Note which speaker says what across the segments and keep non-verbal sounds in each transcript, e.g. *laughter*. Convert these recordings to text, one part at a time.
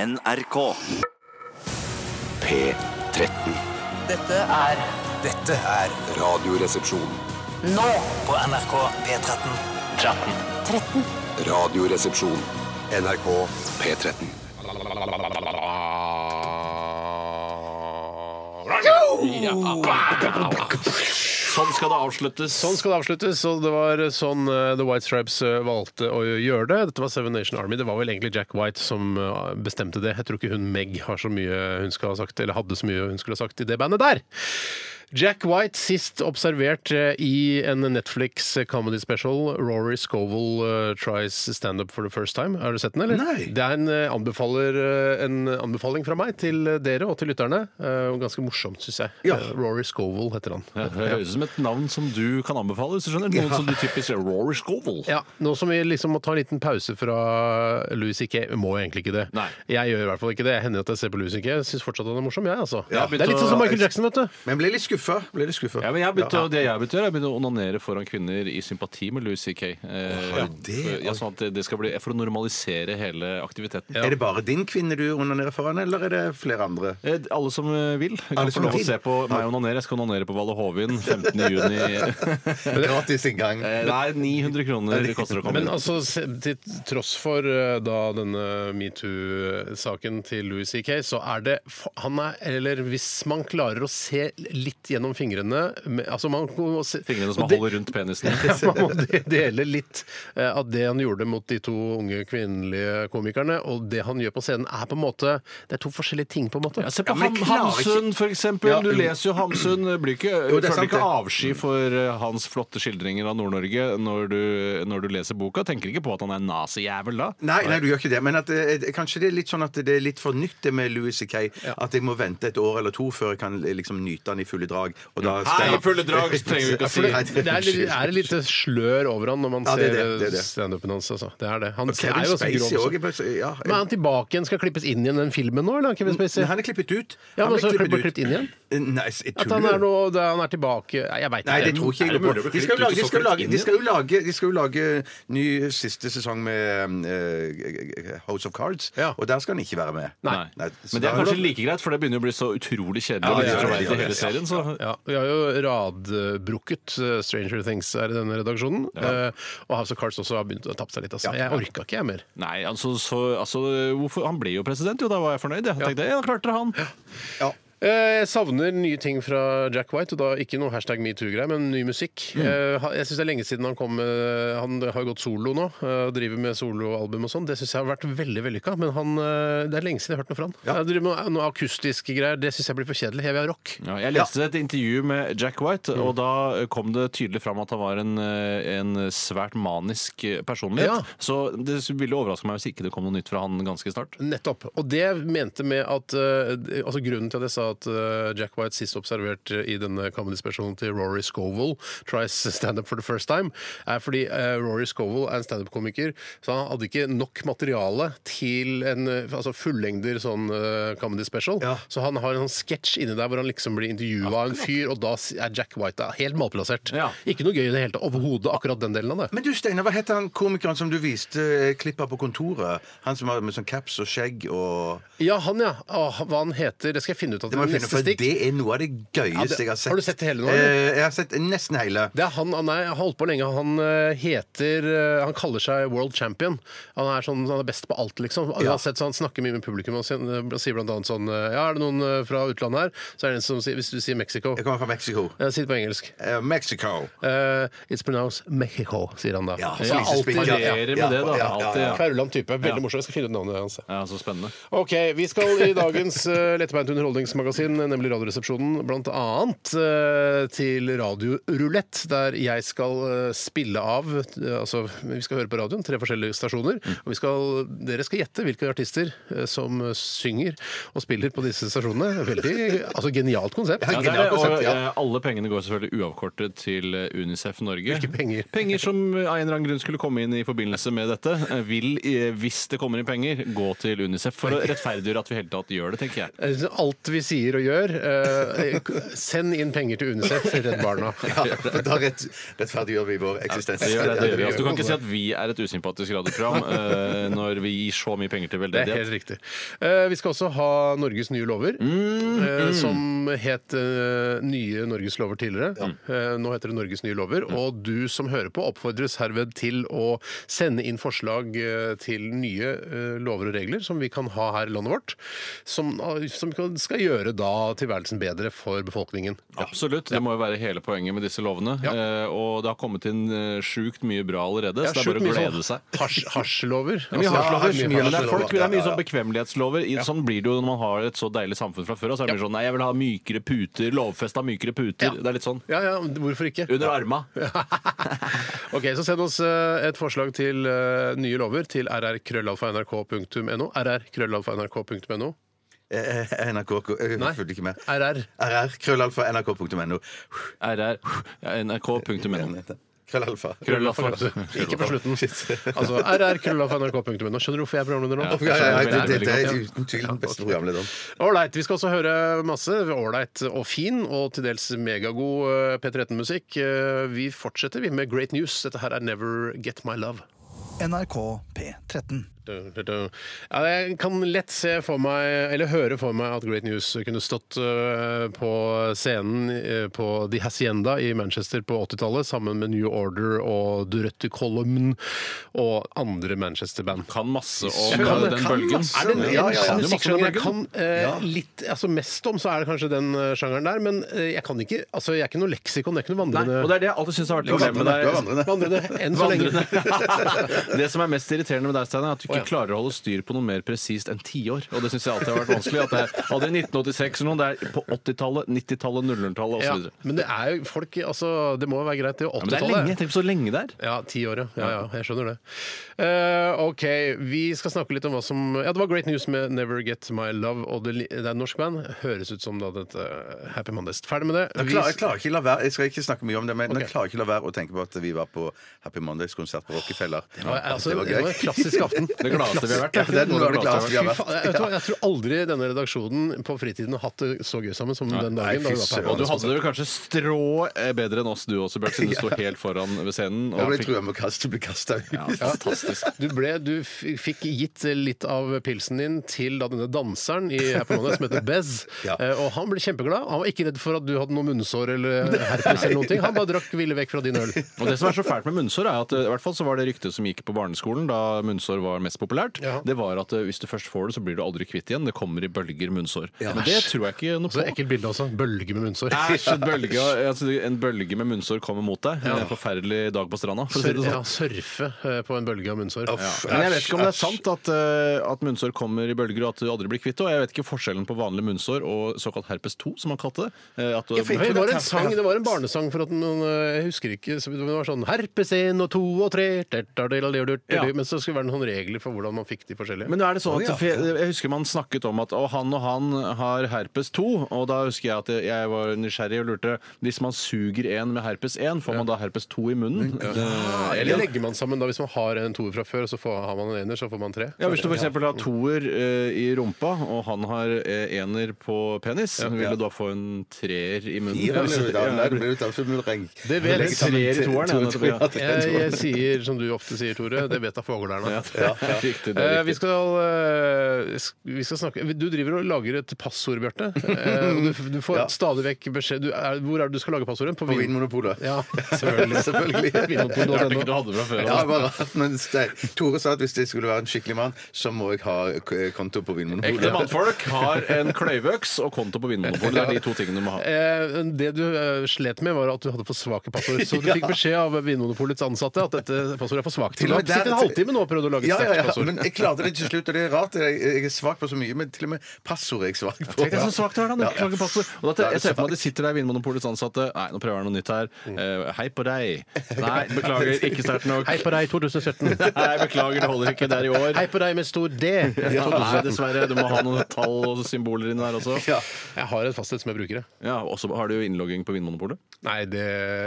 Speaker 1: NRK.
Speaker 2: P13.
Speaker 3: Dette er
Speaker 4: Dette er
Speaker 2: Radioresepsjon.
Speaker 3: nå
Speaker 4: på NRK P13.
Speaker 2: Radioresepsjon. NRK P13.
Speaker 5: Sånn skal det avsluttes.
Speaker 6: Sånn skal det avsluttes, og det var sånn eh, The White Stripes eh, valgte å gjøre det. Dette var Seven Nation Army. Det var vel egentlig Jack White som eh, bestemte det. Jeg tror ikke hun Meg har så mye hun skal ha sagt, eller hadde så mye hun skulle ha sagt i det bandet der. Jack White, sist observert eh, i en Netflix eh, comedy special, Rory Scovel eh, tries stand-up for the first time. Har du sett den, eller?
Speaker 5: Nei.
Speaker 6: Det er en, eh, anbefaler, eh, en anbefaling fra meg til eh, dere og til lytterne. eh, og Ganske morsomt, syns jeg.
Speaker 5: Ja.
Speaker 6: Eh, Rory Scovel heter han.
Speaker 5: Ja, det høres ut som et navn som du kan anbefale. hvis du skjønner. Noen som du typisk er Rory Scovel.
Speaker 6: Ja, Nå som vi liksom må ta en liten pause fra Louis C.K., vi må jo egentlig ikke det.
Speaker 5: Nei.
Speaker 6: Jeg gjør i hvert fall ikke det. Jeg hender at jeg ser på Louis C.K. Jeg Syns fortsatt han er morsom, jeg, altså.
Speaker 5: Ja,
Speaker 6: det er litt sånn som Michael Jackson, vet du.
Speaker 7: Men ble litt skuffa. Ble litt skuffa.
Speaker 5: Ja, men jeg har begynt, å- Det jeg har begynt å gjøre, er å begynne å onanere foran kvinner i sympati med Louis C.K. Eh, for- ja, sånn at det- det skal bli- For å normalisere hele aktiviteten.
Speaker 7: Er det bare din kvinne du onanerer foran, eller er det flere andre?
Speaker 5: Eh, Alle som eh, vil, kan
Speaker 7: Alle
Speaker 5: få
Speaker 7: som
Speaker 5: lov å
Speaker 7: vil.
Speaker 5: se på meg onanere. Jeg skal onanere på Valle Hovin Eh, 15.6.
Speaker 6: *laughs*
Speaker 7: Gratis inngang.
Speaker 5: Nei, 900 kroner koster det å komme
Speaker 6: Men
Speaker 5: inn.
Speaker 6: altså, se- til tross for eh, da denne metoo-saken til Louis C.K., så er det fa- Han er Eller hvis man klarer å se litt gjennom fingrene med, Altså, man må se
Speaker 5: Fingrene som
Speaker 6: og det-
Speaker 5: holder rundt penisen.
Speaker 6: *laughs* Ja, man må de- dele litt eh, av det han gjorde mot de to unge kvinnelige komikerne, og det han gjør på scenen, er på en måte Det er to forskjellige ting, på en måte.
Speaker 5: Ja, se på
Speaker 7: Ja, men
Speaker 5: Ham,
Speaker 7: jeg klarer
Speaker 5: Hamsun, for eksempel.
Speaker 7: Ja.
Speaker 5: Du leser jo Hamsun. eh, Blir ikke,
Speaker 7: Jo, det er
Speaker 5: føler
Speaker 7: sant,
Speaker 5: ikke
Speaker 7: det.
Speaker 5: avsky for eh, hans flotte skildringer av Nord-Norge når, du- når du leser boka. Tenker ikke på at han er en nazijævel da.
Speaker 7: Nei, nei, du gjør ikke det. Men at, eh, kanskje det er litt sånn at det er litt for nytt det med Louis C.K. At jeg må vente et år eller to før jeg kan eh, liksom nyte han i fulle drag. Og da skal
Speaker 5: Nei, i fulle drag trenger vi ikke å si.
Speaker 7: Nei,
Speaker 6: Det er, litt- det er et lite slør over han når man
Speaker 7: Ja, det er det, det
Speaker 6: ser
Speaker 7: er det.
Speaker 6: standupen hans. Altså. Det er det. Han
Speaker 7: Kevin
Speaker 6: er jo ganske
Speaker 7: Spacey
Speaker 6: grov.
Speaker 7: òg.
Speaker 6: også.
Speaker 7: Ja,
Speaker 6: Men er han tilbake igjen? Skal klippes inn igjen i den filmen nå? Eller? er han Kevin Spacey?
Speaker 7: Men han er klippet ut.
Speaker 6: Ja, men
Speaker 7: ble
Speaker 6: så ble klippet inn igjen?
Speaker 7: Nei, jeg
Speaker 6: At han er,
Speaker 7: tuller.
Speaker 6: nå, da han er tilbake Nei, Jeg veit
Speaker 7: Nei, det
Speaker 6: ikke.
Speaker 7: tror ikke jeg.
Speaker 5: Nei, det burde bli
Speaker 7: De skal
Speaker 5: klippet
Speaker 7: jo
Speaker 5: ut,
Speaker 7: lage,
Speaker 5: og
Speaker 7: de
Speaker 5: så
Speaker 7: skal jo
Speaker 5: klippet
Speaker 7: lage,
Speaker 5: inn
Speaker 7: de skal jo lage, de skal jo lage ny siste sesong med eh, House of Cards,
Speaker 6: Ja.
Speaker 7: og der skal han ikke være med.
Speaker 5: Nei.
Speaker 7: så
Speaker 5: Men det er
Speaker 7: da- sånn-
Speaker 5: kanskje like greit, for det begynner å bli så utrolig kjedelig.
Speaker 7: Ja,
Speaker 5: å
Speaker 7: det
Speaker 5: lese
Speaker 7: er
Speaker 5: fra
Speaker 7: det,
Speaker 5: til
Speaker 7: det er
Speaker 5: hele
Speaker 7: det.
Speaker 5: serien, så.
Speaker 6: Ja, vi har jo radbrukket eh, Stranger Things her i denne redaksjonen. eh, Og House of Cards også har begynt å tappe seg litt. Altså. Jeg orka ikke, jeg mer.
Speaker 5: Nei, altså, så, altså hvorfor, Han ble jo president, jo. Da var jeg fornøyd. Jeg tenkte, ja, klarte det, han.
Speaker 6: Eh, Jeg savner nye ting fra Jack White, og da ikke noe hashtag metoo-greier, men ny musikk. Eh, ha- Jeg syns det er lenge siden han kom med Han har jo gått solo nå, eh, og driver med soloalbum og sånn. Det syns jeg har vært veldig vellykka, men han, eh, det er lenge siden jeg har hørt noe fra han. Jeg driver med noe akustiske greier, det syns jeg blir for kjedelig. Jeg vil ha rock.
Speaker 5: Ja, jeg leste et intervju med Jack White, og da kom det tydelig fram at han var en, eh, en svært manisk personlighet.
Speaker 6: Ja.
Speaker 5: Så det ville overraske meg hvis ikke det kom noe nytt fra han ganske snart.
Speaker 6: Nettopp. Og det jeg mente med at eh, altså Grunnen til at jeg sa at eh, Jack White sist observert eh, i denne comedy-specialen til Rory Scovel tries stand-up for the first time, er fordi eh, Rory Scovel er en standup-komiker, så han hadde ikke nok materiale til en eh, altså fullengder sånn comedy-special.
Speaker 7: Ja.
Speaker 6: Så han har en sånn sketsj inni der hvor han liksom blir intervjua av en fyr, og da er Jack White der. Helt malplassert.
Speaker 5: Ja.
Speaker 6: Ikke noe gøy i det hele tatt. Overhodet akkurat den delen av det.
Speaker 7: Men du, Steinar, hva heter han komikeren som du viste eh, klipp av på kontoret? Han som har med sånn caps og skjegg og
Speaker 6: Ja, han ja. Åh, hva han heter, det skal jeg finne ut av
Speaker 7: Det må
Speaker 6: til
Speaker 7: jeg finne,
Speaker 6: neste
Speaker 7: for
Speaker 6: stikk.
Speaker 7: det er noe av det
Speaker 6: Ja, det-
Speaker 7: gøyeste jeg har sett.
Speaker 6: har du sett det hele nå, eller?
Speaker 7: Eh, jeg har sett nesten hele.
Speaker 6: Det er han, han er, har holdt på lenge. Han eh, heter eh, Han kaller seg world champion. Han er, sånn, han er best på alt, liksom. Uansett, så han snakker mye med publikum og sier, sier blant annet sånn eh, Ja, er det noen eh, fra utlandet her? Så er det en som sier Hvis du sier Mexico
Speaker 7: Jeg kommer fra Mexico.
Speaker 6: Eh, Si det på engelsk.
Speaker 7: Eh, Mexico.
Speaker 6: Eh, it's pronounced Mexico, sier han da.
Speaker 7: Ja,
Speaker 6: ja, alltid,
Speaker 7: spisespikka.
Speaker 6: ja,
Speaker 5: Varierer med det, da.
Speaker 7: ja, ja,
Speaker 5: Alltid.
Speaker 7: ja.
Speaker 6: Kverulant type. Veldig morsom. Jeg skal finne ut navnet hans.
Speaker 5: Ja, så spennende.
Speaker 6: Ok, Vi skal i dagens uh, lettbeint underholdningsmagasin, nemlig Radioresepsjonen, blant annet eh, til radiorulett, der jeg skal eh, spille av eh, Altså, vi skal høre på radioen, tre forskjellige stasjoner.
Speaker 7: Mm.
Speaker 6: Og vi skal, dere skal gjette hvilke artister eh, som synger og spiller på disse stasjonene. Veldig altså, genialt konsept.
Speaker 5: Ja, det er,
Speaker 7: Genialt
Speaker 5: det, og
Speaker 7: konsept, ja.
Speaker 5: eh, alle pengene går selvfølgelig uavkortet til eh, Unicef Norge.
Speaker 6: Hvilke penger?
Speaker 5: *laughs* Penger som av en eller annen grunn skulle komme inn i forbindelse med dette, eh, vil, eh, hvis det kommer inn penger, gå til Unicef for å rettferdiggjøre at vi i hele tatt gjør det, tenker jeg.
Speaker 6: Jeg synes Alt vi sier og gjør. eh, send inn penger til UNICEF, Redd Barna.
Speaker 7: Ja, for da rett, rettferdiggjør vi vår eksistens.
Speaker 5: Det gjør det, det gjør vi. Altså, du kan ikke si
Speaker 7: Ja,
Speaker 5: at vi er et usympatisk radioprogram eh, når vi gir så mye penger til
Speaker 6: Det er helt
Speaker 5: veldedighet.
Speaker 6: riktig. Eh, vi skal også ha Norges nye lover,
Speaker 5: Mm.
Speaker 6: eh, som het eh, Nye Norges lover tidligere. Eh, nå heter det Norges nye lover. Og du som hører på, oppfordres herved til å sende inn forslag eh, til nye eh, lover og regler som vi kan ha her i landet vårt. Som, eh, som kan- skal gjøre da tilværelsen bedre for befolkningen.
Speaker 5: Absolutt. Det må jo være hele poenget med disse lovene.
Speaker 6: Ja.
Speaker 5: Eh, og det har kommet inn eh, sjukt mye bra allerede, så det er
Speaker 6: sjukt
Speaker 5: bare å
Speaker 6: mye sånn
Speaker 5: glede seg.
Speaker 6: hasj- Hasjlover.
Speaker 5: Det er mye
Speaker 6: Altså,
Speaker 5: hasjlover,
Speaker 6: det er
Speaker 7: mye
Speaker 5: men det er folk vil ha mye
Speaker 7: hasjlover, ja,
Speaker 5: sånn bekvemlighetslover. I- Sånn blir det jo når man har et så deilig samfunn fra før. Og så er det mye sånn Nei, jeg vil ha mykere puter. Lovfesta mykere puter. Det er litt sånn.
Speaker 6: Ja, ja, hvorfor ikke?
Speaker 5: Under arma.
Speaker 6: Ok, så Send oss eh, et forslag til eh, nye lover til rrkrøllalfa.nrk.no. rrkrøllalfa.nrk.no.
Speaker 7: Eh, eh, NRK Jeg
Speaker 6: Nei.
Speaker 7: fulgte ikke med.
Speaker 6: RR.
Speaker 7: RR. Krøllalfa. NRK.no.
Speaker 5: RR. NRK.no.
Speaker 7: Krøllalfa.
Speaker 5: Krøllalfa.
Speaker 6: Ikke på
Speaker 7: *laughs*
Speaker 6: slutten. Altså rrkrøllalfa.nrk.no. Skjønner du hvorfor jeg er programleder nå?
Speaker 5: Ja.
Speaker 7: Ja, ja, ja,
Speaker 5: Skjønner
Speaker 7: det,
Speaker 5: veldig
Speaker 7: det er
Speaker 5: godt,
Speaker 7: uten tvil den beste programlederen.
Speaker 6: Ålreit. Vi skal også høre masse ålreit og fin og til dels megagod eh, P13-musikk. Eh, Vi fortsetter vi med Great News. Dette her er Never Get My Love.
Speaker 4: NRK P13.
Speaker 6: Ja, jeg kan lett se for meg, eller høre for meg, at Great News kunne stått øh, på scenen øh, på The Hacienda i Manchester på 80-tallet, sammen med New Order og Durette Column og andre Manchester-band.
Speaker 5: Kan masse om
Speaker 6: Jeg kan-
Speaker 5: eh,
Speaker 6: jeg
Speaker 5: den
Speaker 6: kan
Speaker 5: bølgen.
Speaker 7: masse. Er det en- Ja,
Speaker 6: En
Speaker 7: ja, ja.
Speaker 5: Du masse om
Speaker 6: musikksjanger
Speaker 5: den
Speaker 6: jeg kan
Speaker 5: bølgen?
Speaker 6: eh, litt, altså mest om, så er det kanskje den eh, sjangeren der, men eh, jeg kan ikke, altså jeg er ikke noe leksikon, det er ikke
Speaker 5: Nei,
Speaker 6: noe vandrende
Speaker 5: og det er det jeg alltid syns har vært problemet med
Speaker 7: Det
Speaker 5: deg.
Speaker 7: var vandrende.
Speaker 6: Vandrende, enn så lenge.
Speaker 5: Vandrende. Det som er mest irriterende med deg, Stein, er at du ikke
Speaker 6: Å, ja.
Speaker 5: klarer å holde styr på noe mer presist enn tiår. Og det syns jeg alltid har vært vanskelig. At det er aldri 1986 eller noe, det er på 80-tallet, 90-tallet, 00-tallet
Speaker 6: *laughs* Ja,
Speaker 5: osv.
Speaker 6: men det er jo folk, altså, det må jo være greit, det er jo
Speaker 5: Men det er
Speaker 6: 80-tallet.
Speaker 5: lenge. Tenk på så lenge det er.
Speaker 6: Ja, ti år, ja. ja, ja jeg skjønner det. Eh, OK, vi skal snakke litt om hva som Ja, det var Great News med Never Get My Love, og det, li- det er en norsk band. Høres ut som da dette eh, Happy Mondays. Ferdig med det.
Speaker 7: Jeg
Speaker 6: Vi-
Speaker 7: klarer, jeg klarer ikke la være Jeg skal ikke snakke mye om det, men
Speaker 6: Ok.
Speaker 7: jeg klarer ikke la være å tenke på at vi var på Happy Mondays-konsert på Rockefeller.
Speaker 6: Det var- altså,
Speaker 7: det var
Speaker 6: det var en
Speaker 7: gøy.
Speaker 6: klassisk
Speaker 7: *laughs*
Speaker 6: aften.
Speaker 5: Det gladeste vi har vært.
Speaker 7: Ja, det er noe av det gladeste vi har
Speaker 6: Fy
Speaker 7: vært.
Speaker 6: faen, jeg, vet du hva, jeg tror aldri denne redaksjonen på fritiden har hatt det så gøy sammen som den dagen.
Speaker 7: nei,
Speaker 6: da vi
Speaker 7: fy
Speaker 6: var på Happy
Speaker 5: Og du
Speaker 6: Mondays.
Speaker 5: hadde det vel kanskje strå eh, bedre enn oss du også, Bjørt,
Speaker 7: *laughs*
Speaker 5: siden du sto helt foran ved scenen.
Speaker 7: Jeg
Speaker 5: Og
Speaker 7: ble
Speaker 5: fikk...
Speaker 7: trua med å kaste, bli kasta ut.
Speaker 5: ja,
Speaker 7: *laughs*
Speaker 5: fantastisk.
Speaker 6: Du, ble, du f- fikk gitt litt av pilsen din til da denne danseren i Happy Mondays som heter Bez.
Speaker 7: Ja.
Speaker 6: Eh, Og han ble kjempeglad. Han var ikke redd for at du hadde noe munnsår eller herpes. eller noen ting. Han bare drakk ville vekk fra din øl.
Speaker 5: Og det som er så fælt med munnsår, er at eh, i hvert fall så var det ryktet som gikk på barneskolen da munnsår var mest populært,
Speaker 6: Ja.
Speaker 5: det var at eh, hvis du først får det, så blir du aldri kvitt igjen. Det kommer i bølger, munnsår. Men det tror jeg ikke noe
Speaker 6: Så
Speaker 7: Altså,
Speaker 5: på.
Speaker 6: ekkelt bilde også. Bølge med *laughs* munnsår.
Speaker 5: Æsj, en bølge, altså, en bølge med munnsår kommer mot deg. En forferdelig dag på stranda. For å si
Speaker 6: Sør,
Speaker 5: det
Speaker 6: ja,
Speaker 5: sånn.
Speaker 6: surfe eh, på en bølge av munnsår.
Speaker 7: Uff,
Speaker 6: Ja.
Speaker 5: Men jeg vet
Speaker 7: æsj,
Speaker 5: ikke om det er
Speaker 7: æsj.
Speaker 5: sant at, eh, at munnsår kommer i bølger og at du aldri blir kvitt det. Og jeg vet ikke forskjellen på vanlig munnsår og såkalt herpes 2, som man kalte det. Eh, At,
Speaker 7: for
Speaker 6: Det var, en sang, det var en barnesang for at noen, eh, Jeg husker ikke. så Det var sånn herpes 1 og 2 og 3
Speaker 5: Ja.
Speaker 6: Men så skulle det være noen regler for hvordan man fikk de forskjellige.
Speaker 5: Men nå er det sånn at for jeg, jeg husker man snakket om at å, han og han har herpes 2, og da husker jeg at jeg var nysgjerrig og lurte Hvis man suger en med herpes 1, får man da herpes 2 i munnen? Eh,
Speaker 6: Eller legger man sammen da hvis man har en toer fra før, og så får, har man en ener, så får man tre?
Speaker 5: Ja, Hvis du f.eks.
Speaker 6: *laughs*
Speaker 5: har toer eh, i rumpa, og han har eh, ener på penis, vil du da få en treer i munnen? Altså,
Speaker 7: Ja, men det
Speaker 5: Ja,
Speaker 7: er jo tannfummelreng.
Speaker 6: Det vet jeg.
Speaker 7: sånn
Speaker 5: Treer i toeren, ja, nettopp, ja.
Speaker 6: Jeg, *laughs* jeg sier som du ofte sier, Tore, det vet da *laughs* fåglærne.
Speaker 5: Ja, det er riktig, det
Speaker 6: Eh,
Speaker 5: er
Speaker 6: vi,
Speaker 5: riktig.
Speaker 6: skal, eh, sk- vi skal snakke Du driver og lager et passord, Bjarte. Eh, og du, du får
Speaker 7: Ja.
Speaker 6: stadig vekk beskjed du, er, Hvor er det du skal lage passordet?
Speaker 7: På Vinmonopolet.
Speaker 6: Ja,
Speaker 7: *laughs* selvfølgelig.
Speaker 6: *laughs*
Speaker 5: Det er ikke du hadde fra før.
Speaker 7: Ja,
Speaker 5: altså.
Speaker 7: bare at- men Stein- Tore sa at hvis jeg skulle være en skikkelig mann, så må jeg ha k- konto på
Speaker 5: Ekte
Speaker 7: Vinmonopolet.
Speaker 5: mannfolk har en kløyveøks og konto på Vinmonopolet. Det er de to tingene du må ha.
Speaker 6: Eh, det du eh, slet med, var at du hadde for svake passord. Så
Speaker 7: *laughs*
Speaker 6: du fikk beskjed av Vinmonopolets ansatte at dette passordet er for svakt.
Speaker 7: Til
Speaker 6: Du
Speaker 7: og
Speaker 6: har
Speaker 7: med der-
Speaker 6: sittet en halvtime nå og prøvd å lage et
Speaker 7: Ja,
Speaker 6: sterkt
Speaker 7: ja, ja,
Speaker 6: passord.
Speaker 7: men jeg klarte det til slutt, og det er rart. Jeg, jeg er svak på så mye, men til og med passord er jeg svak på.
Speaker 5: Tenk deg så svakt det er, da. når du ikke
Speaker 7: Ja.
Speaker 5: klager passord. Og da, jeg ser for meg at de sitter der, Vinmonopolets ansatte. Nei, nå prøver jeg noe nytt her. Eh, hei på *laughs* deg. Nei, beklager, ikke sterkt nok.
Speaker 6: Hei på deg, *laughs*
Speaker 5: *laughs*
Speaker 6: 2017.
Speaker 5: Nei, beklager, det holder ikke. Det er i år.
Speaker 6: Hei på deg med stor D.
Speaker 5: Ja, nei, dessverre. Du må ha noen tall og symboler inni der også.
Speaker 7: Ja.
Speaker 6: Jeg har et fastsett som jeg bruker. jeg.
Speaker 5: Ja, Og så har du jo innlogging på Vinmonopolet.
Speaker 6: Nei, det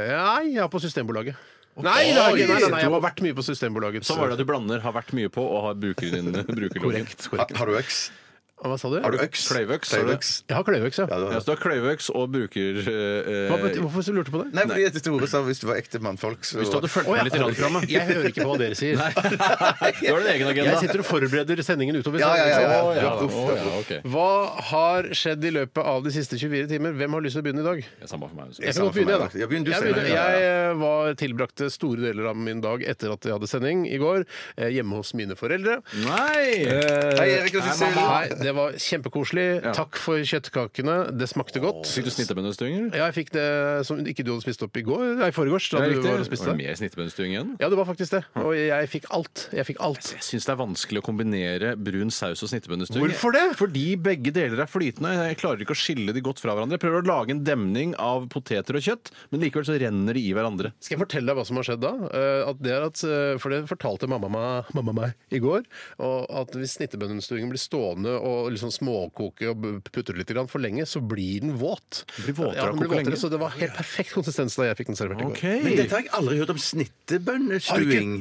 Speaker 6: Nei, jeg er på Systembolaget. Nei, det har jeg ikke. Nei, nei, nei, jeg har vært mye på Systembolaget. *laughs*
Speaker 5: Så var det at du blander har vært mye på og har brukerdin- brukerloggen.
Speaker 6: korrekt.
Speaker 7: Ha-
Speaker 6: korrekt.
Speaker 7: Har du øks?
Speaker 6: eh, Hva sa du?
Speaker 7: Har du øks?
Speaker 5: Kløyvøks, har du?
Speaker 7: Kløyvøks.
Speaker 6: Jeg har kløyvøks, ja.
Speaker 7: Ja, du har
Speaker 5: Ja, så du har kløyvøks og bruker eh,
Speaker 6: Hva, bet- hvorfor så lurte du på det?
Speaker 7: Nei, fordi at Tore sa hvis du var ekte mannfolk, så
Speaker 5: Hvis du hadde fulgt
Speaker 6: Å, ja.
Speaker 5: med litt i radioprogrammet.
Speaker 6: *laughs* Jeg hører ikke på hva dere sier.
Speaker 5: Du har din egen agenda.
Speaker 6: Jeg sitter og forbereder sendingen utover.
Speaker 7: Ja, ja, ja, ja.
Speaker 5: Å, ja,
Speaker 7: Uff,
Speaker 5: å, ja, ok.
Speaker 6: Hva har skjedd i løpet av de siste 24 timer? Hvem har lyst til å begynne i dag?
Speaker 5: Det er Samme for meg.
Speaker 6: Jeg
Speaker 5: altså.
Speaker 6: kan godt begynne, jeg, da.
Speaker 7: Ja, begynn du,
Speaker 6: jeg,
Speaker 7: Steinar.
Speaker 6: begynner. jeg eh, var tilbrakte store deler av min dag etter at jeg hadde sending i går, eh, hjemme hos mine foreldre.
Speaker 5: Nei!
Speaker 6: Eh,
Speaker 7: Hei, Erik og Sissel.
Speaker 6: Nei, det var kjempekoselig.
Speaker 5: Ja.
Speaker 6: Takk for kjøttkakene. Det smakte godt.
Speaker 5: Fikk du snittebønnestuing, eller?
Speaker 6: Ja, jeg fikk det som ikke du hadde spist opp i går, nei, i forgårs. Da
Speaker 5: Ja,
Speaker 6: du
Speaker 5: riktig.
Speaker 6: var og spiste
Speaker 5: Var det
Speaker 6: det.
Speaker 5: mer snittebønnestuing igjen?
Speaker 6: Ja, det var faktisk det. Og jeg fikk alt. Jeg fikk alt.
Speaker 5: Jeg syns det er vanskelig å kombinere brun saus og snittebønnestuing.
Speaker 6: Hvorfor det?
Speaker 5: Fordi begge deler er flytende. Jeg klarer ikke å skille de godt fra hverandre. Jeg prøver å lage en demning av poteter og kjøtt, men likevel så renner de i hverandre.
Speaker 6: Skal jeg fortelle deg hva som har skjedd da? Eh, At det er at, eh, for det fortalte mamma meg, mamma meg i går. Og at hvis snittebønnestuingen blir stående og liksom småkoke og b- putte litt grann for lenge, så blir den våt.
Speaker 5: Blir våtere
Speaker 6: ja,
Speaker 5: av å
Speaker 6: den blir
Speaker 5: koke
Speaker 6: våtere,
Speaker 5: lenge?
Speaker 6: Så det var helt perfekt konsistens da jeg fikk den servert i går.
Speaker 7: Men dette har jeg aldri hørt om snittebønnestuing.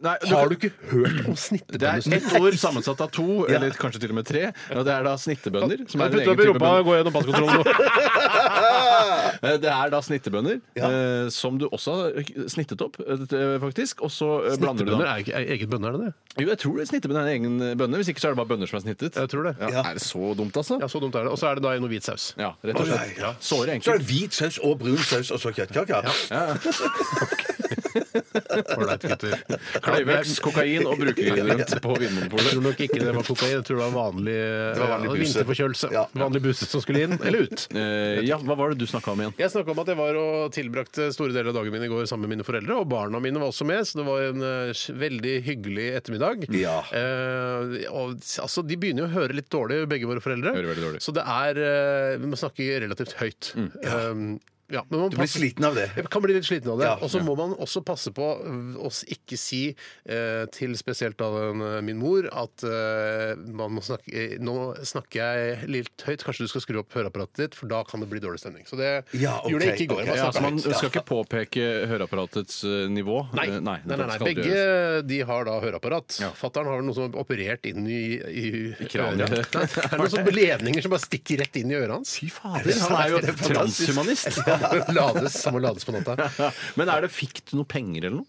Speaker 5: Nei,
Speaker 6: Har du ikke hørt om
Speaker 5: Det er
Speaker 6: snittebønnestuing?
Speaker 5: ett ord sammensatt av to,
Speaker 6: *laughs*
Speaker 5: eller kanskje til og med tre. Og det er da snittebønner. Som er en
Speaker 6: Putt
Speaker 5: egen
Speaker 6: opp i
Speaker 5: type
Speaker 6: rumpa
Speaker 5: bønner.
Speaker 6: og gå gjennom passkontrollen nå.
Speaker 5: *laughs* Eh, Det er da snittebønner, eh, som du også har snittet opp, eh, faktisk. Og så eh, blander du
Speaker 6: Snittebønner
Speaker 5: da
Speaker 6: er ikke er eget bønner, er det det?
Speaker 5: Jo, jeg tror det er snittebønner er en egen bønne. Hvis ikke så er det bare bønner som er snittet.
Speaker 6: Jeg tror det.
Speaker 5: Ja, Er det så dumt, altså?
Speaker 6: Ja, så dumt er det. Og så er det da i noe hvit saus.
Speaker 5: Ja, rett og slett.
Speaker 7: Å, nei.
Speaker 5: Såre
Speaker 7: Så er
Speaker 5: enkelt.
Speaker 7: det hvit saus og brun saus og så kjøttkaker.
Speaker 6: Ålreit, gutter.
Speaker 5: Kløyvøks, kokain og
Speaker 6: *laughs*
Speaker 5: brukergrunnt på
Speaker 6: Jeg tror
Speaker 5: Vinmonopolet.
Speaker 6: nok ikke det var kokain. Jeg tror det var vanlig,
Speaker 7: var vanlig
Speaker 6: ja,
Speaker 7: buse.
Speaker 6: vinterforkjølelse.
Speaker 7: Ja.
Speaker 6: Vanlig buse som skulle inn, eller ut.
Speaker 5: Eh, ja, hva var det du snakka om igjen?
Speaker 6: Jeg snakka om at jeg var og tilbrakte store deler av dagen min i går sammen med mine foreldre. Og barna mine var også med, så det var en eh, veldig hyggelig ettermiddag.
Speaker 7: Ja.
Speaker 6: Eh, og, altså, de begynner jo å høre litt dårlig, begge våre foreldre.
Speaker 5: Hører veldig dårlig. Mm.
Speaker 6: Så det er eh, Vi må snakke relativt høyt. Eh, ja, men man
Speaker 7: Du blir
Speaker 6: passer-
Speaker 7: sliten av det.
Speaker 6: jeg kan bli litt sliten av det.
Speaker 7: Ja.
Speaker 6: og så må man også passe på øh, å s- ikke si eh, til spesielt da den, eh, min mor at eh, man må snakke, eh, nå snakker jeg litt høyt, kanskje du skal skru opp høreapparatet ditt, for da kan det bli dårlig stemning. Så det
Speaker 7: Ja, ok,
Speaker 6: gjorde jeg ikke i går.
Speaker 7: ok,
Speaker 6: Bare
Speaker 5: Ja, altså,
Speaker 6: snakket
Speaker 5: man
Speaker 6: høyt.
Speaker 5: skal ikke påpeke høreapparatets eh, nivå.
Speaker 6: Nei.
Speaker 5: Eh,
Speaker 6: Nei, nei,
Speaker 5: det
Speaker 6: nei,
Speaker 5: skal aldri
Speaker 6: Begge
Speaker 5: gjøres.
Speaker 6: de har da høreapparat.
Speaker 5: Ja.
Speaker 6: Fattern har noe som er operert inn i, i,
Speaker 5: kraniet. *laughs*
Speaker 6: øret. Nei, Det er noen sånne ledninger som bare stikker rett inn i øret hans.
Speaker 5: Fy fader, han er
Speaker 6: *laughs*
Speaker 5: jo transhumanist!
Speaker 6: Lades, må lades på natta.
Speaker 5: *laughs* Men er det fikk du noe penger eller noe?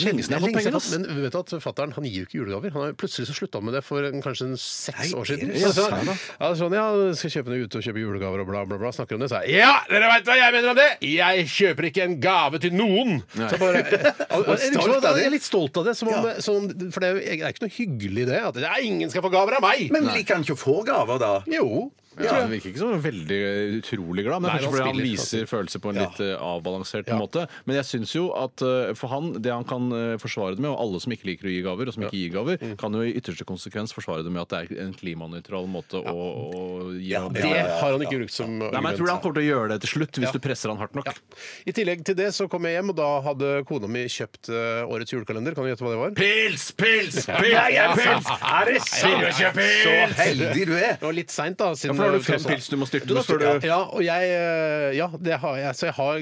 Speaker 6: Lenge siden jeg har fått penger,
Speaker 5: ass.
Speaker 6: Men vet du at fatteren, han gir jo ikke julegaver. Han har jo plutselig så slutta han med det for en, kanskje en seks
Speaker 7: Nei,
Speaker 6: år siden.
Speaker 7: er det
Speaker 6: Så-
Speaker 7: sant, da?
Speaker 6: ja, sånn, ja, skal kjøpe noe ute og kjøpe julegaver og bla, bla, bla. Snakker om det, så er jeg, Ja, dere veit hva jeg mener om det! Jeg kjøper ikke en gave til noen! Så bare, og, og, jeg,
Speaker 7: Stolt av det.
Speaker 6: jeg er litt stolt av det, som om, som om, for det er, jo- det er ikke noe hyggelig det. At det er, ingen skal få gaver av meg!
Speaker 7: Men liker han ikke å få gaver, da?
Speaker 6: jo.
Speaker 5: Ja, han virker ikke så veldig eh, utrolig glad, men
Speaker 6: Nei,
Speaker 5: det er kanskje
Speaker 6: han
Speaker 5: fordi han
Speaker 6: spiller,
Speaker 5: viser følelser på en litt eh, avbalansert
Speaker 6: Ja.
Speaker 5: måte. Men jeg syns jo at eh, for han, det han kan eh, forsvare det med, og alle som ikke liker å gi gaver, og som ikke gir gaver, kan jo i ytterste konsekvens forsvare det med at det er en klimanøytral måte å, å gi
Speaker 6: Ja,
Speaker 5: gaver
Speaker 6: det
Speaker 5: på.
Speaker 6: har han ikke brukt som
Speaker 5: Nei, men jeg tror han kommer til å gjøre det til slutt, hvis
Speaker 6: Ja.
Speaker 5: du presser han hardt nok.
Speaker 6: Ja. I tillegg til det så kom jeg hjem, og da hadde kona mi kjøpt eh, årets julekalender. Kan du gjette hva det var?
Speaker 5: Pils, pils, pils!
Speaker 7: Er det Så heldig du er!
Speaker 6: Det var litt seint, da.
Speaker 5: Ja,
Speaker 6: Siden sånn.
Speaker 5: for da har du fem pils du må styrte, da, før du
Speaker 6: ja, og jeg eh, Ja, det har jeg. Så jeg har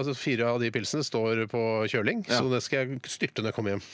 Speaker 6: altså, Fire av de pilsene står på kjøling, så det skal jeg styrte når jeg kommer hjem.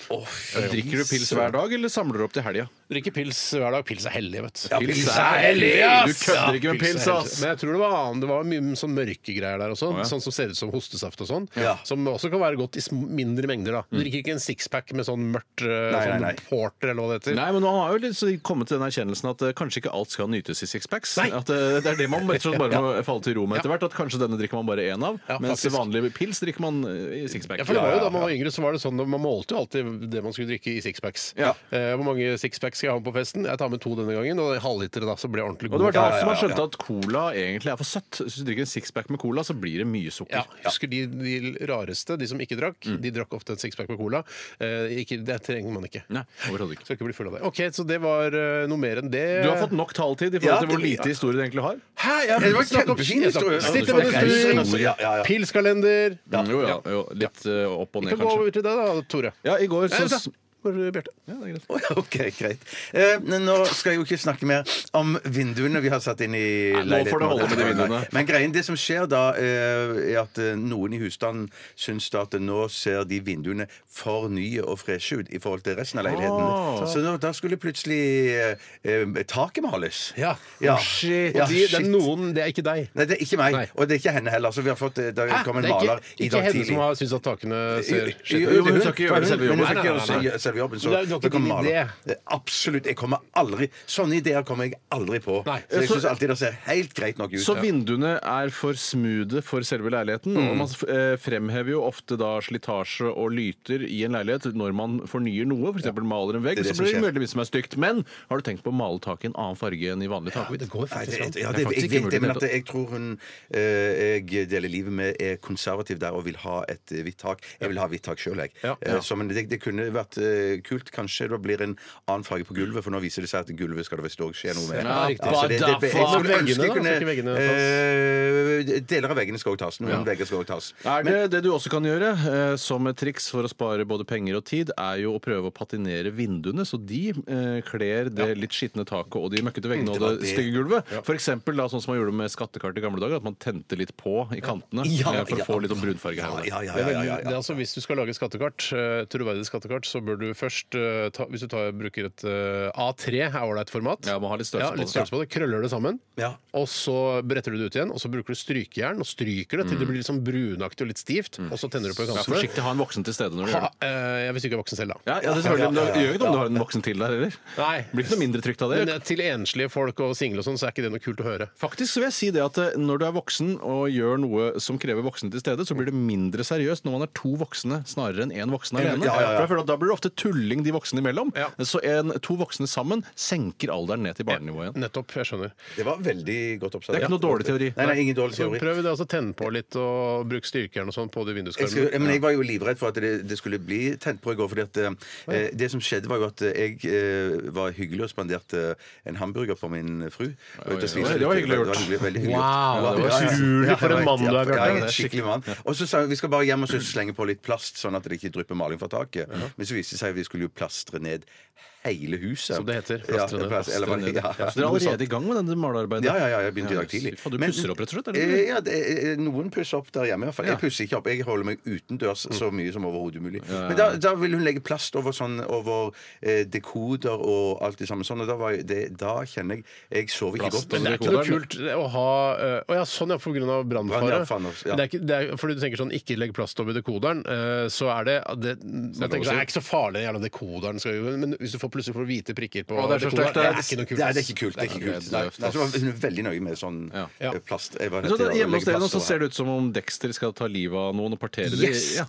Speaker 5: Drikker du pils hver dag, eller samler du opp til helga?
Speaker 6: Drikker pils hver dag. Pils er hellig, vet du.
Speaker 5: Pils
Speaker 7: er hellig,
Speaker 5: Du
Speaker 7: ass!
Speaker 5: kødder ikke med pils,
Speaker 6: er hellig.
Speaker 5: ass!
Speaker 6: Men jeg tror det var annet. Det var mye sånn mørke greier der også.
Speaker 5: Å, ja.
Speaker 6: Sånn som ser ut som hostesaft og sånn.
Speaker 7: Ja.
Speaker 6: Som også kan være godt i sm- mindre mengder, da.
Speaker 5: Mm.
Speaker 6: Du drikker ikke en sixpack med sånn mørkt eh,
Speaker 7: Nei, nei,
Speaker 6: sånn
Speaker 7: nei.
Speaker 6: porter eller hva det heter.
Speaker 5: Nei, men nå har jo litt så kommet til den erkjennelsen at eh, kanskje ikke alt skal nytes i sixpacks.
Speaker 6: Nei.
Speaker 5: At eh, det er det man rett og slett
Speaker 6: *laughs*
Speaker 5: bare må falle til ro med etter hvert. At kanskje denne drikker man bare én av,
Speaker 6: Ja,
Speaker 5: mens
Speaker 6: faktisk.
Speaker 5: vanlig pils drikker man eh, i sixpack.
Speaker 6: Ja, for det var jo Da man var yngre, så var det sånn man målte jo alltid det man skulle drikke i sixpacks.
Speaker 5: Ja.
Speaker 6: Eh, hvor mange sixpacks skal jeg ha med på festen? Jeg tar med to denne gangen, og en halvliter da, så blir jeg ordentlig
Speaker 5: Og
Speaker 6: god.
Speaker 5: det var da også man skjønte at cola egentlig er for søtt. Hvis du drikker en sixpack med cola, så blir det mye
Speaker 6: Ja,
Speaker 5: sukker.
Speaker 6: husker de, de rareste, de som ikke drakk,
Speaker 5: Mm.
Speaker 6: de drakk ofte en sixpack med cola. Eh, ikke, det trenger man ikke.
Speaker 5: Nei, overhodet ikke.
Speaker 6: Skal ikke bli full av det. Ok, Så det var eh, noe mer enn det.
Speaker 5: Du har fått nok taletid i
Speaker 7: Ja,
Speaker 5: forhold til hvor
Speaker 7: det-
Speaker 5: lite historie du egentlig har.
Speaker 7: Hæ? Ja, men
Speaker 6: Det var
Speaker 7: vi snakker om-
Speaker 6: kjempefin
Speaker 7: jeg snakker-
Speaker 6: historie.
Speaker 7: Ja,
Speaker 6: Sitter
Speaker 7: du
Speaker 6: med
Speaker 7: snakker-
Speaker 6: en
Speaker 7: altså, ja, ja, ja.
Speaker 6: Pilskalender.
Speaker 5: Jo, ja, jo, litt eh, opp og
Speaker 6: Vi
Speaker 5: ned,
Speaker 6: kan gå
Speaker 5: kanskje.
Speaker 6: over til deg da, Tore.
Speaker 5: Ja, i går
Speaker 6: Nei,
Speaker 5: så
Speaker 6: vent da. for eh, Bjarte.
Speaker 7: Å ja, OK, greit. Eh, men nå skal jeg jo ikke snakke mer om vinduene vi har satt inn i
Speaker 5: Nei, nå får det holde med de vinduene.
Speaker 7: Men greien, det som skjer da, eh, er at eh, noen i husstanden syns da at nå ser de vinduene for nye og freshe ut i forhold til resten av leiligheten.
Speaker 5: Ah.
Speaker 7: Så nå, da skulle plutselig eh, eh, taket males.
Speaker 6: Oh, shit.
Speaker 7: Ja,
Speaker 6: Og de, det er
Speaker 7: shit.
Speaker 6: noen, det er ikke deg.
Speaker 7: Nei, det er ikke meg.
Speaker 6: Nei.
Speaker 7: Og det er ikke henne heller. Så vi har fått, eh, det
Speaker 6: Hæ?
Speaker 7: kom en
Speaker 6: Det er
Speaker 7: maler
Speaker 6: ikke,
Speaker 7: i
Speaker 6: ikke
Speaker 7: dag
Speaker 6: henne som
Speaker 7: tidlig.
Speaker 6: har syntes at takene ser
Speaker 7: Jo,
Speaker 6: skitne
Speaker 7: jo,
Speaker 6: ut?
Speaker 7: hun
Speaker 5: hun
Speaker 7: skal
Speaker 5: skal
Speaker 7: ikke
Speaker 5: ikke gjøre
Speaker 7: gjøre
Speaker 5: selve jobben.
Speaker 6: Nei, nei, nei, nei.
Speaker 7: gjøre selve jobben. Så
Speaker 6: Men det er jo ikke
Speaker 7: det kommer
Speaker 6: din
Speaker 7: maler.
Speaker 6: idé.
Speaker 7: Eh, Absolutt. Jeg kommer aldri Sånne ideer kommer jeg aldri på.
Speaker 6: Nei.
Speaker 7: Så jeg
Speaker 5: Så-
Speaker 7: syns alltid det ser helt greit nok ut.
Speaker 5: Så vinduene er for smoothe for selve leiligheten.
Speaker 7: Mm.
Speaker 5: Og man eh, fremhever jo ofte da slitasje og lyter i en leilighet når man fornyer noe, f.eks. eksempel maler en vegg,
Speaker 7: Det er det
Speaker 5: så blir
Speaker 7: som
Speaker 5: det
Speaker 7: skjer.
Speaker 5: veldig mye som er stygt. Men har du tenkt på å male taket i en annen farge enn i vanlig takhvitt?
Speaker 6: Det går
Speaker 7: Nei, det,
Speaker 6: faktisk an.
Speaker 7: ja,
Speaker 5: Det
Speaker 7: det,
Speaker 5: er faktisk
Speaker 7: jeg
Speaker 5: ikke
Speaker 7: vet det, men at
Speaker 5: mulighet.
Speaker 7: jeg tror hun eh, jeg deler livet med er konservativ der og vil ha et eh, hvitt tak. Jeg vil ha hvitt tak sjøl, jeg.
Speaker 6: Ja.
Speaker 7: Eh, så, men det, det kunne vært eh, kult. Kanskje det blir en annen farge på gulvet, for nå viser det seg at gulvet skal det visst òg skje noe med.
Speaker 6: Ja, riktig.
Speaker 7: så det, det,
Speaker 6: Hva da
Speaker 7: jeg
Speaker 6: faen?
Speaker 7: skulle
Speaker 6: Veggene,
Speaker 7: ønske jeg
Speaker 6: da? Skal ikke veggene
Speaker 7: eh, Deler av veggene skal òg tas. Noen vegger skal òg tas.
Speaker 5: Er det, det du også kan gjøre eh, som et triks for å spare både penger og tid, er jo å prøve å patinere vinduene, så de eh, kler det litt skitne taket og de møkkete veggene
Speaker 7: det
Speaker 5: og
Speaker 7: var
Speaker 5: det,
Speaker 7: det.
Speaker 5: stygge gulvet. For eksempel da, sånn som man gjorde med skattekart i gamle dager, at man tente litt på i kantene
Speaker 7: Ja,
Speaker 5: eh, for
Speaker 7: ja.
Speaker 5: å få litt sånn brunfarge her.
Speaker 7: Ja,
Speaker 5: og der.
Speaker 7: ja, ja,
Speaker 6: Det er
Speaker 7: ja,
Speaker 6: veldig,
Speaker 7: ja,
Speaker 6: Det er
Speaker 7: ja.
Speaker 6: altså, hvis du skal lage skattekart, eh, troverdig skattekart, så bør du først eh, ta, Hvis du tar, bruker et eh, A3 er ålreit format.
Speaker 5: Ja, må ha litt størrelse
Speaker 6: Ja,
Speaker 5: på
Speaker 6: litt
Speaker 5: det.
Speaker 6: størrelse på det. Krøller det sammen.
Speaker 7: Ja.
Speaker 6: Og så bretter du det ut igjen, og så bruker du strykejern og stryker det til det blir litt sånn brunaktig og litt stivt, og så tenner du på i
Speaker 5: Vær
Speaker 6: kantene.
Speaker 5: Mm. forsiktig, ha en voksen til stede når du gjør
Speaker 6: Ha,
Speaker 5: det.
Speaker 6: eh, ja, hvis du ikke er voksen selv, da.
Speaker 5: Ja, ja, det er selvfølgelig, men Det gjør ikke noe om du har en voksen til der heller.
Speaker 6: Nei.
Speaker 5: Det blir ikke noe mindre trygt av det.
Speaker 6: Men eh, til enslige folk og single og sånn, så er ikke det noe kult å høre.
Speaker 5: Faktisk så vil jeg si det at eh, Når du er voksen og gjør noe som krever voksne til stede, så blir det mindre seriøst når man er to voksne snarere enn én voksen alene.
Speaker 7: ja, ja, ja.
Speaker 5: For jeg føler at Da blir det ofte tulling de voksne imellom.
Speaker 6: Ja.
Speaker 5: Så en, to voksne sammen senker alderen ned til barnenivå igjen.
Speaker 6: Nettopp. Jeg skjønner.
Speaker 7: Det var veldig godt observert.
Speaker 5: Det er ikke noe dårlig teori.
Speaker 7: Nei, nei, ingen dårlig
Speaker 6: Så
Speaker 7: teori.
Speaker 6: prøv det, altså tenn på litt og bruk styrkejern og sånn på de
Speaker 7: Jeg,
Speaker 6: vinduskarmene.
Speaker 7: skulle, men jeg var jo livredd for at det, det skulle bli tent på i går. fordi at eh, Det som skjedde, var jo at jeg eh, var hyggelig og spanderte eh, en hamburger på min eh, fru. og ut og spiste
Speaker 5: det
Speaker 7: litt.
Speaker 5: var hyggelig
Speaker 7: Det var
Speaker 5: gjort.
Speaker 7: hyggelig, veldig hyggelig
Speaker 6: Wow,
Speaker 7: gjort.
Speaker 6: det var
Speaker 7: Ja, ja, ja.
Speaker 6: utrolig
Speaker 7: Ja,
Speaker 6: for en
Speaker 7: jeg vet,
Speaker 6: mann du er,
Speaker 7: ja,
Speaker 6: Bjarte.
Speaker 7: ja, jeg
Speaker 6: Det er
Speaker 7: er en skikkelig mann. Og så sa hun vi skal bare hjem og så slenge på litt plast, sånn at det ikke drypper maling fra taket. Men så viste det seg at vi skulle jo plastre ned hele huset.
Speaker 6: Som det heter, plastre
Speaker 7: Plastre
Speaker 6: ned.
Speaker 7: ned. Eller,
Speaker 6: Plastre ned.
Speaker 7: ja.
Speaker 5: Så dere er allerede i gang med dette malearbeidet?
Speaker 7: Ja, ja, ja, jeg begynte i dag tidlig.
Speaker 5: Faen, Du
Speaker 7: Men-
Speaker 5: pusser opp, rett og slett? eller?
Speaker 7: Eh, Ja, det, eh, noen pusser opp der hjemme. i hvert fall Jeg pusser ikke opp. Jeg holder meg utendørs så
Speaker 5: Mm.
Speaker 7: mye som overhodet mulig. Men da, da vil hun legge plast over, sånn, over eh, dekoder og alt det samme. Sånn, og da, var, jeg- det, da kjenner jeg Jeg sover ikke
Speaker 5: Plast
Speaker 7: godt.
Speaker 5: over
Speaker 6: Det er ikke noe kult å ha eh, Å ja, sånn ja, pga. brannfare.
Speaker 7: Brannfare, ja.
Speaker 6: Men Det er ikke, det er, fordi du tenker sånn ikke legg plast over dekoderen, eh, så er det, det Man tenker sånn, det er ikke så farlig, den jævla dekoderen skal jo Men hvis du får plutselig får hvite prikker på
Speaker 5: Å, det er så
Speaker 6: dekoderen,
Speaker 5: stygt,
Speaker 6: det
Speaker 5: det er-
Speaker 6: er ikke noe kult.
Speaker 7: Nei, det er ikke kult. Det er ikke
Speaker 5: Nei,
Speaker 7: kult.
Speaker 5: det
Speaker 7: Nei,
Speaker 5: er
Speaker 7: nei, så var hun veldig nøye med sånn
Speaker 5: Ja.
Speaker 6: Ja.
Speaker 7: eh, plast. Jeg
Speaker 5: Så
Speaker 7: var redd
Speaker 5: det,
Speaker 7: for å
Speaker 5: hjemme
Speaker 7: legge
Speaker 5: hos dere nå
Speaker 7: plast
Speaker 5: så
Speaker 7: over.
Speaker 5: ser det ut som om Dexter skal ta livet av noen og partere dem.
Speaker 7: Yes!
Speaker 5: Ja.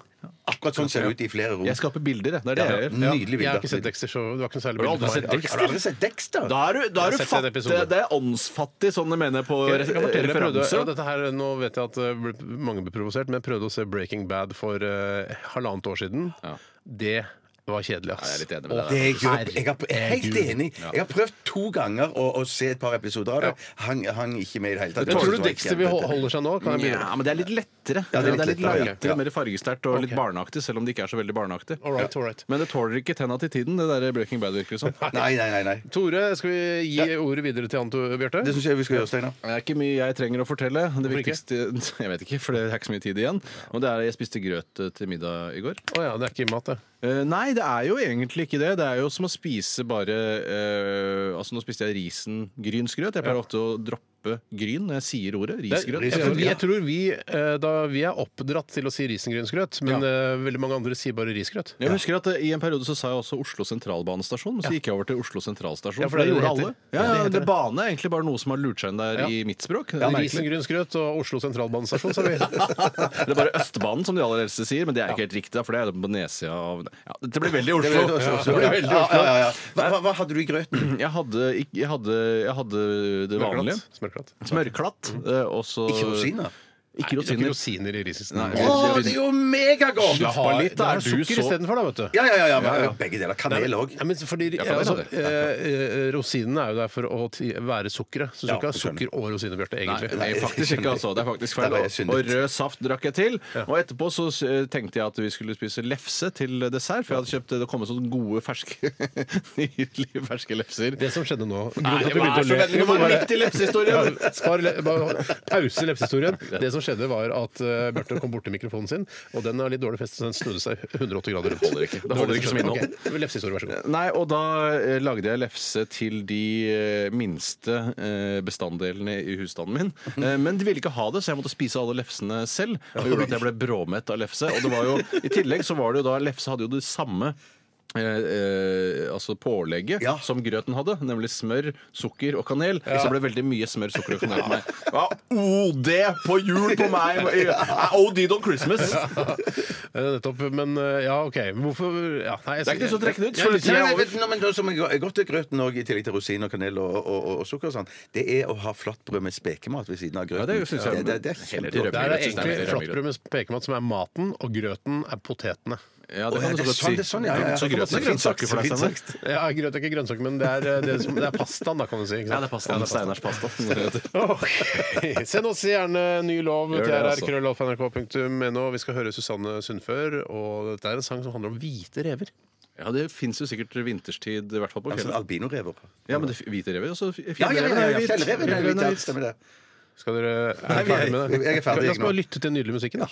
Speaker 7: Akkurat sånn ser det ut i flere rom.
Speaker 5: Jeg skaper bilder, jeg. Det er det jeg gjør.
Speaker 6: Ja,
Speaker 7: Nydelig
Speaker 6: Jeg har ikke
Speaker 7: bilde.
Speaker 6: sett Dexter Show. Det var ikke noe
Speaker 5: Har
Speaker 6: særlig
Speaker 5: du
Speaker 6: bilde
Speaker 5: aldri
Speaker 6: for
Speaker 5: sett
Speaker 6: meg.
Speaker 5: Dexter?
Speaker 7: Har du aldri sett
Speaker 5: Da er du,
Speaker 7: Dexter?
Speaker 5: da er
Speaker 6: Jeg
Speaker 5: du
Speaker 6: har sett en
Speaker 5: fattig.
Speaker 6: episode.
Speaker 5: Det er åndsfattig, sånn jeg mener på
Speaker 6: Jeg kan fortelle, jeg prøvde, ja,
Speaker 5: referanse.
Speaker 6: dette her, nå vet jeg at eh, ble- mange ble provosert, men jeg prøvde å se Breaking Bad for eh, halvannet år siden.
Speaker 5: Ja.
Speaker 6: Det var kjedelig, ass.
Speaker 5: Nei, jeg er litt enig med deg
Speaker 6: Å,
Speaker 5: der.
Speaker 7: Det jeg, gjør, altså. jeg, har,
Speaker 6: herregud.
Speaker 7: jeg er helt enig. Jeg har prøvd to ganger å, å se et par episoder av det. Hang, hang ikke med i det hele tatt.
Speaker 6: Men tror
Speaker 7: Jeg
Speaker 6: du
Speaker 7: synes
Speaker 6: Dexter
Speaker 7: det
Speaker 6: vil
Speaker 7: var
Speaker 6: hol- holder seg nå? Kan jeg
Speaker 5: Ja, men det er litt lettere.
Speaker 7: Ja,
Speaker 5: det er litt,
Speaker 7: lettere, ja.
Speaker 5: lightere,
Speaker 7: Ja.
Speaker 5: mer fargesterkt og litt
Speaker 6: Ok.
Speaker 5: barneaktig, selv om det ikke er så veldig barneaktig.
Speaker 6: All right, all right.
Speaker 5: Men det tåler ikke tenna til tiden, det der Breaking Bad, virker det som.
Speaker 7: jævlig. Nei, nei, nei. nei.
Speaker 6: Tore, skal vi gi ordet videre til Anto Bjarte?
Speaker 7: Det syns jeg vi skal gjøre, Steinar.
Speaker 5: Det er ikke mye jeg trenger å fortelle. Det
Speaker 6: ikke?
Speaker 5: viktigste *laughs* Jeg vet ikke, for det er ikke så mye tid igjen. Og det er jeg spiste grøt eh, til middag i går.
Speaker 6: Å ja, det er ikke mat, det.
Speaker 5: Eh, nei, det er jo egentlig ikke det. Det er jo som å spise bare eh, Altså, nå spiste jeg risengrynsgrøt. Jeg pleier ofte å droppe gryn når jeg sier ordet. Risgrøt.
Speaker 6: Jeg tror-
Speaker 5: Ja.
Speaker 6: Jeg tror vi, eh, da, vi er oppdratt til å si risengrynsgrøt, men
Speaker 5: Ja.
Speaker 6: eh, veldig mange andre sier bare risgrøt.
Speaker 5: Jeg husker at eh, I en periode så sa jeg også Oslo sentralbanestasjon, men så gikk jeg over til Oslo sentralstasjon.
Speaker 6: Ja,
Speaker 5: for
Speaker 6: for
Speaker 5: det
Speaker 6: det er
Speaker 5: gjorde
Speaker 6: det det
Speaker 5: alle.
Speaker 6: heter.
Speaker 5: Ja,
Speaker 6: Ja, det
Speaker 5: ja,
Speaker 6: heter
Speaker 5: det
Speaker 6: det.
Speaker 5: Bane er egentlig bare noe som har lurt seg inn der
Speaker 6: Ja.
Speaker 5: i mitt språk. Det er merkelig.
Speaker 6: Risengrynsgrøt og Oslo sentralbanestasjon, sa vi.
Speaker 5: Det er bare Østbanen, som de aller eldste sier, men det er ikke helt riktig, da, for det er på nedsida av ja, Det blir veldig Oslo. Det blir veldig
Speaker 7: Ja,
Speaker 5: Oslo.
Speaker 7: ja, ja. Hva, hva- hva hadde du i
Speaker 5: *clears throat*
Speaker 7: grøten?
Speaker 5: Jeg hadde, ikke- jeg hadde, jeg hadde det vanlige.
Speaker 6: Smørklatt. Smørklatt.
Speaker 5: Smørklatt. eh, Og så
Speaker 7: Ikke rosiner?
Speaker 5: Ikke
Speaker 6: Det er ikke
Speaker 5: rosiner.
Speaker 6: rosiner i risisen.
Speaker 5: Nei,
Speaker 7: Å, det er jo megagodt!
Speaker 6: Slapp av litt, da er du så
Speaker 5: istedenfor, da, vet
Speaker 7: Ja, ja, ja, ja, men Begge deler. Kanel òg.
Speaker 6: Nei, men fordi,
Speaker 5: for det er
Speaker 6: altså,
Speaker 5: det.
Speaker 6: eh, eh, rosinene er jo der for å ti- være sukkeret. Så du skal
Speaker 7: Ja,
Speaker 6: ikke ha
Speaker 7: skjønner.
Speaker 6: sukker og rosiner, Bjarte,
Speaker 5: Nei,
Speaker 6: egentlig.
Speaker 7: Nei,
Speaker 5: faktisk ikke, altså. Det er faktisk feil.
Speaker 7: Der var jeg
Speaker 5: Og
Speaker 7: syndet.
Speaker 5: rød saft drakk jeg til. Og etterpå så eh, tenkte jeg at vi skulle spise lefse til dessert, for jeg hadde kjøpt eh, det kom sånne gode, ferske *laughs* nydelige ferske lefser.
Speaker 6: Det som skjedde nå
Speaker 5: Nei, vær
Speaker 6: Grunnen til at vi begynte å
Speaker 5: så
Speaker 6: le-
Speaker 5: vennlig,
Speaker 6: Vi
Speaker 5: nå var
Speaker 6: må
Speaker 5: det
Speaker 6: bare-
Speaker 5: midt i lepsehistorien.
Speaker 6: Ja, spar le bare pause lepsehistorien. Det som skjedde, var at uh, Bjarte kom bort til mikrofonen sin, og den har litt dårlig fest, så den snudde seg 180 grader rundt.
Speaker 5: Det holder ikke. Det holder ikke som innhold.
Speaker 6: Ok, Lepsehistorie, vær så god.
Speaker 5: Nei, og da eh, lagde jeg lefse til de eh, minste eh, bestanddelene i husstanden min. Eh, Men de ville ikke ha det, så jeg måtte spise alle lefsene selv. Og det gjorde at jeg ble bråmett av lefse. Og det var jo, i tillegg så var det jo da Lefse hadde jo det samme Eh, eh, altså pålegget
Speaker 7: Ja.
Speaker 5: som grøten hadde, nemlig smør, sukker og kanel. Så det ble veldig mye smør, sukker og kanel på meg. Ja, OD på jul på meg! Eh, OD on Christmas!
Speaker 6: Eh, Nettopp. Men eh, ja, OK. Men Hvorfor ja, nei, jeg,
Speaker 5: Det er ikke noe som trekker det ut,
Speaker 6: Jeg-
Speaker 5: for
Speaker 6: jeg-
Speaker 5: det
Speaker 7: Nei,
Speaker 5: er
Speaker 7: nei, vet, du, nå, men det som er godt til grøten også, i tillegg til rosin og kanel og, og, og, og sukker, og sånn, det er å ha flatbrød med spekemat ved siden av
Speaker 5: Ja,
Speaker 7: grøten.
Speaker 5: det synes jeg-
Speaker 7: det, det, det er
Speaker 5: Heller
Speaker 7: kjempegodt.
Speaker 5: rømme.
Speaker 6: Det er
Speaker 5: Jeg synes det er
Speaker 6: egentlig
Speaker 5: veldig rømmig.
Speaker 6: flatbrød med pekemat som er maten, og grøten er potetene.
Speaker 5: Ja,
Speaker 7: Å,
Speaker 5: du
Speaker 7: ja, det er
Speaker 5: godt
Speaker 7: sånn, det er sånn, ja, ja, ja.
Speaker 5: Så grøten er
Speaker 7: Fint sagt,
Speaker 5: grønnsaker for deg,
Speaker 7: fint
Speaker 5: Steinar.
Speaker 7: sagt.
Speaker 6: Ja, grøt er ikke grønnsaker, men det er, eh, det som, det er pastaen, da, kan du si. Ikke sant?
Speaker 5: Ja, det er pasta. Steiners pasta. som *laughs* det heter.
Speaker 6: Ok. Send oss gjerne ny lov
Speaker 5: Gjør
Speaker 6: til
Speaker 5: det, altså.
Speaker 6: rrkrøllalfa.nrk.no. Vi skal høre Susanne Sundfør, og dette er en sang som handler om hvite rever.
Speaker 5: Ja, det fins jo sikkert vinterstid, i hvert fall på
Speaker 7: Altså,
Speaker 5: kvelden.
Speaker 7: Albinorever.
Speaker 5: Ja, men det altså, er hvite rever, og så fjellrever.
Speaker 7: Ja, ja, ja,
Speaker 5: er
Speaker 7: ja,
Speaker 5: hvit.
Speaker 7: fjellreven er
Speaker 5: Fjellreven
Speaker 7: hvit.
Speaker 5: er
Speaker 7: ja,
Speaker 5: hvit.
Speaker 7: Stemmer det.
Speaker 6: Skal dere, er dere
Speaker 7: vi er-
Speaker 6: ferdig med det?
Speaker 7: jeg er ferdig,
Speaker 6: La oss bare
Speaker 7: nå.
Speaker 6: lytte til den nydelige musikken, da.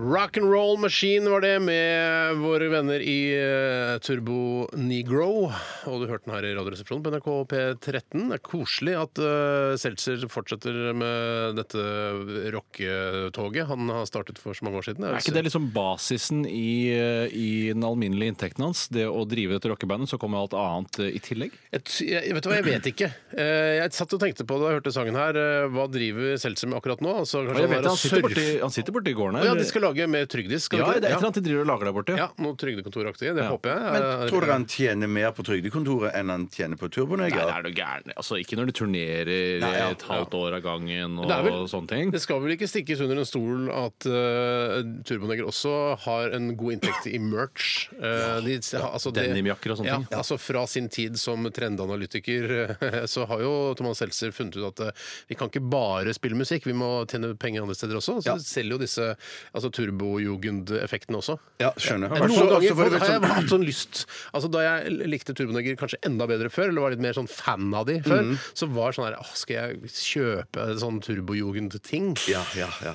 Speaker 6: Rock'n'Roll Machine var det med våre venner i eh, Turbo Negro. Og du hørte den her i Radioresepsjonen på NRK P13. Det er koselig at eh, Seltzer fortsetter med dette rocketoget han har startet for så mange år siden.
Speaker 5: Er ikke det liksom basisen i, eh, i den alminnelige inntekten hans? Det å drive dette rockebandet, så kommer alt annet eh, i tillegg?
Speaker 6: Jeg, t- jeg, vet du hva, jeg vet ikke. Eh, Jeg satt og tenkte på det da jeg hørte sangen her. eh, Hva driver Seltzer med akkurat nå? Altså, kanskje
Speaker 5: Og jeg
Speaker 6: han er
Speaker 5: vet,
Speaker 6: og
Speaker 5: han, sitter
Speaker 6: surfer-
Speaker 5: borti, han sitter borti gården
Speaker 6: Å
Speaker 5: her.
Speaker 6: ja, de skal lage mer tryggdisk? skal de
Speaker 5: Ja,
Speaker 6: ikke
Speaker 5: det er et eller annet de driver og lager der borte.
Speaker 6: Ja, noe trygdekontoraktig. Det
Speaker 5: Ja.
Speaker 6: håper jeg.
Speaker 7: Men tror dere han tjener mer på Trygdekontoret enn han tjener på
Speaker 5: Nei, det
Speaker 7: Turboneger?
Speaker 5: er du gæren. Altså, ikke når de turnerer
Speaker 7: Nei, ja.
Speaker 5: et halvt år av gangen og
Speaker 6: Det er vel-
Speaker 5: sånne ting.
Speaker 6: Det skal vel ikke stikkes under en stol at uh, Turboneger også har en god inntekt i merch. Eh, de, altså det-
Speaker 5: Denimjakker og sånne
Speaker 6: ja,
Speaker 5: ting.
Speaker 6: Altså Fra sin tid som trendanalytiker eh, så har jo Thomas Seltzer funnet ut at eh, vi kan ikke bare spille musikk, vi må tjene penger andre steder også. Så
Speaker 7: Ja.
Speaker 6: de selger jo disse altså, turbojugend-effektene også.
Speaker 7: Ja, skjønner.
Speaker 6: Noen
Speaker 7: Så-
Speaker 6: ganger
Speaker 7: så får det
Speaker 6: har
Speaker 7: vel
Speaker 6: jeg
Speaker 7: sånn-
Speaker 6: hatt sånn lyst Altså Da jeg likte Turboneger kanskje enda bedre før, eller var litt mer sånn fan av de før, så var det sånn her «Åh, Skal jeg kjøpe sånn turbojugend-ting?
Speaker 7: Ja, ja, ja.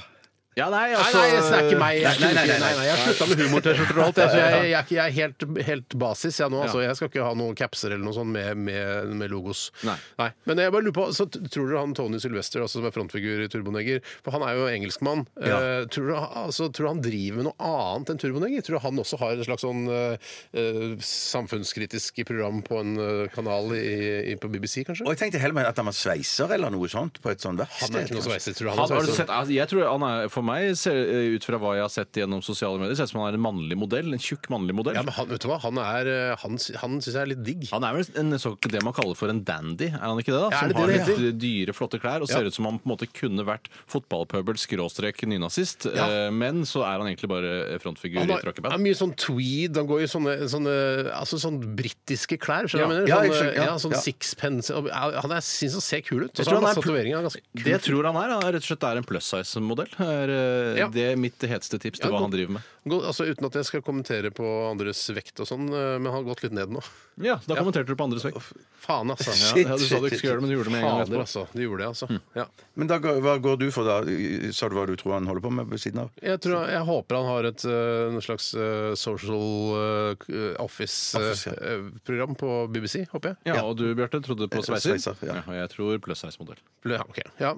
Speaker 5: Ja, nei,
Speaker 6: Nei,
Speaker 5: altså
Speaker 6: nei, det er ikke meg. Jeg,
Speaker 7: Nei, nei, nei, nei.
Speaker 6: jeg har slutta med humor-T-skjorter og alt. Jeg, så jeg, jeg, er ikke- jeg er helt, helt basis jeg nå. Altså, jeg skal ikke ha noen capser eller noe sånt med, med, med logos.
Speaker 5: Nei.
Speaker 6: Men jeg bare lurer på, så t- tror dere han Tony Sylvester, altså, som er frontfigur i Turboneger For han er jo engelskmann.
Speaker 7: Ja.
Speaker 6: Eh, tror, du, altså, tror du han driver med noe annet enn Turboneger? Tror du han også har et slags sånn eh, eh, samfunnskritisk program på en eh, kanal i, i, på BBC, kanskje?
Speaker 7: Og jeg tenkte heller mer at han var sveiser eller noe sånt på et sånt verksted.
Speaker 6: Han er ikke noe
Speaker 7: kanskje.
Speaker 6: sveiser, tror du.
Speaker 5: Han,
Speaker 6: Han er
Speaker 5: har du
Speaker 6: sveiser.
Speaker 5: sett, altså, jeg tror han er, For meg, ser, eh, ut fra hva jeg har sett gjennom sosiale medier, ser det ut som han er en mannlig modell. En tjukk mannlig modell.
Speaker 6: Ja, men han, vet du hva? Han, er, eh, han, sy- han syns jeg er litt digg.
Speaker 5: han er vel en, så, det man kaller for en dandy, er han ikke det? da?
Speaker 6: Ja,
Speaker 5: Som
Speaker 6: er det
Speaker 5: har
Speaker 6: det det
Speaker 5: litt dyre, flotte klær og ser ut som han på en måte kunne vært fotballpøbel skråstrek nynazist, eh, men så er han egentlig bare frontfigur
Speaker 6: Han
Speaker 5: i et
Speaker 6: har, han har
Speaker 5: rockeband.
Speaker 6: mye sånn tweed. Han går i sånne, sånne, altså sånne britiske klær. Skjønner du
Speaker 7: Ja,
Speaker 6: hva jeg mener?
Speaker 7: jeg
Speaker 6: Sånn,
Speaker 7: skjønner, ja,
Speaker 6: ja, sånn
Speaker 7: ja.
Speaker 6: sixpence og- ja, Han er- synes han ser kul ut. Og
Speaker 5: Jeg tror
Speaker 6: så har han
Speaker 5: han
Speaker 6: masse
Speaker 5: er pl-
Speaker 6: tatoveringer. han er ganske
Speaker 5: Det
Speaker 6: kul.
Speaker 5: jeg tror han er. Han er rett og slett er en plus size-modell. er eh,
Speaker 6: Ja.
Speaker 5: Det er mitt heteste tips til
Speaker 6: Ja,
Speaker 5: hva han
Speaker 6: god.
Speaker 5: driver med.
Speaker 6: Gå- Altså, uten at jeg skal kommentere på andres vekt og sånn, eh, men han har gått litt ned nå.
Speaker 5: Ja, Da kommenterte du på andres vekk.
Speaker 6: Faen, altså.
Speaker 5: Ja,
Speaker 6: Ja.
Speaker 5: ja, du sa du ikke skulle gjøre det, men du gjorde det med en gang. Hm.
Speaker 6: Fader,
Speaker 5: etterpå.
Speaker 6: altså. De gjorde det, altså. Ja.
Speaker 7: Men da, går- hva går du for da? Sa du hva du tror han holder på med ved siden av?
Speaker 6: Jeg, tror, jeg håper han har et eh, noe slags eh, social eh,
Speaker 7: Office, ja.
Speaker 6: office-program eh, på BBC, håper jeg.
Speaker 5: Ja, Og du, Bjarte, trodde på
Speaker 7: Eh,
Speaker 5: sveiser?
Speaker 7: sveiser, ja.
Speaker 5: og jeg tror plus size-modell.
Speaker 6: Ja, ok. ja.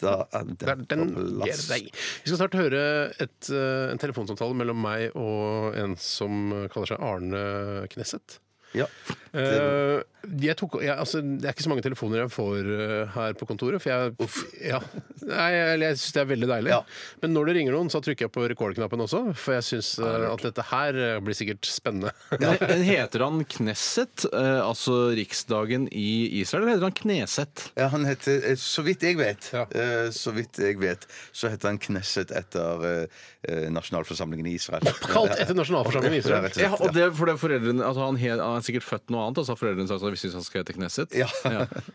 Speaker 7: Da er den,
Speaker 6: Det er den
Speaker 7: på
Speaker 6: er
Speaker 7: plass.
Speaker 6: deg. Vi skal snart høre et, eh, en telefonsamtale mellom meg og en som kaller seg Arne Knesset.
Speaker 7: Ja.
Speaker 6: Eh, jeg tok, jeg, altså, det er ikke så mange telefoner jeg får eh, her på kontoret. For jeg, ja. Nei, jeg, jeg syns det er veldig deilig.
Speaker 7: Ja.
Speaker 6: Men når det ringer noen, så trykker jeg på rekordknappen også. For jeg syns eh, at dette her eh, blir sikkert
Speaker 7: *laughs*
Speaker 6: spennende.
Speaker 5: Men Heter han Knesset, eh, altså riksdagen i Israel, eller heter han Kneset?
Speaker 7: Ja, han heter, eh, så vidt jeg vet,
Speaker 6: Ja.
Speaker 7: eh, så vidt jeg vet, så heter han Knesset etter eh, eh, nasjonalforsamlingen i Israel.
Speaker 6: Kalt etter nasjonalforsamlingen i
Speaker 7: Ja,
Speaker 6: Israel.
Speaker 7: rett og
Speaker 5: Ja,
Speaker 7: slett,
Speaker 5: og det er fordi foreldrene, altså han, he- han er sikkert født noe annet, og så har foreldrene sånn, sagt at vi syns han skal hete Kneset.
Speaker 7: Ja.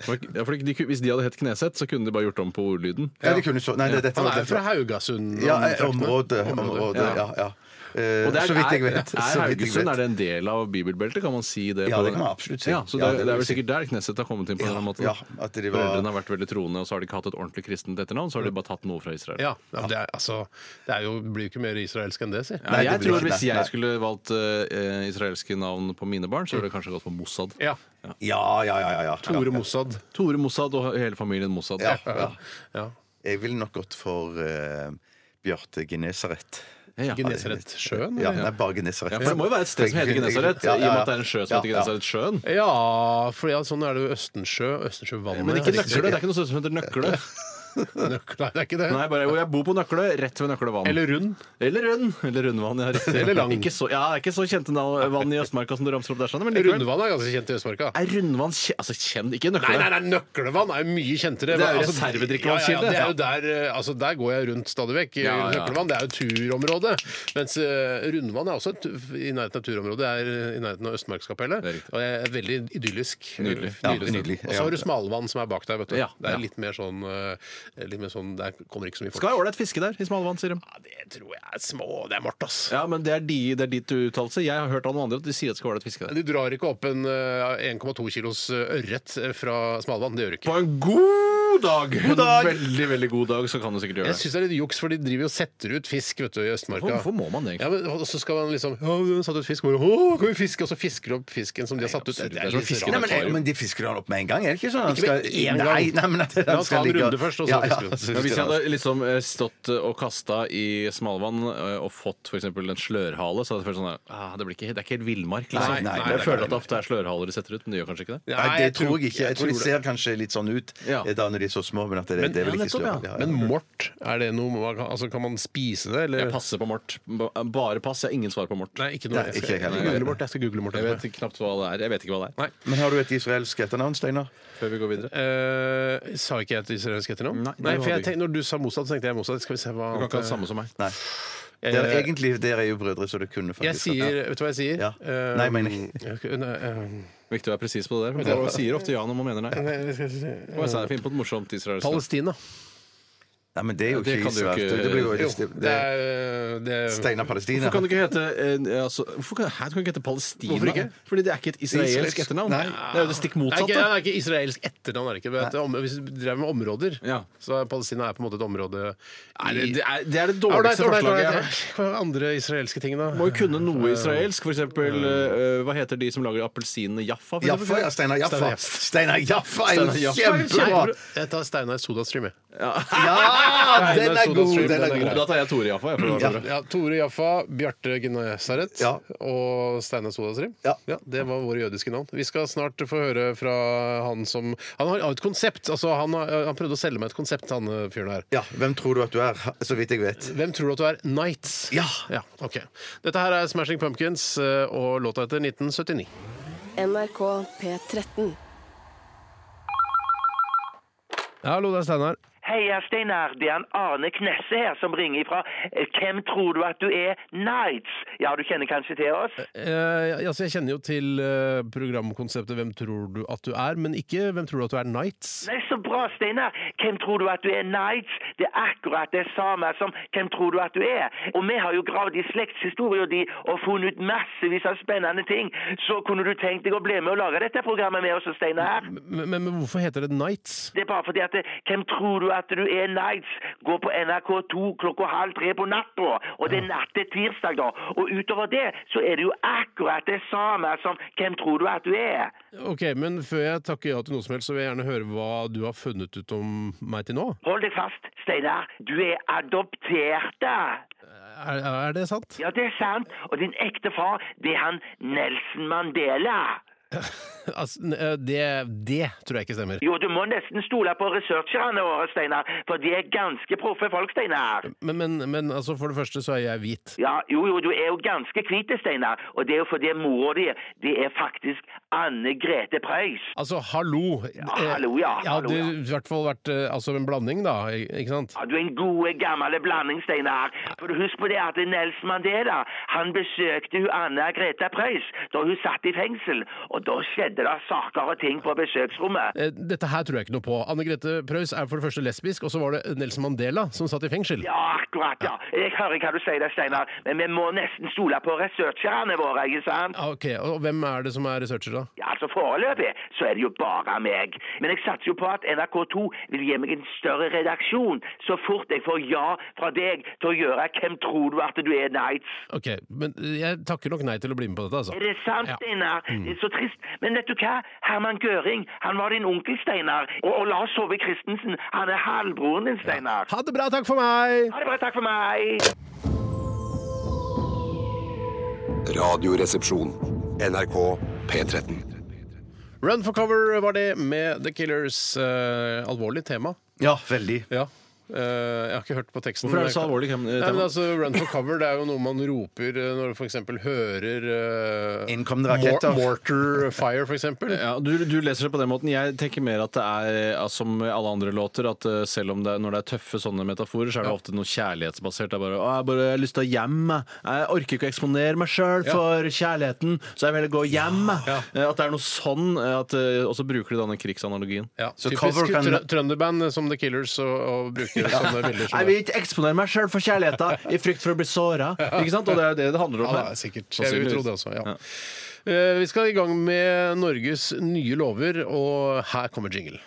Speaker 5: For, ja, fordi de, ku- hvis de hadde hett Kneset, så kunne de bare gjort om på ordlyden.
Speaker 7: Ja, det kunne så, nei, det, dette
Speaker 6: Han
Speaker 7: var
Speaker 6: er jo fra Haugasund.
Speaker 7: Ja,
Speaker 6: han
Speaker 7: eh,
Speaker 6: traktene.
Speaker 7: området. området ja, ja. Eh,
Speaker 5: Og det er-
Speaker 7: så vidt jeg vet.
Speaker 5: Er, er
Speaker 7: så vidt jeg
Speaker 5: Haugesund
Speaker 7: vet.
Speaker 5: er det en del av bibelbeltet? Kan man si det?
Speaker 7: Ja,
Speaker 5: på-
Speaker 7: det kan man absolutt si.
Speaker 5: Ja, så
Speaker 7: Ja,
Speaker 5: det,
Speaker 7: det vil
Speaker 5: det, er vel
Speaker 7: si.
Speaker 5: sikkert der Knesset har kommet inn på
Speaker 7: Ja,
Speaker 5: den måten?
Speaker 7: ja, at de var-
Speaker 5: Foreldrene har vært veldig troende, og så har de ikke hatt et ordentlig kristent etternavn, så har de bare tatt noe fra Israel.
Speaker 6: Ja, ja, men det, er, altså, det er jo, blir jo ikke mer israelsk enn det, si.
Speaker 5: Ja,
Speaker 7: Nei, det
Speaker 5: jeg
Speaker 7: blir
Speaker 5: tror
Speaker 7: ikke
Speaker 5: Hvis
Speaker 7: det. Nei.
Speaker 5: jeg skulle valgt eh, israelske navn på mine barn, så ville det kanskje gått for Mossad.
Speaker 6: Ja.
Speaker 7: Ja, ja, ja. ja, ja.
Speaker 6: Tore Mossad.
Speaker 5: Tore Mossad og hele familien Mossad.
Speaker 7: Ja, ja.
Speaker 6: Ja.
Speaker 7: Jeg ville nok gått for eh, Bjarte Genesaret.
Speaker 5: Ja.
Speaker 6: Genesaretsjøen?
Speaker 7: Ja,
Speaker 6: eller?
Speaker 7: nei, bare
Speaker 5: Mm.
Speaker 7: Genesaret.
Speaker 5: Ja, for Det må jo være et sted som heter Genesaret, i og med at det er en sjø som heter
Speaker 7: Ja, ja.
Speaker 5: Genesaretsjøen.
Speaker 6: Ja, for ja, sånn er det jo Østensjø. Østensjøvannet.
Speaker 5: Men ikke
Speaker 6: er riktig.
Speaker 5: Nøkle. Det er ikke noe sted som heter Nøkle.
Speaker 6: Nøkle, Nei, det er ikke det.
Speaker 5: Nei, bare hvor jeg bor på Nøkle, rett ved Nøklevann.
Speaker 6: Eller rund.
Speaker 5: Eller Rund. Eller Rundvann. Ja, riktig.
Speaker 6: Eller Lang.
Speaker 5: Ikke så, ja, det er ikke så kjente navn- vann i Østmarka som du ramser opp der, sånn, men likevel.
Speaker 6: Rundvann er ganske kjent i Østmarka.
Speaker 5: Er Rundvann kje- Altså, kjenn ikke Nøkle.
Speaker 6: Nei, nei, nei, Nøklevann er jo mye kjentere.
Speaker 5: Det er jo
Speaker 6: Altså,
Speaker 5: reservedrikkevannskilde.
Speaker 6: Ja, ja, det er jo der, eh, altså, der går jeg rundt stadig vekk.
Speaker 5: Ja, ja.
Speaker 6: Nøklevann det er jo turområde. Mens eh, Rundvann er også et, i nærheten av turområdet. Det er eh, i nærheten av Østmarkskapellet.
Speaker 5: Det er riktig.
Speaker 6: Og det er veldig idyllisk.
Speaker 5: Nydelig.
Speaker 6: Eh,
Speaker 7: Ja,
Speaker 6: sted.
Speaker 7: nydelig.
Speaker 6: Og så har du Smalvann som er bak der, vet du.
Speaker 5: Ja,
Speaker 6: det
Speaker 5: ja.
Speaker 6: er litt mer sånn eh, litt mer sånn, Der kommer ikke så mye folk.
Speaker 5: Skal ha ålreit fiske der, i Smalvann, sier de.
Speaker 6: Ja, det tror jeg er små. Det er mørkt, ass.
Speaker 5: Ja, men det er, de, det er ditt uttalelse. Jeg har hørt av noen andre at de sier at det skal være et fiske der.
Speaker 6: Du drar ikke opp en eh, 1,2 kilos eh, ørret eh, fra smalvann. Det gjør du ikke.
Speaker 5: På en god dag!
Speaker 6: dag!
Speaker 5: En veldig, veldig god dag, så kan du sikkert gjøre
Speaker 6: Jeg
Speaker 5: det.
Speaker 6: syns det er litt juks, for de driver jo og setter ut fisk vet du, i Østmarka.
Speaker 5: Hvorfor må man det,
Speaker 6: Ja,
Speaker 5: egentlig?
Speaker 6: men og så skal man liksom Å, du har satt ut fisk. Bare, Å, kan vi fiske? Og så fisker de opp fisken som de har satt ut.
Speaker 5: absurd. Det
Speaker 6: Det
Speaker 5: er
Speaker 6: er
Speaker 5: som
Speaker 6: litt
Speaker 5: fisker
Speaker 6: rart.
Speaker 7: Nei, men, men de fisker han opp med en gang? Er det ikke sånn? Han
Speaker 6: Ikke med
Speaker 7: skal-
Speaker 6: en gang.
Speaker 7: Nei, nei, men at
Speaker 6: Ja,
Speaker 7: han skal
Speaker 6: ta en
Speaker 7: ligge-
Speaker 6: runde først, og så fisker du.
Speaker 5: Ja,
Speaker 7: så
Speaker 5: hvis jeg
Speaker 7: fisker han.
Speaker 5: hadde liksom eh, stått eh, og kasta i smalvann eh, og fått f.eks. en slørhale, så hadde jeg følt sånn ah, det, blir ikke, det er ikke helt villmark. Liksom.
Speaker 6: Nei, nei,
Speaker 5: jeg
Speaker 6: nei, det er
Speaker 5: føler
Speaker 6: ikke
Speaker 5: at det ofte er slørhaler de setter ut, men de gjør kanskje ikke det.
Speaker 7: Nei, det tror jeg ikke. Jeg tror de
Speaker 6: det.
Speaker 7: ser kanskje litt sånn ut
Speaker 5: Ja.
Speaker 7: eh, da når de er så små, men at det, det er vel
Speaker 5: ja,
Speaker 7: ikke
Speaker 5: nettopp, ja.
Speaker 7: sløret. Ja, ja.
Speaker 6: Men mort, er det noe man kan- altså, Kan man spise det, eller?
Speaker 5: Jeg passer på mort. Ba- Bare pass. Jeg har ingen svar på mort.
Speaker 6: Nei, ikke noe.
Speaker 7: Nei,
Speaker 6: jeg, skal,
Speaker 7: ikke jeg heller.
Speaker 6: google mort. Jeg skal google mort.
Speaker 5: Jeg vet knapt hva det er. Jeg vet ikke hva det er.
Speaker 6: Nei.
Speaker 7: Men har du et israelsk etternavn, Steinar?
Speaker 5: Før vi går videre.
Speaker 6: Eh, sa ikke jeg et israelsk etternavn?
Speaker 5: Nei, det
Speaker 6: Nei,
Speaker 5: var
Speaker 6: for jeg
Speaker 5: du ikke.
Speaker 6: tenkte, når du sa Mossad, så tenkte jeg Mossad. Skal vi se hva
Speaker 5: Du kan ikke ha det samme som meg.
Speaker 7: Nei.
Speaker 6: Eh,
Speaker 7: Dere, egentlig dere er jo brødre, så det kunne
Speaker 6: Jeg
Speaker 7: faktisk
Speaker 6: sier, Vet du hva jeg sier?
Speaker 7: Ja.
Speaker 6: Eh, *laughs*
Speaker 7: Nei, mener jeg.
Speaker 6: ok, nei, eh,
Speaker 5: Viktig å være presis på det der. for Folk sier ofte *laughs* ja når man mener nei.
Speaker 6: jeg skal si-
Speaker 5: Hva er det? Finn på et morsomt israelsk navn.
Speaker 6: Palestina.
Speaker 7: Nei, men det er jo
Speaker 5: Ja, det
Speaker 7: ikke
Speaker 5: kan du
Speaker 7: israelsk.
Speaker 5: ikke-
Speaker 7: Det blir jo
Speaker 6: Jo,
Speaker 7: det,
Speaker 6: det er, eh, det er
Speaker 7: Steinar Palestina.
Speaker 5: Hvorfor kan du ikke hete, eh, altså, hvorfor kan, her kan du ikke hete Palestina?
Speaker 6: Hvorfor ikke?
Speaker 5: Fordi det er ikke et israelsk
Speaker 7: Israelsk.
Speaker 5: etternavn.
Speaker 7: Nei.
Speaker 5: Det er jo det stikk
Speaker 6: Det er, ikke, det
Speaker 5: motsatte.
Speaker 6: er ikke israelsk etternavn. Er det ikke, men at det er om, hvis du drev med områder,
Speaker 5: Ja.
Speaker 6: så er Palestina er på en måte et område
Speaker 5: Nei,
Speaker 6: i-
Speaker 5: det, det, er, det er det
Speaker 6: Ålreit,
Speaker 5: dårligste
Speaker 6: ålreit,
Speaker 5: forslaget jeg
Speaker 6: ålreit.
Speaker 5: har hørt.
Speaker 6: Hva er andre israelske ting, da?
Speaker 5: Må jo kunne noe israelsk. For eksempel, eh, hva heter de som lager appelsinene Jaffa? For
Speaker 7: Jaffa,
Speaker 5: eksempel?
Speaker 7: ja. Steinar Jaffa.
Speaker 6: Steinar
Speaker 7: Steinar Jaffa er
Speaker 5: Steinar
Speaker 7: jo
Speaker 5: Jaffa.
Speaker 7: kjempebra!
Speaker 6: Jeg tar Steinar Sodastream, jeg.
Speaker 7: Ja, den er god!
Speaker 6: Sodastream,
Speaker 7: Den er
Speaker 6: den er
Speaker 7: god.
Speaker 5: Da tar jeg Tore Jaffa. Jeg, for det var så bra.
Speaker 6: Ja, Tore Jaffa, Bjarte Gnesaret
Speaker 7: Ja.
Speaker 6: og Steinar Sodastream.
Speaker 7: Ja.
Speaker 6: det var våre jødiske navn. Vi skal snart få høre fra han som Han har har et konsept. altså Han, har, han prøvde å selge meg et konsept, han eh, fyren her.
Speaker 7: Ja, hvem tror du at du er? Så vidt jeg vet.
Speaker 6: Hvem tror du at du er? Nights.
Speaker 7: Ja.
Speaker 6: ja ok. Dette her er Smashing Pumpkins eh, og låta etter 1979.
Speaker 1: NRK P13.
Speaker 6: Hallo, det er Steinar.
Speaker 8: Hei, jeg er Steinar. Det er en Arne Knesse her som ringer ifra. Eh, Hvem tror du at du er? Nights. Ja, du kjenner kanskje til oss?
Speaker 6: Eh, altså, jeg kjenner jo til eh, programkonseptet 'Hvem tror du at du er', men ikke 'Hvem tror du at du er Nights'?
Speaker 8: Nei, så bra, Steinar. Hvem tror du at du er? Nights. Det er akkurat det samme som hvem tror du at du er? Og vi har jo gravd i slektshistorien din og funnet ut massevis av spennende ting. Så kunne du tenkt deg å bli med og lage dette programmet med oss, Steinar?
Speaker 6: Men, men, men hvorfor heter det Nights?
Speaker 8: Det er bare fordi at eh, Hvem tror du at du er Nights? Går på NRK2 klokka halv tre på natta. Og det er natt til tirsdag, da. Og utover det så er det jo akkurat det samme som Hvem tror du at du er?
Speaker 6: Ok, men Før jeg takker ja til noe som helst, så vil jeg gjerne høre hva du har funnet ut om meg til nå.
Speaker 8: Hold deg fast, Steinar. Du er adoptert. da.
Speaker 6: Er, er det sant?
Speaker 8: Ja, det er sant. Og din ekte far, det er han Nelson Mandela.
Speaker 6: *laughs* Altså, n- eh, det, det tror jeg ikke stemmer.
Speaker 8: Jo, du må nesten stole på researcherne våre, Steinar, for de er ganske proffe folk, Steinar.
Speaker 6: Men, men, men altså, for det første så er jeg hvit.
Speaker 8: Ja, jo, jo, du er jo ganske hvit, Steinar, og det er jo fordi mora di, det er faktisk Anne Grete Preus.
Speaker 6: Altså, hallo! Eh,
Speaker 8: hallo, ja,
Speaker 6: Jeg
Speaker 8: hallo,
Speaker 6: hadde
Speaker 8: ja.
Speaker 6: i hvert fall vært eh, altså, en blanding, da. Ikke sant?
Speaker 8: Ja, du er en god, gammel blanding, Steinar. For husk på det at Nelson Mandela, han besøkte hun Anna Greta Preus da hun satt i fengsel, og da skjedde det saker og ting på besøksrommet.
Speaker 6: Eh, Dette her tror jeg ikke noe på. Anne Grete Preus er for det første lesbisk, og så var det Nelson Mandela som satt i fengsel.
Speaker 8: Ja, akkurat, ja. Jeg hører hva du sier der, Steinar, men vi må nesten stole på researcherne våre, ikke sant?
Speaker 6: Ja, Ok, og Hvem er det som er researcher, da?
Speaker 8: Ja, altså Foreløpig så er det jo bare meg. Men jeg satser jo på at NRK2 vil gi meg en større redaksjon så fort jeg får ja fra deg til å gjøre 'Hvem tror du at du er?' Nights.
Speaker 6: Ok, men Jeg takker nok nei til å bli med på dette. altså.
Speaker 8: Er det sant,
Speaker 6: Ja. Mm.
Speaker 8: Steinar? Det er så trist. Men vet du hva? Herman Gøring, han var din onkel, Steinar. Og, og Lars Hove Christensen, han er halvbroren din, Steinar.
Speaker 6: Ha det bra, takk for meg!
Speaker 8: Ha det bra, takk for meg.
Speaker 2: Radioresepsjon. NRK P13.
Speaker 6: Run for cover var det med The Killers. Eh, alvorlig tema.
Speaker 7: Ja, veldig.
Speaker 6: Ja. Eh, jeg har ikke hørt på teksten.
Speaker 5: Hvorfor er det så alvorlig, eh,
Speaker 6: Nei,
Speaker 5: tema?
Speaker 6: men altså, Run for cover det er jo noe man roper eh, når du f.eks. hører eh,
Speaker 7: Innkommende raketter.
Speaker 6: mor- Mortar fire, f.eks.
Speaker 5: Ja, du, du leser det på den måten. Jeg tenker mer at det er eh, som med alle andre låter, at eh, selv om det er, når det er tøffe sånne metaforer, så er det ofte noe kjærlighetsbasert. Det er bare, å, jeg bare har lyst til å hjem. jeg. Jeg orker ikke å eksponere meg sjøl for kjærligheten, så jeg vil heller gå hjem. Eh, At det er noe sånn, eh, at, eh, og så bruker de denne krigsanalogien.
Speaker 6: Ja,
Speaker 7: Så cover
Speaker 6: typisk
Speaker 7: kan-
Speaker 6: trø- trønderband som The Killers og, og bruker sånne bilder. som
Speaker 5: Jeg vil ikke eksponere meg sjøl for kjærligheta i frykt for å bli såra. Ikke sant? Og det er det det handler om.
Speaker 6: Ja,
Speaker 5: her.
Speaker 6: det er sikkert.
Speaker 7: Sånn
Speaker 6: Jeg vil
Speaker 5: Sannsynligvis.
Speaker 6: tro det også, ja. Eh, Vi skal i gang med Norges nye lover, og her kommer jingle.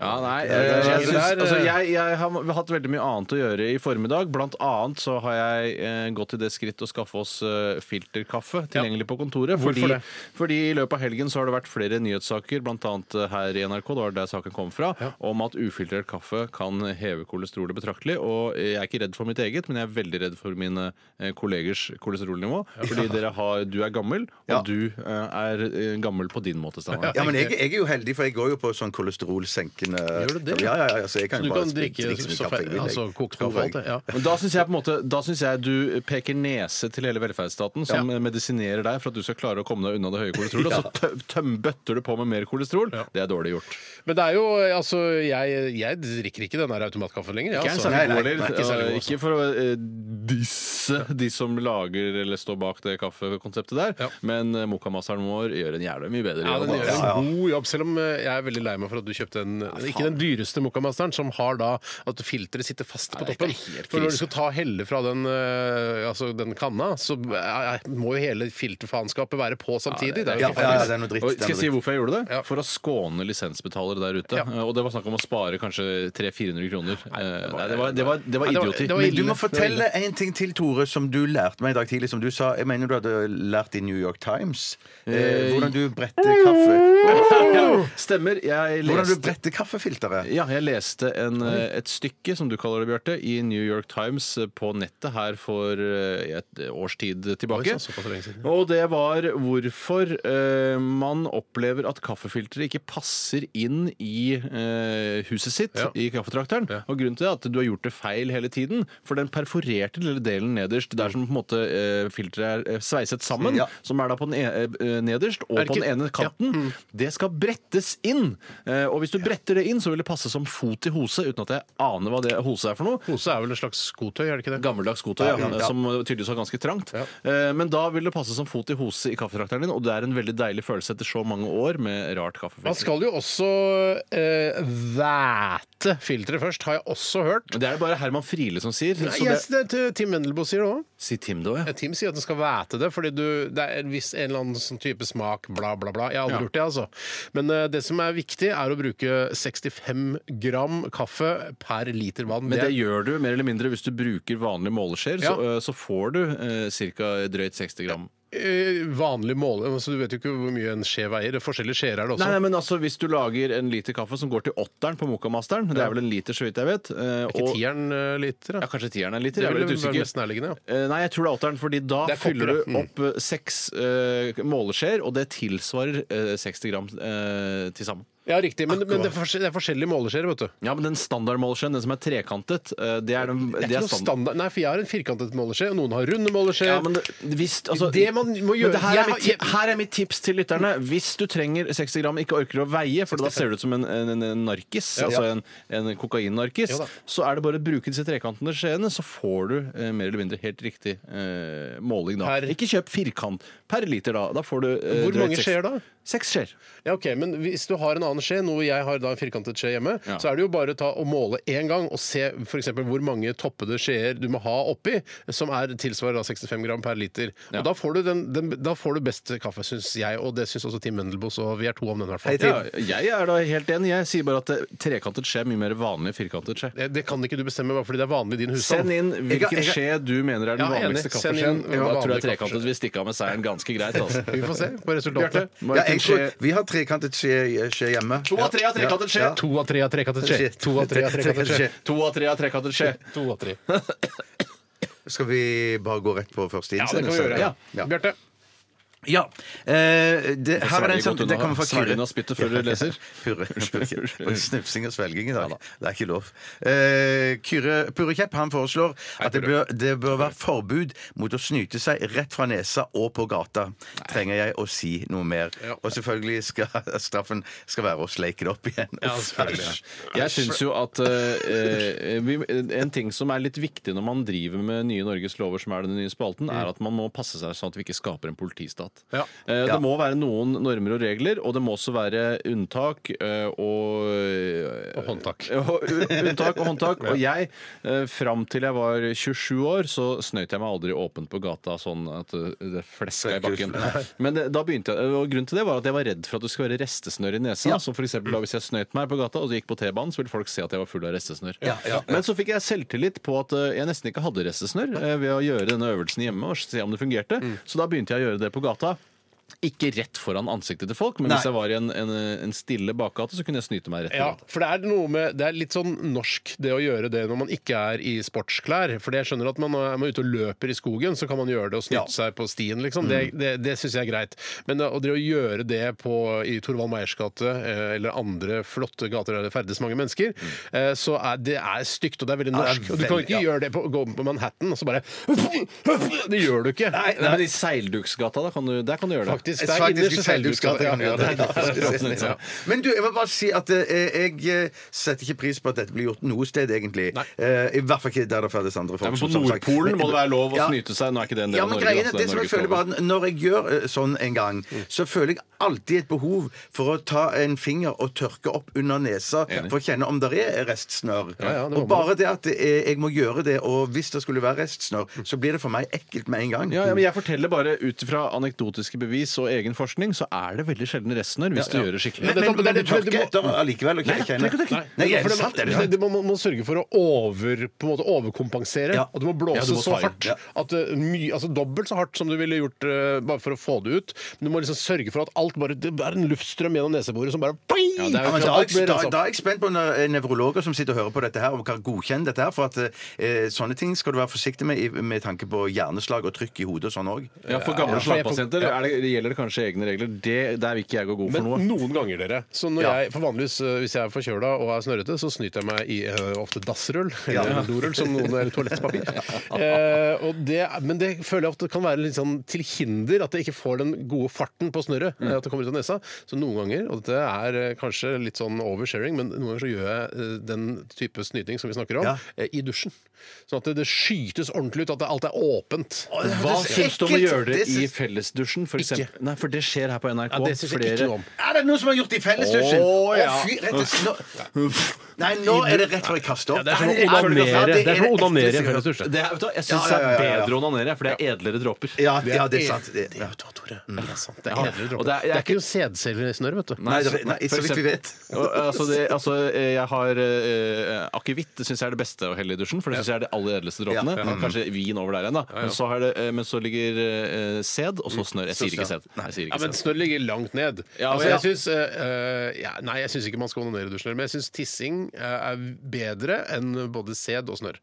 Speaker 5: Ja, nei,
Speaker 6: det
Speaker 5: eh,
Speaker 6: er-
Speaker 5: jeg, syns,
Speaker 6: det er-
Speaker 5: altså, jeg, jeg har hatt veldig mye annet å gjøre i formiddag. Blant annet så har jeg eh, gått til det skritt å skaffe oss eh, filterkaffe tilgjengelig på kontoret.
Speaker 6: Hvorfor
Speaker 5: Fordi,
Speaker 6: det?
Speaker 5: fordi i løpet av helgen så har det vært flere nyhetssaker, blant annet eh, her i NRK, det var der saken kom fra, om at ufiltrert kaffe kan heve kolesterolet betraktelig. Og jeg er ikke redd for mitt eget, men jeg er veldig redd for mine eh, kollegers kolesterolnivå. Fordi dere har, du er gammel, og
Speaker 7: Ja.
Speaker 5: du eh, er eh, gammel på din måte, Steinar.
Speaker 7: Ja, men jeg, jeg er jo heldig, for jeg går jo på sånn kolesterolsenkende
Speaker 6: Gjør du det?
Speaker 7: Ja, ja, ja, så jeg kan
Speaker 6: Så du
Speaker 7: jo bare
Speaker 6: kan
Speaker 7: spri-
Speaker 6: drikke
Speaker 7: så mye
Speaker 6: så
Speaker 7: kaffe jeg
Speaker 6: fe-
Speaker 7: vil, jeg.
Speaker 6: altså, kokt
Speaker 7: Kaffe,
Speaker 6: kaffe og alt det?
Speaker 7: jeg.
Speaker 6: Ja.
Speaker 5: Men da syns jeg på en måte Da synes jeg du peker nese til hele velferdsstaten, som medisinerer deg for at du skal klare å komme deg unna det høye kolesterolet, og så tø- tøm, bøtter du på med mer kolesterol. Det er dårlig gjort.
Speaker 6: Men det er jo, eh, altså, jeg, jeg drikker ikke den der automatkaffen lenger. jeg,
Speaker 5: Ikke en
Speaker 6: altså.
Speaker 5: særlig
Speaker 7: nei,
Speaker 5: god
Speaker 6: nei,
Speaker 5: heller.
Speaker 6: ikke særlig god,
Speaker 5: og Ikke for å eh, disse de som lager eller står bak det kaffekonseptet der,
Speaker 6: Ja.
Speaker 5: men eh, mokkamasseren vår gjør en jævla mye bedre
Speaker 6: Ja,
Speaker 5: jobb.
Speaker 6: den gjør
Speaker 5: altså.
Speaker 6: en god jobb, selv om eh, jeg er veldig lei meg for at du kjøpte en Ikke den dyreste Mokkamasteren, som har da at filteret sitter fast på
Speaker 5: Nei, det er
Speaker 6: toppen.
Speaker 5: helt
Speaker 6: For når
Speaker 5: krise.
Speaker 6: du skal ta helle fra den, eh, altså, den kanna, så eh, må jo hele filterfaenskapet være på samtidig. det er jo
Speaker 7: Ja,
Speaker 6: ikke
Speaker 7: ja,
Speaker 6: fair.
Speaker 7: ja, det er noe dritt.
Speaker 5: Og
Speaker 7: det er
Speaker 5: skal jeg
Speaker 7: noe
Speaker 5: si
Speaker 7: dritt.
Speaker 5: hvorfor jeg gjorde det?
Speaker 6: Ja.
Speaker 5: For å skåne lisensbetalere der ute.
Speaker 6: Ja.
Speaker 5: Eh, Og det var snakk om å spare kanskje 300-400 kroner. Eh, Nei, det var, det var, det var
Speaker 6: Nei, det var-
Speaker 5: idioti.
Speaker 6: det var
Speaker 7: Men du
Speaker 6: ille.
Speaker 7: må fortelle en ting til, Tore, som du lærte meg i dag tidlig. Som du sa, jeg mener du hadde lært i New York Times. Eh, hvordan du bretter kaffe
Speaker 5: *laughs* Stemmer. Jeg
Speaker 7: Hvordan du
Speaker 5: leste
Speaker 7: bretter kaffefilteret.
Speaker 5: Ja, jeg leste en, eh, et stykke, som du kaller det, Bjarte, i New York Times eh, på nettet her for eh, et års tid tilbake.
Speaker 6: Oi, så- såpass lenge siden, ja.
Speaker 5: Og det var hvorfor eh, man opplever at kaffefilteret ikke passer inn i eh, huset sitt,
Speaker 6: Ja.
Speaker 5: i kaffetrakteren.
Speaker 6: Ja.
Speaker 5: Og grunnen til det er at du har gjort det feil hele tiden. For den perforerte lille delen nederst, der som på en måte eh, filteret er eh, sveiset sammen,
Speaker 7: Ja.
Speaker 5: som er da på den e eh, nederst og
Speaker 6: Er det
Speaker 5: på den
Speaker 6: ikke- Mm.
Speaker 5: ene kanten, det skal brettes inn. Eh, og hvis du bretter det inn, så vil det passe som fot i hose, uten at jeg aner hva det hose er for noe.
Speaker 6: Pose er vel en slags skotøy, er det ikke det?
Speaker 5: Gammeldags skotøy, ja, som tydeligvis var ganske trangt. Eh, Men da vil det passe som fot i hose i kaffetrakteren din, og det er en veldig deilig følelse etter så mange år med rart
Speaker 6: Man
Speaker 5: kaffefilter.
Speaker 6: skal jo også eh, væte filteret først, har jeg også hørt.
Speaker 5: Det er det bare Herman Friele som sier.
Speaker 6: Nei,
Speaker 5: Så det,
Speaker 6: yes, det, er Tim Mendelboe sier det òg.
Speaker 5: si Tim da, ja.
Speaker 6: Tim sier at den skal væte det, fordi du, det er en viss en eller annen sånn type smak, bla, bla, bla. Jeg har aldri
Speaker 5: Ja.
Speaker 6: gjort det, altså. Men eh, det som er viktig, er å bruke 65 gram kaffe per liter vann.
Speaker 5: Men det
Speaker 6: er-
Speaker 5: gjør du mer eller mindre hvis du bruker vanlige måleskjeer. Så,
Speaker 6: Ja.
Speaker 5: eh, så får du eh, ca. drøyt 60 gram.
Speaker 6: eh, vanlig måle altså, Du vet jo ikke hvor mye en skje veier. Forskjellige skjeer er det også.
Speaker 5: Nei, nei, men altså Hvis du lager en liter kaffe som går til åtteren på Mokamasteren, det er vel en liter, så vidt jeg vet eh,
Speaker 6: ikke
Speaker 5: og-
Speaker 6: tieren eh, liter, da.
Speaker 5: Ja, kanskje tieren er en liter?
Speaker 6: Det
Speaker 5: jeg er
Speaker 6: ville
Speaker 5: litt
Speaker 6: være
Speaker 5: usikker.
Speaker 6: mest nærliggende, ja.
Speaker 5: Eh, Nei, jeg tror det er åtteren, fordi da
Speaker 6: Det er kopper,
Speaker 5: fyller du
Speaker 6: ja. Mm.
Speaker 5: opp eh, seks eh, måleskjeer, og det tilsvarer eh, 60 gram eh, til sammen.
Speaker 6: Ja, riktig. Men, men det, er forskjell- det er forskjellige måleskjeer, vet du.
Speaker 5: Ja, men den standardmåleskjeen, den som er trekantet, eh, det er den
Speaker 6: Det er
Speaker 5: det
Speaker 6: ikke
Speaker 5: er
Speaker 6: noe
Speaker 5: standard-
Speaker 6: standard Nei, for jeg har en firkantet måleskje, og noen har runde måleskjeer.
Speaker 5: Ja, men det, hvis, altså,
Speaker 6: Det man må
Speaker 5: men
Speaker 6: gjøre-
Speaker 5: Eh, det her,
Speaker 6: Jeg
Speaker 5: er
Speaker 6: har-
Speaker 5: mitt, ti- her er mitt tips til lytterne. Hvis du trenger 60 gram, ikke orker å veie, for da ser du ut som en, en, en- en narkis, altså en, en kokainnarkis,
Speaker 6: Jo da.
Speaker 5: så er det bare å bruke disse trekantene skjeene, så får du eh, mer eller mindre helt riktig eh, måling da.
Speaker 6: Per-
Speaker 5: Ikke kjøp firkant per liter da. Da får du eh,
Speaker 6: Hvor
Speaker 5: drøyt
Speaker 6: mange
Speaker 5: seks-
Speaker 6: skjeer da?
Speaker 5: Seks skjeer.
Speaker 6: Ja, ok, Men hvis du har en annen skje, noe jeg har da en firkantet skje hjemme,
Speaker 5: Ja.
Speaker 6: så er det jo bare å ta og måle én gang og se for eksempel hvor mange toppede skjeer du må ha oppi, som er tilsvarer da 65 gram per liter.
Speaker 5: Ja.
Speaker 6: Og da får, du den, den, da får du best kaffe, syns jeg, og det syns også Tim Mendelboe, så vi er to om den i hvert fall.
Speaker 5: Ja, jeg er da helt enig. Jeg sier bare at eh, trekantet skje er mye mer vanlig enn firkantet skje.
Speaker 6: Det, det kan ikke du bestemme bare fordi det er vanlig i din husstand.
Speaker 5: Send inn
Speaker 7: Jeg-
Speaker 5: hvilken
Speaker 7: jeg-
Speaker 5: skje du mener er den
Speaker 6: Ja, enig.
Speaker 5: vanligste
Speaker 6: Send inn
Speaker 5: kaffeskjeen. Da tror
Speaker 6: vanlig
Speaker 5: jeg trekantet
Speaker 6: kaffeskje.
Speaker 5: vil stikke av med seieren ganske *laughs* greit. altså.
Speaker 6: Vi får se på
Speaker 5: Bjarte,
Speaker 6: resultatet.
Speaker 5: hva
Speaker 7: Ja,
Speaker 5: er
Speaker 7: jeg
Speaker 5: din
Speaker 7: tror,
Speaker 5: skje?
Speaker 7: vi har trekantet skje, skje hjemme.
Speaker 5: To av tre av trekantet skje!
Speaker 7: Ja.
Speaker 6: To av tre av trekantet skje.
Speaker 7: Shit.
Speaker 6: To av tre av trekantet skje.
Speaker 5: *laughs* To av tre av trekantet skje.
Speaker 6: To av tre.
Speaker 7: Skal vi bare gå rett på første
Speaker 6: Ja, det kan vi
Speaker 7: innsendelse?
Speaker 6: gjøre. Ja. Bjarte.
Speaker 7: Ja. Eh, det, her er
Speaker 5: Svelg
Speaker 7: en sånn
Speaker 5: godt
Speaker 7: Det kommer
Speaker 5: unna.
Speaker 7: fra
Speaker 5: Svelg
Speaker 7: Kyrre.
Speaker 5: unna spyttet før du leser.
Speaker 7: *laughs* Purre. Unnskyld. Snufsing *laughs* og svelging i dag. Det er ikke lov. Eh, Kyrre Purrekjepp han foreslår at det bør, det bør være forbud mot å snyte seg rett fra nesa og på gata. Trenger jeg å si noe mer? Og selvfølgelig skal *laughs* straffen skal være å sleike det opp igjen.
Speaker 6: Ja, selvfølgelig.
Speaker 5: Jeg syns jo at eh, eh, vi, En ting som er litt viktig når man driver med nye Norges lover, som er den nye spalten, er at man må passe seg sånn at vi ikke skaper en politistat.
Speaker 6: Ja.
Speaker 5: Eh, det
Speaker 7: Ja.
Speaker 5: må være noen normer og regler, og det må også være unntak eh, og eh,
Speaker 6: Og håndtak.
Speaker 5: *laughs* Og u- Unntak og håndtak. Og jeg, eh, fram til jeg var 27 år, så snøyt jeg meg aldri åpent på gata sånn at eh, det fleska i bakken. Men det, da begynte jeg, og grunnen til det var at jeg var redd for at det skulle være restesnør i nesa. Som for eksempel, da hvis jeg snøyt meg på gata og gikk på T-banen, så ville folk se at jeg var full av restesnør. Men så fikk jeg selvtillit på at eh, jeg nesten ikke hadde restesnør eh, ved å gjøre denne øvelsen hjemme og se om det fungerte. Så da begynte jeg å gjøre det på gata. Ikke rett foran ansiktet til folk, men hvis jeg var i en, en, en stille bakgate, så kunne jeg snyte meg rett i
Speaker 6: Ja,
Speaker 5: gata.
Speaker 6: for det er noe med Det er litt sånn norsk det å gjøre det når man ikke er i sportsklær. For jeg skjønner at man er man er ute og løper i skogen, så kan man gjøre det og snyte seg på stien,
Speaker 7: Mm.
Speaker 6: liksom. Det, det, det syns jeg er greit. Men å, det å gjøre det på, i Torvald Meyers gate eh, eller andre flotte gater der det ferdes mange mennesker, eh, så er det er stygt, og det er veldig
Speaker 7: Mm. Ja, det er
Speaker 6: norsk. og du kan
Speaker 7: veldig-
Speaker 6: ikke
Speaker 7: ja.
Speaker 6: gjøre det på, gå på Manhattan og så bare *laughs* Det gjør du ikke.
Speaker 5: Nei, men i Seilduksgata, da kan du, der kan du gjøre det.
Speaker 6: Faktisk, det er
Speaker 7: Faktisk i
Speaker 6: innerste
Speaker 7: Seilduksgata kan du gjøre
Speaker 6: Seilduksgata, ja.
Speaker 7: det.
Speaker 5: Ja.
Speaker 7: Men du, jeg vil bare si at eh, jeg eh, setter ikke pris på at dette blir gjort noe sted, egentlig.
Speaker 6: Nei.
Speaker 7: Eh, I hvert fall ikke der det ferdes andre folk.
Speaker 5: Ja, men på
Speaker 7: som- som sagt.
Speaker 5: Nordpolen må det være lov å
Speaker 7: Ja.
Speaker 5: snyte seg. Nå er ikke det en del
Speaker 7: Ja,
Speaker 5: av
Speaker 7: men
Speaker 5: Norge.
Speaker 7: greien
Speaker 5: da,
Speaker 7: er
Speaker 5: så er
Speaker 7: det
Speaker 5: Mm.
Speaker 7: som jeg
Speaker 5: Norges
Speaker 7: føler
Speaker 5: lov.
Speaker 7: bare at Når jeg gjør eh, sånn en gang, så føler jeg alltid et behov for å ta en finger og tørke opp under nesa
Speaker 5: Enig.
Speaker 7: for å kjenne om det er restsnørr.
Speaker 6: ja, det må
Speaker 7: og bare det at eh, jeg må gjøre det, og hvis det skulle være restsnørr, så blir det for meg ekkelt med en gang.
Speaker 5: Mm. Ja, ja, men jeg forteller bare ut fra anekdotiske bevis og egen forskning, så er det veldig sjelden restnør hvis du gjør det skikkelig.
Speaker 7: Men, men, men, du
Speaker 6: men du
Speaker 7: tørker
Speaker 6: må-
Speaker 7: etter allikevel? og
Speaker 6: Nei,
Speaker 7: kjenner- Nei,
Speaker 6: for
Speaker 7: er det
Speaker 6: det-
Speaker 7: sant? Er det
Speaker 6: det-
Speaker 7: sant?
Speaker 6: det- Man må, må sørge for å over, på en måte overkompensere.
Speaker 7: Ja.
Speaker 6: At du må blåse
Speaker 5: Ja, du må
Speaker 6: så
Speaker 5: ta i.
Speaker 6: hardt at uh, mye, altså dobbelt så hardt som du ville gjort uh, bare for å få det ut. Men du må liksom sørge for at alt bare Det er en luftstrøm gjennom neseboret som bare boing!
Speaker 5: Ja, det er jo
Speaker 7: Ja, men
Speaker 5: klart.
Speaker 7: da,
Speaker 6: alt blir
Speaker 7: da,
Speaker 6: renset opp.
Speaker 7: da er jeg spent på når, eh, nevrologer som sitter og hører på dette her, og kan godkjenne dette her. For at eh, sånne ting skal du være forsiktig med i- med tanke på hjerneslag og trykk i hodet og sånn òg.
Speaker 5: Ja, For gamle
Speaker 6: Ja, for jeg-
Speaker 5: slagpasienter er det, gjelder det kanskje egne regler. Det, der vil ikke jeg gå god
Speaker 6: Men
Speaker 5: for noe.
Speaker 6: noen ganger, dere. Så når
Speaker 7: Ja.
Speaker 6: jeg, for vanligvis eh, Hvis jeg er forkjøla og er snørrete, så snyter jeg meg i eh, ofte dassrull. Eller *laughs* dorull, som noen eller toalettpapir. Eh, og det, men det føler jeg ofte kan være litt sånn til hinder at jeg ikke får den gode farten på snørret. eh, At det kommer ut av nesa. Så noen ganger, og dette er eh, kanskje litt sånn oversharing, men noen ganger så gjør jeg eh, den type snyting som vi snakker om,
Speaker 7: Ja.
Speaker 6: eh, i dusjen. Sånn at det, det skytes ordentlig ut, at det, alt er åpent.
Speaker 5: Hva
Speaker 7: det er
Speaker 5: syns du om å
Speaker 7: ekkelt.
Speaker 5: gjøre det
Speaker 7: Det
Speaker 5: i
Speaker 7: syns-
Speaker 5: fellesdusjen, for
Speaker 6: Ikke.
Speaker 5: eksempel? Nei, for det skjer her på NRK.
Speaker 6: Ja, det syns jeg
Speaker 5: Flere-
Speaker 6: ikke noe om.
Speaker 7: Er det noen som har gjort det i fellesdusjen?
Speaker 5: Å, ja.
Speaker 7: Å, fy, rett og slett. Nå- Nei, nå er det rett før jeg kaster opp.
Speaker 6: det er som å
Speaker 7: Nei, før du kaster opp.
Speaker 6: onanere. Det er som å
Speaker 7: det
Speaker 6: onanere i en
Speaker 7: ekleste jeg har hørt.
Speaker 6: fellesdusj.
Speaker 5: Det er, vet du, hva, jeg syns
Speaker 7: Ja, ja,
Speaker 5: det
Speaker 7: ja, ja,
Speaker 5: er
Speaker 7: ja.
Speaker 5: bedre å onanere, for det er edlere dråper.
Speaker 7: Ja, ja, det er sant. Det, ja. Mm.
Speaker 6: Ja, da, Tore. Det er sant. Det er
Speaker 5: Ja,
Speaker 6: edlere
Speaker 5: og
Speaker 6: dråper.
Speaker 5: det er-
Speaker 6: Det er ikke noe sædcellesnør, vet du.
Speaker 7: Nei, det- nei,
Speaker 5: for
Speaker 7: så vidt
Speaker 5: eksempel-
Speaker 7: vi vet.
Speaker 5: Og, altså, det, altså, eh, jeg har eh, akevitt. Det syns jeg er det beste å helle i dusjen, for det syns jeg er de aller edleste dråpene. Kanskje vin over der igjen, da. Men, så har det, eh, men så ligger eh, sæd, og så snørr. Jeg sier ikke sæd. Jeg sier
Speaker 6: *laughs*
Speaker 5: ikke
Speaker 6: Ja, men
Speaker 5: sæd.
Speaker 6: snørr ligger langt ned.
Speaker 5: Ja,
Speaker 6: altså,
Speaker 5: ja.
Speaker 6: jeg synes, eh, eh, ja, nei, jeg syns ikke man skal onanere i dusjen, men jeg syns tissing eh, er bedre enn både sæd og snørr.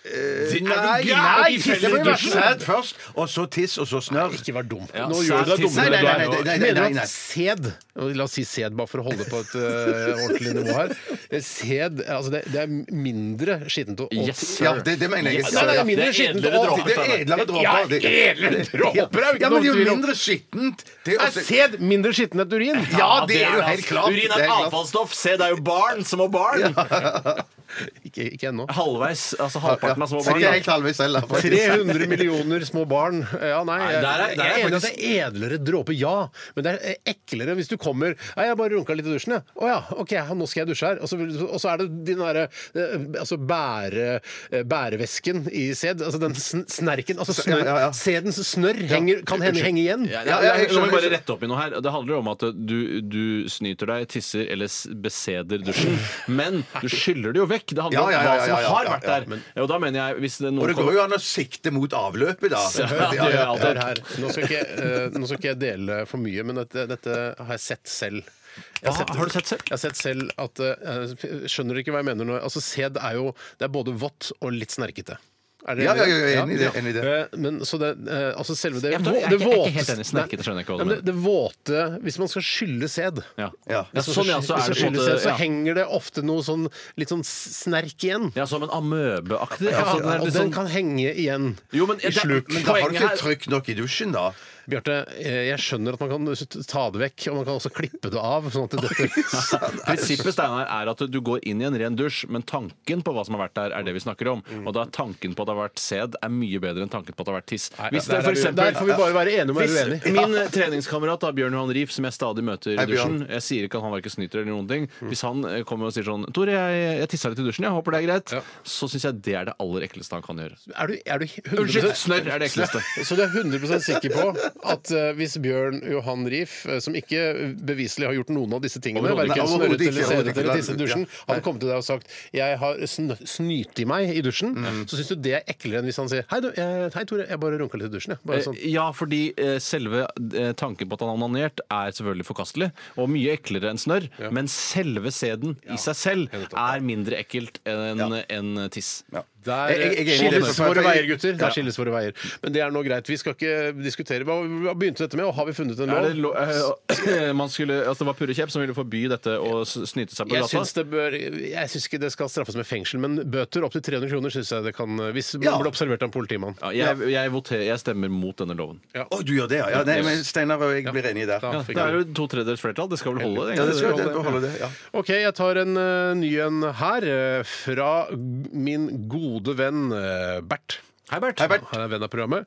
Speaker 7: Nei, nei, det blir bare sæd først, og så tiss, og så snørr.
Speaker 6: Ikke vær dum.
Speaker 5: Ja,
Speaker 6: Nå gjør du
Speaker 5: sæd,
Speaker 6: deg
Speaker 5: tiss-
Speaker 6: dummere.
Speaker 7: Nei,
Speaker 6: enn
Speaker 7: nei, nei,
Speaker 6: du er nå.
Speaker 7: nei, nei, nei,
Speaker 6: Mener
Speaker 7: nei,
Speaker 6: du
Speaker 7: nei.
Speaker 6: at sæd og La oss si sæd, bare for å holde på et eh, ordentlig nivå her. eh, Sæd altså det, det er mindre skittent å å-
Speaker 5: Yes, sir.
Speaker 7: Ja, det, det mener jeg.
Speaker 5: Yes,
Speaker 6: Nei, nei, det er mindre
Speaker 5: Det er
Speaker 6: skittent
Speaker 5: edlere
Speaker 6: å-
Speaker 5: dråper,
Speaker 7: Det er edlere dråper.
Speaker 6: Ja,
Speaker 7: Det-
Speaker 6: edlere dråper er jo
Speaker 7: Ja,
Speaker 6: ikke
Speaker 7: men det
Speaker 6: noe
Speaker 7: er
Speaker 6: tvil
Speaker 7: jo
Speaker 6: om.
Speaker 7: mindre skittent. Det er
Speaker 6: Er
Speaker 7: også-
Speaker 6: sæd mindre skitten enn urin?
Speaker 7: altså- Ja, det er jo helt klart.
Speaker 5: Urin er
Speaker 7: Det
Speaker 5: altså et
Speaker 7: er klart.
Speaker 5: avfallsstoff! Sæd er jo barn som må barn! *laughs*
Speaker 6: Ikke, ikke ennå.
Speaker 5: Halvveis, altså halvparten av små
Speaker 7: Så
Speaker 5: barn.
Speaker 7: ikke
Speaker 5: da.
Speaker 7: helt halvveis selv, da, faktisk.
Speaker 6: 300 millioner små barn. Ja, nei,
Speaker 5: Nei,
Speaker 6: jeg,
Speaker 5: der er- der er
Speaker 6: jeg er enig i at det
Speaker 5: faktisk-
Speaker 6: er edlere dråper, ja. Men det er eklere hvis du kommer Nei, jeg bare runka litt i dusjen, jeg. Å ja, OK, ja, nå skal jeg dusje her. Og så, og så er det den derre eh, altså bære, eh, bærevæsken i sæd. Altså den sn- snerken. Altså snør,
Speaker 7: Ja, ja, ja.
Speaker 6: sædens snørr henger, kan hende henge igjen.
Speaker 5: Ja,
Speaker 7: Ja,
Speaker 5: ja,
Speaker 7: ja, jeg
Speaker 5: nå må
Speaker 7: skjønner,
Speaker 5: vi bare
Speaker 7: jeg
Speaker 5: rette opp i noe her. Det handler om at du, du snyter deg, tisser eller s- beseder dusjen. Men du skyller det jo vekk. Det handler
Speaker 7: Ja, ja, ja,
Speaker 5: om hva som
Speaker 7: ja, ja,
Speaker 5: har
Speaker 7: ja,
Speaker 5: vært
Speaker 7: ja,
Speaker 5: der. Og da mener jeg hvis det er
Speaker 7: Og
Speaker 5: noen
Speaker 7: det går jo an å sikte mot avløpet, da.
Speaker 5: Ja,
Speaker 6: Hør,
Speaker 5: ja, ja.
Speaker 6: hør her. Nå skal, ikke, eh, nå skal ikke jeg dele for mye, men dette, dette har jeg sett selv. Jeg
Speaker 5: Hva har du sett selv?
Speaker 6: Jeg har sett selv at eh, Skjønner du ikke hva jeg mener nå? Altså, Sæd er jo Det er både vått og litt snerkete. Er dere
Speaker 7: Ja, ja,
Speaker 6: enige?
Speaker 7: ja, jeg er enig i det, enig i det.
Speaker 6: Eh, Men så det eh, Altså selve det
Speaker 5: Jeg tror- jeg er
Speaker 6: det
Speaker 5: ikke- jeg er ikke
Speaker 6: våte-
Speaker 5: helt enig. Snerkete skjønner jeg ikke hva du
Speaker 6: Ja, men det, det våte Hvis man skal skylle sæd
Speaker 5: Ja.
Speaker 7: Ja.
Speaker 5: Ja, sånn, ja, så er det
Speaker 6: hvis man
Speaker 5: på en
Speaker 6: skyller
Speaker 5: måte
Speaker 6: sæd, så
Speaker 5: ja.
Speaker 6: henger det ofte noe sånn litt sånn snerk igjen.
Speaker 5: ja, som en amøbeaktig.
Speaker 6: Ja,
Speaker 5: altså, den er
Speaker 6: og
Speaker 5: litt
Speaker 6: den
Speaker 5: sånn-
Speaker 6: kan henge igjen
Speaker 5: Jo, men
Speaker 6: i
Speaker 5: det-
Speaker 6: sluk.
Speaker 7: Men da har du
Speaker 5: Poenget
Speaker 7: ikke
Speaker 5: her-
Speaker 7: trykk nok i dusjen, da.
Speaker 6: Bjarte, eh, jeg skjønner at man kan ta det vekk, og man kan også klippe det av. sånn at det
Speaker 7: *laughs*
Speaker 6: detter.
Speaker 5: Prinsippet Steinar, er at du går inn i en ren dusj, men tanken på hva som har vært der, er det vi snakker om.
Speaker 6: Mm.
Speaker 5: Og da er tanken på at det har vært sæd, er mye bedre enn tanken på at det har vært tiss. Hvis det
Speaker 6: Der
Speaker 5: er
Speaker 6: er
Speaker 5: for
Speaker 6: vi-
Speaker 5: eksempel,
Speaker 6: Der får vi bare være enige om å være uenige.
Speaker 5: Hvis min eh, treningskamerat da, Bjørn Johan Rief, som jeg stadig møter i
Speaker 7: Hei, Bjørn.
Speaker 5: dusjen Jeg sier ikke at han verken snyter eller noen ting.
Speaker 6: Mm.
Speaker 5: Hvis han eh, kommer og sier sånn 'Tore, jeg, jeg tissa litt i dusjen, jeg håper det er greit', så syns jeg det er det aller ekleste han kan gjøre.
Speaker 6: Er du, er du 100
Speaker 5: Unnskyld! Snørr er det ekleste.
Speaker 6: *laughs* Så du er 100 sikker på at eh, hvis Bjørn Johan Rief, eh, som ikke beviselig har gjort noen av disse tingene,
Speaker 5: Overhodet
Speaker 6: verken
Speaker 7: ikke,
Speaker 6: snørret
Speaker 7: overhodet
Speaker 6: eller
Speaker 7: ikke,
Speaker 6: sædet
Speaker 7: overhodet
Speaker 6: eller
Speaker 7: ikke.
Speaker 6: tisset i dusjen, hadde kommet til deg og sagt 'jeg har sn snyt i meg i dusjen',
Speaker 7: Mm.
Speaker 6: så syns du det er eklere enn hvis han sier 'hei, du, jeg, hei Tore, jeg bare runka litt i dusjen', jeg'. Bare
Speaker 5: Eh,
Speaker 6: sånn.
Speaker 5: Ja, fordi eh, selve eh, tanken på at han har onanert er selvfølgelig forkastelig, og mye eklere enn snørr, men selve sæden i seg selv er mindre ekkelt enn enn tiss.
Speaker 6: Der
Speaker 7: eh, Jeg- jeg-
Speaker 5: eh,
Speaker 7: jeg er enig i det,
Speaker 6: skilles
Speaker 7: for- for-
Speaker 6: våre veier,
Speaker 7: jeg-
Speaker 6: gutter. Der skilles våre veier. Men det er nå greit. Vi skal ikke diskutere. Hva hva begynte dette med, og har vi funnet en
Speaker 5: Er det, lo
Speaker 6: lov?
Speaker 5: eh, *clears throat* man skulle, altså det var Purre Kjepp som ville forby dette å s- snyte seg på
Speaker 6: Jeg
Speaker 5: gata.
Speaker 6: syns, det bør, jeg syns ikke det skal straffes med fengsel, men bøter opptil 300 kroner syns jeg det kan Hvis man
Speaker 7: Ja.
Speaker 6: blir observert av en politimann.
Speaker 5: Ja, jeg, jeg, voterer, jeg stemmer mot denne loven.
Speaker 7: Å, du gjør det, ja. ja nei, men Steinar og jeg blir enige der.
Speaker 6: Ja.
Speaker 7: Ja,
Speaker 5: Det er jo to tredjedels flertall. Det skal vel holde?
Speaker 7: det
Speaker 5: egentlig.
Speaker 7: skal jeg beholde det. Ja.
Speaker 6: OK, jeg tar en eh, ny en her. eh, fra g- min gode venn eh, Bert.
Speaker 5: Hei, Bert.
Speaker 7: Hei, Bert.
Speaker 6: Han er venn av programmet.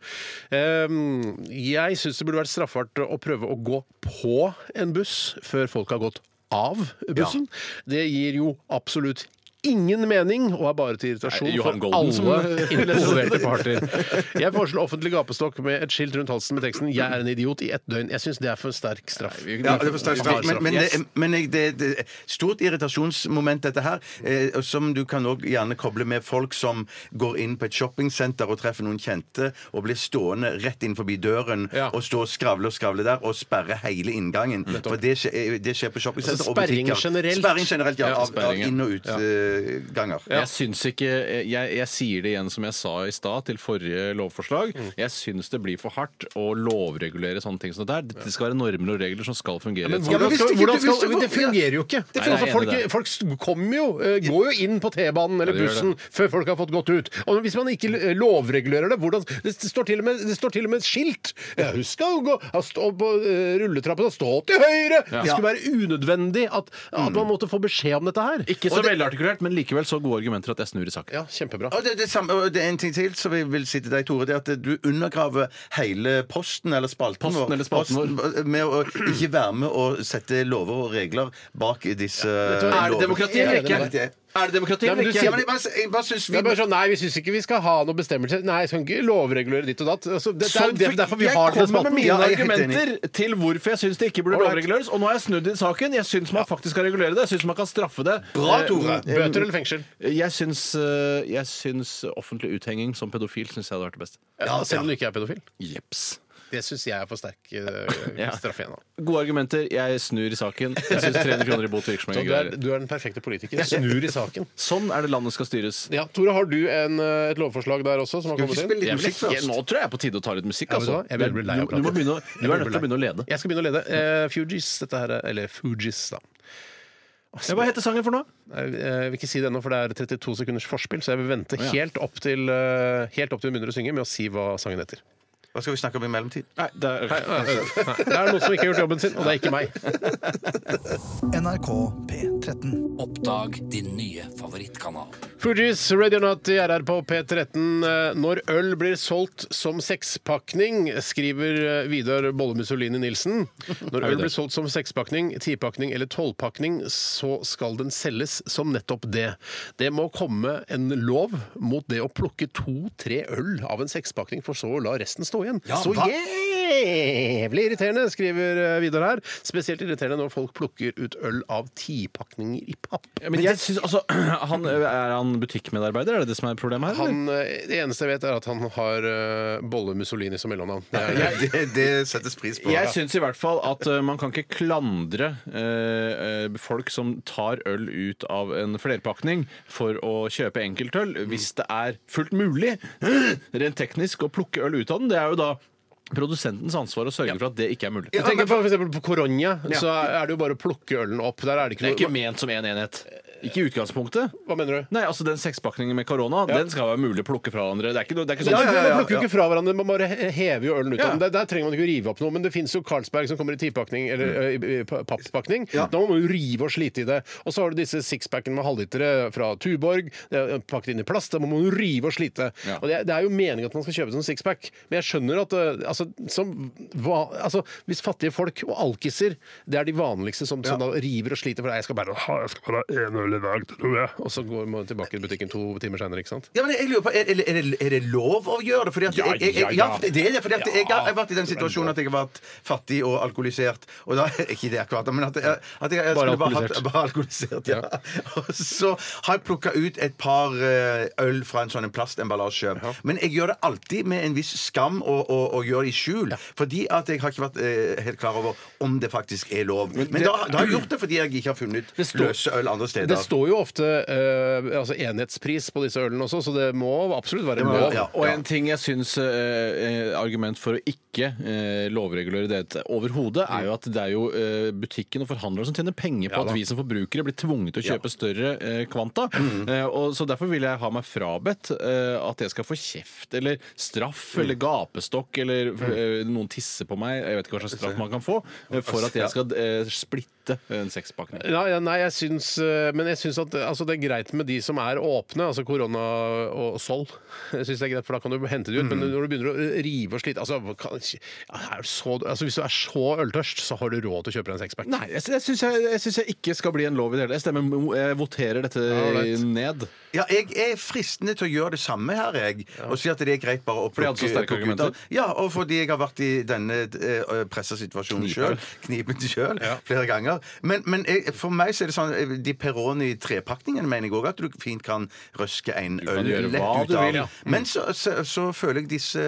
Speaker 6: Ehm, jeg syns det burde vært straffbart å prøve å gå på en buss før folk har gått av bussen. Det gir jo absolutt Ingen mening, og er bare til irritasjon
Speaker 5: Nei, Johan
Speaker 6: for
Speaker 5: Golden som-
Speaker 6: alle *laughs* involverte parter. Jeg foreslår offentlig gapestokk med et skilt rundt halsen med teksten 'Jeg er en idiot' i ett døgn. Jeg syns det er for sterk straff.
Speaker 7: Ja, det forstår jeg. Men, men, det, men jeg- det, det er stort irritasjonsmoment, dette her. Eh, og som du kan også gjerne koble med folk som går inn på et shoppingsenter og treffer noen kjente, og blir stående rett inn forbi døren
Speaker 6: Ja.
Speaker 7: og stå og skravle og skravle der og sperre hele inngangen. For det skjer, det skjer på shoppingsenter
Speaker 6: Altså,
Speaker 7: og butikker.
Speaker 6: sperring generelt.
Speaker 7: Sperring generelt, ja.
Speaker 5: Ja,
Speaker 7: Av, av
Speaker 5: sperring, ja.
Speaker 7: inn- og utganger.
Speaker 5: Jeg syns ikke jeg, jeg sier det igjen som jeg sa i stad til forrige lovforslag.
Speaker 7: Mm.
Speaker 5: Jeg syns det blir for hardt å lovregulere sånne ting som dette her. Det skal være normer og regler som skal fungere. i et
Speaker 6: Men
Speaker 5: samfunn.
Speaker 7: Ja, men
Speaker 6: hvordan skal,
Speaker 7: hvis ikke
Speaker 6: hvordan
Speaker 7: du-
Speaker 6: skal,
Speaker 7: hvis du-
Speaker 6: det fungerer jo ikke.
Speaker 5: Nei, jeg er
Speaker 6: altså,
Speaker 5: enig
Speaker 6: folk
Speaker 5: der.
Speaker 6: folk st- kommer jo, eh, går jo inn på T-banen
Speaker 5: Ja,
Speaker 6: eller
Speaker 5: de gjør
Speaker 6: bussen før folk har fått gått ut. Og hvis man ikke eh, lovregulerer det hvordan, Det står til og med, det står til og med et skilt. Ja, Husk å gå ja, stå på eh, rulletrappen og stå til høyre! Det skulle være unødvendig at, at man måtte få beskjed om dette her.
Speaker 5: Ikke så velartikulert, men likevel så gode argumenter at jeg snur i saken.
Speaker 6: Ja, kjempebra.
Speaker 7: Og det, det, samme, og det er en ting til som jeg vil si til deg, Tore. Det er at du undergraver hele posten eller spalten
Speaker 5: Posten
Speaker 7: vår.
Speaker 5: eller spalten vår.
Speaker 7: Posten, eh, Med å ikke være med å sette lover og regler bak disse eh,
Speaker 6: du hva, er det
Speaker 7: lovene.
Speaker 5: demokrati eller
Speaker 7: Ja, det er
Speaker 5: ikke?
Speaker 7: det. Er det demokrati?
Speaker 6: Nei,
Speaker 7: eller
Speaker 6: men du
Speaker 7: ikke?
Speaker 6: sier-
Speaker 7: Ja, men jeg bare, jeg bare synes
Speaker 6: Det
Speaker 7: vi
Speaker 6: er bare sånn, Nei, vi syns ikke vi skal ha noen bestemmelser. Nei, jeg skal ikke lovregulere ditt og datt. Altså, det, det er jo
Speaker 5: Sånn,
Speaker 6: det-
Speaker 5: for
Speaker 6: derfor vi
Speaker 5: jeg
Speaker 6: har den
Speaker 5: kommer med
Speaker 6: spalten.
Speaker 5: mine
Speaker 7: Ja, jeg er helt
Speaker 5: argumenter til hvorfor jeg syns det ikke burde
Speaker 6: Alright.
Speaker 5: lovreguleres. Og nå har jeg snudd i saken. Jeg syns man faktisk skal regulere det. Jeg syns man kan straffe det.
Speaker 7: Bra,
Speaker 5: Eh,
Speaker 7: Tore.
Speaker 6: Bøter eller fengsel?
Speaker 5: Jeg syns, eh, jeg syns offentlig uthenging som pedofil syns jeg hadde vært det beste.
Speaker 6: Ja, selv om du ikke er pedofil.
Speaker 5: Jeps.
Speaker 6: Det syns jeg er for sterk *laughs* eh,
Speaker 5: Ja.
Speaker 6: straff igjen. da.
Speaker 5: Gode argumenter. Jeg snur i saken. Jeg *laughs* syns 300 kroner i bot virker som
Speaker 6: Så
Speaker 5: en
Speaker 6: du, er,
Speaker 5: greie.
Speaker 6: du er den perfekte politiker. Snur i saken.
Speaker 5: Sånn er det landet skal styres.
Speaker 6: *laughs* Ja, Tore, har du en, eh, et lovforslag der også? som har
Speaker 7: Skal
Speaker 6: kommet
Speaker 7: vi ikke
Speaker 6: inn?
Speaker 7: spille litt
Speaker 5: Jeg vil
Speaker 7: musikk
Speaker 5: ikke,
Speaker 7: først?
Speaker 5: nå tror jeg det er på tide å ta litt musikk.
Speaker 6: Ja, vet du
Speaker 5: Altså.
Speaker 6: hva? Jeg begynner å bli lei av
Speaker 5: Du- du må
Speaker 6: praten.
Speaker 5: begynne å- du
Speaker 6: Jeg
Speaker 5: er nødt til
Speaker 6: begynner å
Speaker 5: å
Speaker 6: bli
Speaker 5: begynne å
Speaker 6: lei.
Speaker 5: lede.
Speaker 6: Jeg skal begynne å lede. Eh, Fugees, dette her er- Eller Fugees, da.
Speaker 5: Ja, Hva heter sangen for noe?
Speaker 6: Nei, Jeg vil ikke si det ennå, for det er 32 sekunders forspill, så jeg vil vente helt opp til eh, Helt opp til hun begynner å synge med å si hva sangen heter.
Speaker 7: Hva skal vi snakke om i mellomtid?
Speaker 5: Nei, det er
Speaker 6: Nei, det er noen som ikke har gjort jobben sin, og det er ikke meg.
Speaker 4: NRK P13.
Speaker 9: Oppdag din nye favorittkanal.
Speaker 6: Fugees, Radio Nut i RR på P13. Eh, Når øl blir solgt som sekspakning, skriver eh, Vidar Bolle Mussolini Nilsen. Når øl blir solgt som sekspakning, tipakning eller tolvpakning, så skal den selges som nettopp det. Det må komme en lov mot det å plukke to-tre øl av en sekspakning, for så å la resten stå igjen. så
Speaker 7: hva-
Speaker 6: jævlig irriterende, skriver eh, Vidar her. Spesielt irriterende når folk plukker ut øl av tipakninger i papp.
Speaker 5: Ja, Men jeg synes, altså, *clears throat* han, Er han butikkmedarbeider? Er det det som er problemet her? eller?
Speaker 6: Han, eh, det eneste jeg vet, er at han har eh, Bolle Mussolini som mellomnavn. Det er-
Speaker 7: *laughs* Det, det settes pris på.
Speaker 5: Jeg syns i hvert fall at eh, man kan ikke klandre eh, eh, folk som tar øl ut av en flerpakning for å kjøpe enkeltøl,
Speaker 6: Mm.
Speaker 5: hvis det er fullt mulig *gasps* rent teknisk å plukke øl ut av den. Det er jo da produsentens ansvar å sørge for at det ikke er mulig.
Speaker 6: Jeg tenker på, for eksempel på Coronia, så er det jo bare å plukke ølen opp. Der er det
Speaker 5: Det er
Speaker 6: ikke
Speaker 5: ikke
Speaker 6: noe
Speaker 5: ment som én en enhet. Ikke i utgangspunktet.
Speaker 6: Eh, Hva mener du?
Speaker 5: Nei, altså Den sekspakningen med korona Den skal være mulig å plukke fra hverandre. Det er ikke, noe- det er ikke sånn
Speaker 6: Ja, ja, ja, Man plukker jo ikke fra hverandre, man bare he- hever jo ølen ut. av
Speaker 5: Ja.
Speaker 6: den. Der, der trenger man ikke å rive opp noe, men det fins jo Carlsberg som kommer i tipakning, eller
Speaker 5: Mm.
Speaker 6: eh, i- i pa- papppakning. Da må man jo rive og slite i det. Og så har du disse sixpackene med halvlitere fra Tuborg, det er pakket inn i plast. Da må man jo rive og slite.
Speaker 5: Ja.
Speaker 6: Og det, er- det er jo meningen at man skal kjøpe sånn sixpack, men jeg skjønner at eh, altså, som, hva, altså, hvis fattige folk og alkiser, det er de vanligste som, som da river og sliter, for jeg skal bare ha jeg skal bare ha en øl i dag, tror jeg. Og så går man tilbake i butikken to timer seinere, ikke sant?
Speaker 7: Ja, men jeg lurer på, er, er, er, det, er det lov å gjøre det? Fordi at
Speaker 6: Ja,
Speaker 7: jeg, jeg,
Speaker 6: ja,
Speaker 7: jeg,
Speaker 6: ja.
Speaker 7: ja, det er det. Fordi at jeg, har- jeg har vært i den
Speaker 6: Ja,
Speaker 7: situasjonen at jeg har vært fattig og alkoholisert. Og da, *laughs* ikke det akkurat, men at jeg, at jeg, jeg
Speaker 6: Bare
Speaker 7: skulle bare hatt
Speaker 6: alkoholisert.
Speaker 7: bare alkoholisert. Ja. *laughs* Og så har jeg plukka ut et par eh, øl fra en sånn en plastemballasje. Men jeg gjør det alltid med en viss skam og, og, og gjør det i skjul. Fordi at jeg har ikke vært eh, helt klar over om det faktisk er lov. Men, da, da har jeg gjort det fordi jeg ikke har funnet
Speaker 6: står-
Speaker 7: løse øl andre steder.
Speaker 6: Det står jo ofte eh, altså enhetspris på disse ølene også, så det må absolutt være
Speaker 7: må-
Speaker 6: lov.
Speaker 7: ja.
Speaker 5: Og en ting jeg syns eh, eh, argument for å ikke eh, lovregulere det overhodet, er jo at det er jo eh, butikken og forhandlere som tjener penger på
Speaker 6: Ja da.
Speaker 5: at vi som forbrukere blir tvunget til å kjøpe større eh, kvanta. Eh, og så Derfor vil jeg ha meg frabedt eh, at jeg skal få kjeft eller straff eller gapestokk eller eh, noen tisser på meg, jeg vet ikke hva slags straff man kan få, eh, for at jeg skal eh, splitte en sekspakning.
Speaker 6: Ja, ja, nei, jeg syns, eh, men jeg syns at eh, altså, det er greit med de som er åpne, altså korona og Sol. Jeg synes det er greit, For da kan du hente det ut. Men når du begynner å rive og slite altså, kan, ja, er du så, altså, Hvis du er så øltørst, så har du råd til å kjøpe deg en sexpack.
Speaker 5: Nei, jeg, jeg syns jeg, jeg, synes jeg ikke skal bli en lov i det hele. Jeg stemmer, jeg voterer dette
Speaker 6: Alright.
Speaker 5: ned.
Speaker 7: Ja, jeg er fristende til å gjøre det samme her, jeg. Og si at det er greit bare å
Speaker 5: Fordi jeg hadde så sterke
Speaker 7: plukke ut
Speaker 5: argumenter?
Speaker 7: av- Ja, og fordi jeg har vært i denne eh, pressa situasjonen sjøl. Knipen sjøl. Flere ganger. Men, men jeg, for meg så er det sånn eh, De Peroni-trepakningene mener jeg òg at du fint kan røske en
Speaker 5: kan
Speaker 7: øl
Speaker 5: gjøre
Speaker 7: lett
Speaker 5: hva
Speaker 7: ut
Speaker 5: du
Speaker 7: av.
Speaker 5: vil, ja. Mm.
Speaker 7: Men så, så, så føler jeg disse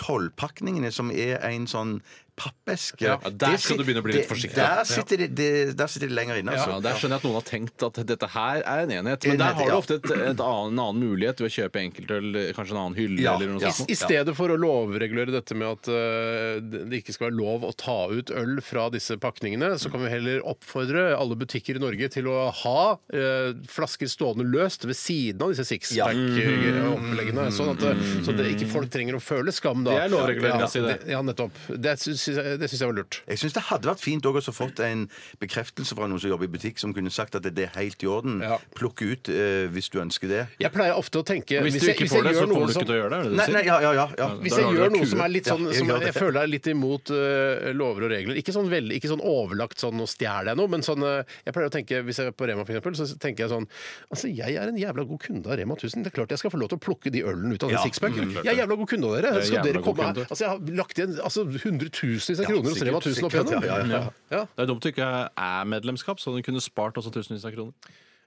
Speaker 7: tolvpakningene, som er en sånn pappeske
Speaker 5: Ja, der
Speaker 7: det
Speaker 5: skal
Speaker 7: sit-
Speaker 5: du begynne å bli litt forsiktig.
Speaker 7: det- Der sitter det, det, der sitter det lenger inne, altså.
Speaker 5: Ja, der skjønner jeg at noen har tenkt at dette her er en enhet. Men
Speaker 7: Enhet,
Speaker 5: der har du
Speaker 7: ja.
Speaker 5: ofte et, et annen, en annen mulighet ved å kjøpe enkeltøl, kanskje en annen hylle
Speaker 7: Ja,
Speaker 5: eller noe
Speaker 7: ja.
Speaker 5: sånt.
Speaker 6: I stedet for å lovregulere dette med at eh, det ikke skal være lov å ta ut øl fra disse pakningene, så kan vi heller oppfordre alle butikker i Norge til å ha eh, flasker stående løst ved siden av disse sixpack-oppleggene. Sånn at eh, så det ikke folk trenger å føle skam da.
Speaker 5: Mm-hmm. Det er lovregulering,
Speaker 6: ja,
Speaker 5: å si det.
Speaker 6: Ja, nettopp. Det syns syns jeg, det synes jeg var lurt.
Speaker 7: Jeg syns det hadde vært fint også å fått en bekreftelse fra noen som jobber i butikk, som kunne sagt at det er helt i orden.
Speaker 6: Ja.
Speaker 7: Plukk ut eh, hvis du ønsker det.
Speaker 6: Jeg pleier ofte å tenke
Speaker 5: Hvis du
Speaker 6: jeg-
Speaker 5: ikke
Speaker 6: jeg
Speaker 5: får det, så
Speaker 6: gjør noe
Speaker 5: kommer du
Speaker 6: som-
Speaker 5: ikke til å gjøre det? er det det du
Speaker 7: Nei,
Speaker 5: sier?
Speaker 7: nei, ja, ja, ja, ja.
Speaker 6: Hvis
Speaker 5: Da
Speaker 6: jeg
Speaker 5: lager
Speaker 6: gjør
Speaker 5: du
Speaker 6: noe som
Speaker 5: kue.
Speaker 6: er litt sånn
Speaker 7: Ja, jeg
Speaker 6: som
Speaker 7: gjør
Speaker 6: jeg
Speaker 7: det.
Speaker 6: føler er litt imot eh, lover og regler Ikke sånn, veldig, ikke sånn overlagt sånn 'nå stjeler jeg noe', men sånn eh, Jeg pleier å tenke, hvis jeg er på Rema for eksempel, så tenker jeg sånn Altså, jeg er en jævla god kunde av Rema 1000. Det er klart jeg skal få lov til å plukke de ølene ut av den
Speaker 7: Ja,
Speaker 6: sixpacken.
Speaker 5: klart
Speaker 6: Jeg er
Speaker 5: det.
Speaker 6: jævla god kunde av
Speaker 5: Jeg er
Speaker 6: dere. Skal
Speaker 5: jævla
Speaker 6: dere
Speaker 5: god
Speaker 6: komme her?
Speaker 5: kunde.
Speaker 6: Altså, jeg har lagt igjen altså, hundretusenvis av kroner hos
Speaker 7: sikkert,
Speaker 6: Rema 1000 opp
Speaker 7: sikkert,
Speaker 6: igjennom.
Speaker 7: ja, ja, ja.
Speaker 6: Ja.
Speaker 5: Det er dumt du ikke er medlemskap, så du kunne spart også tusenvis av kroner.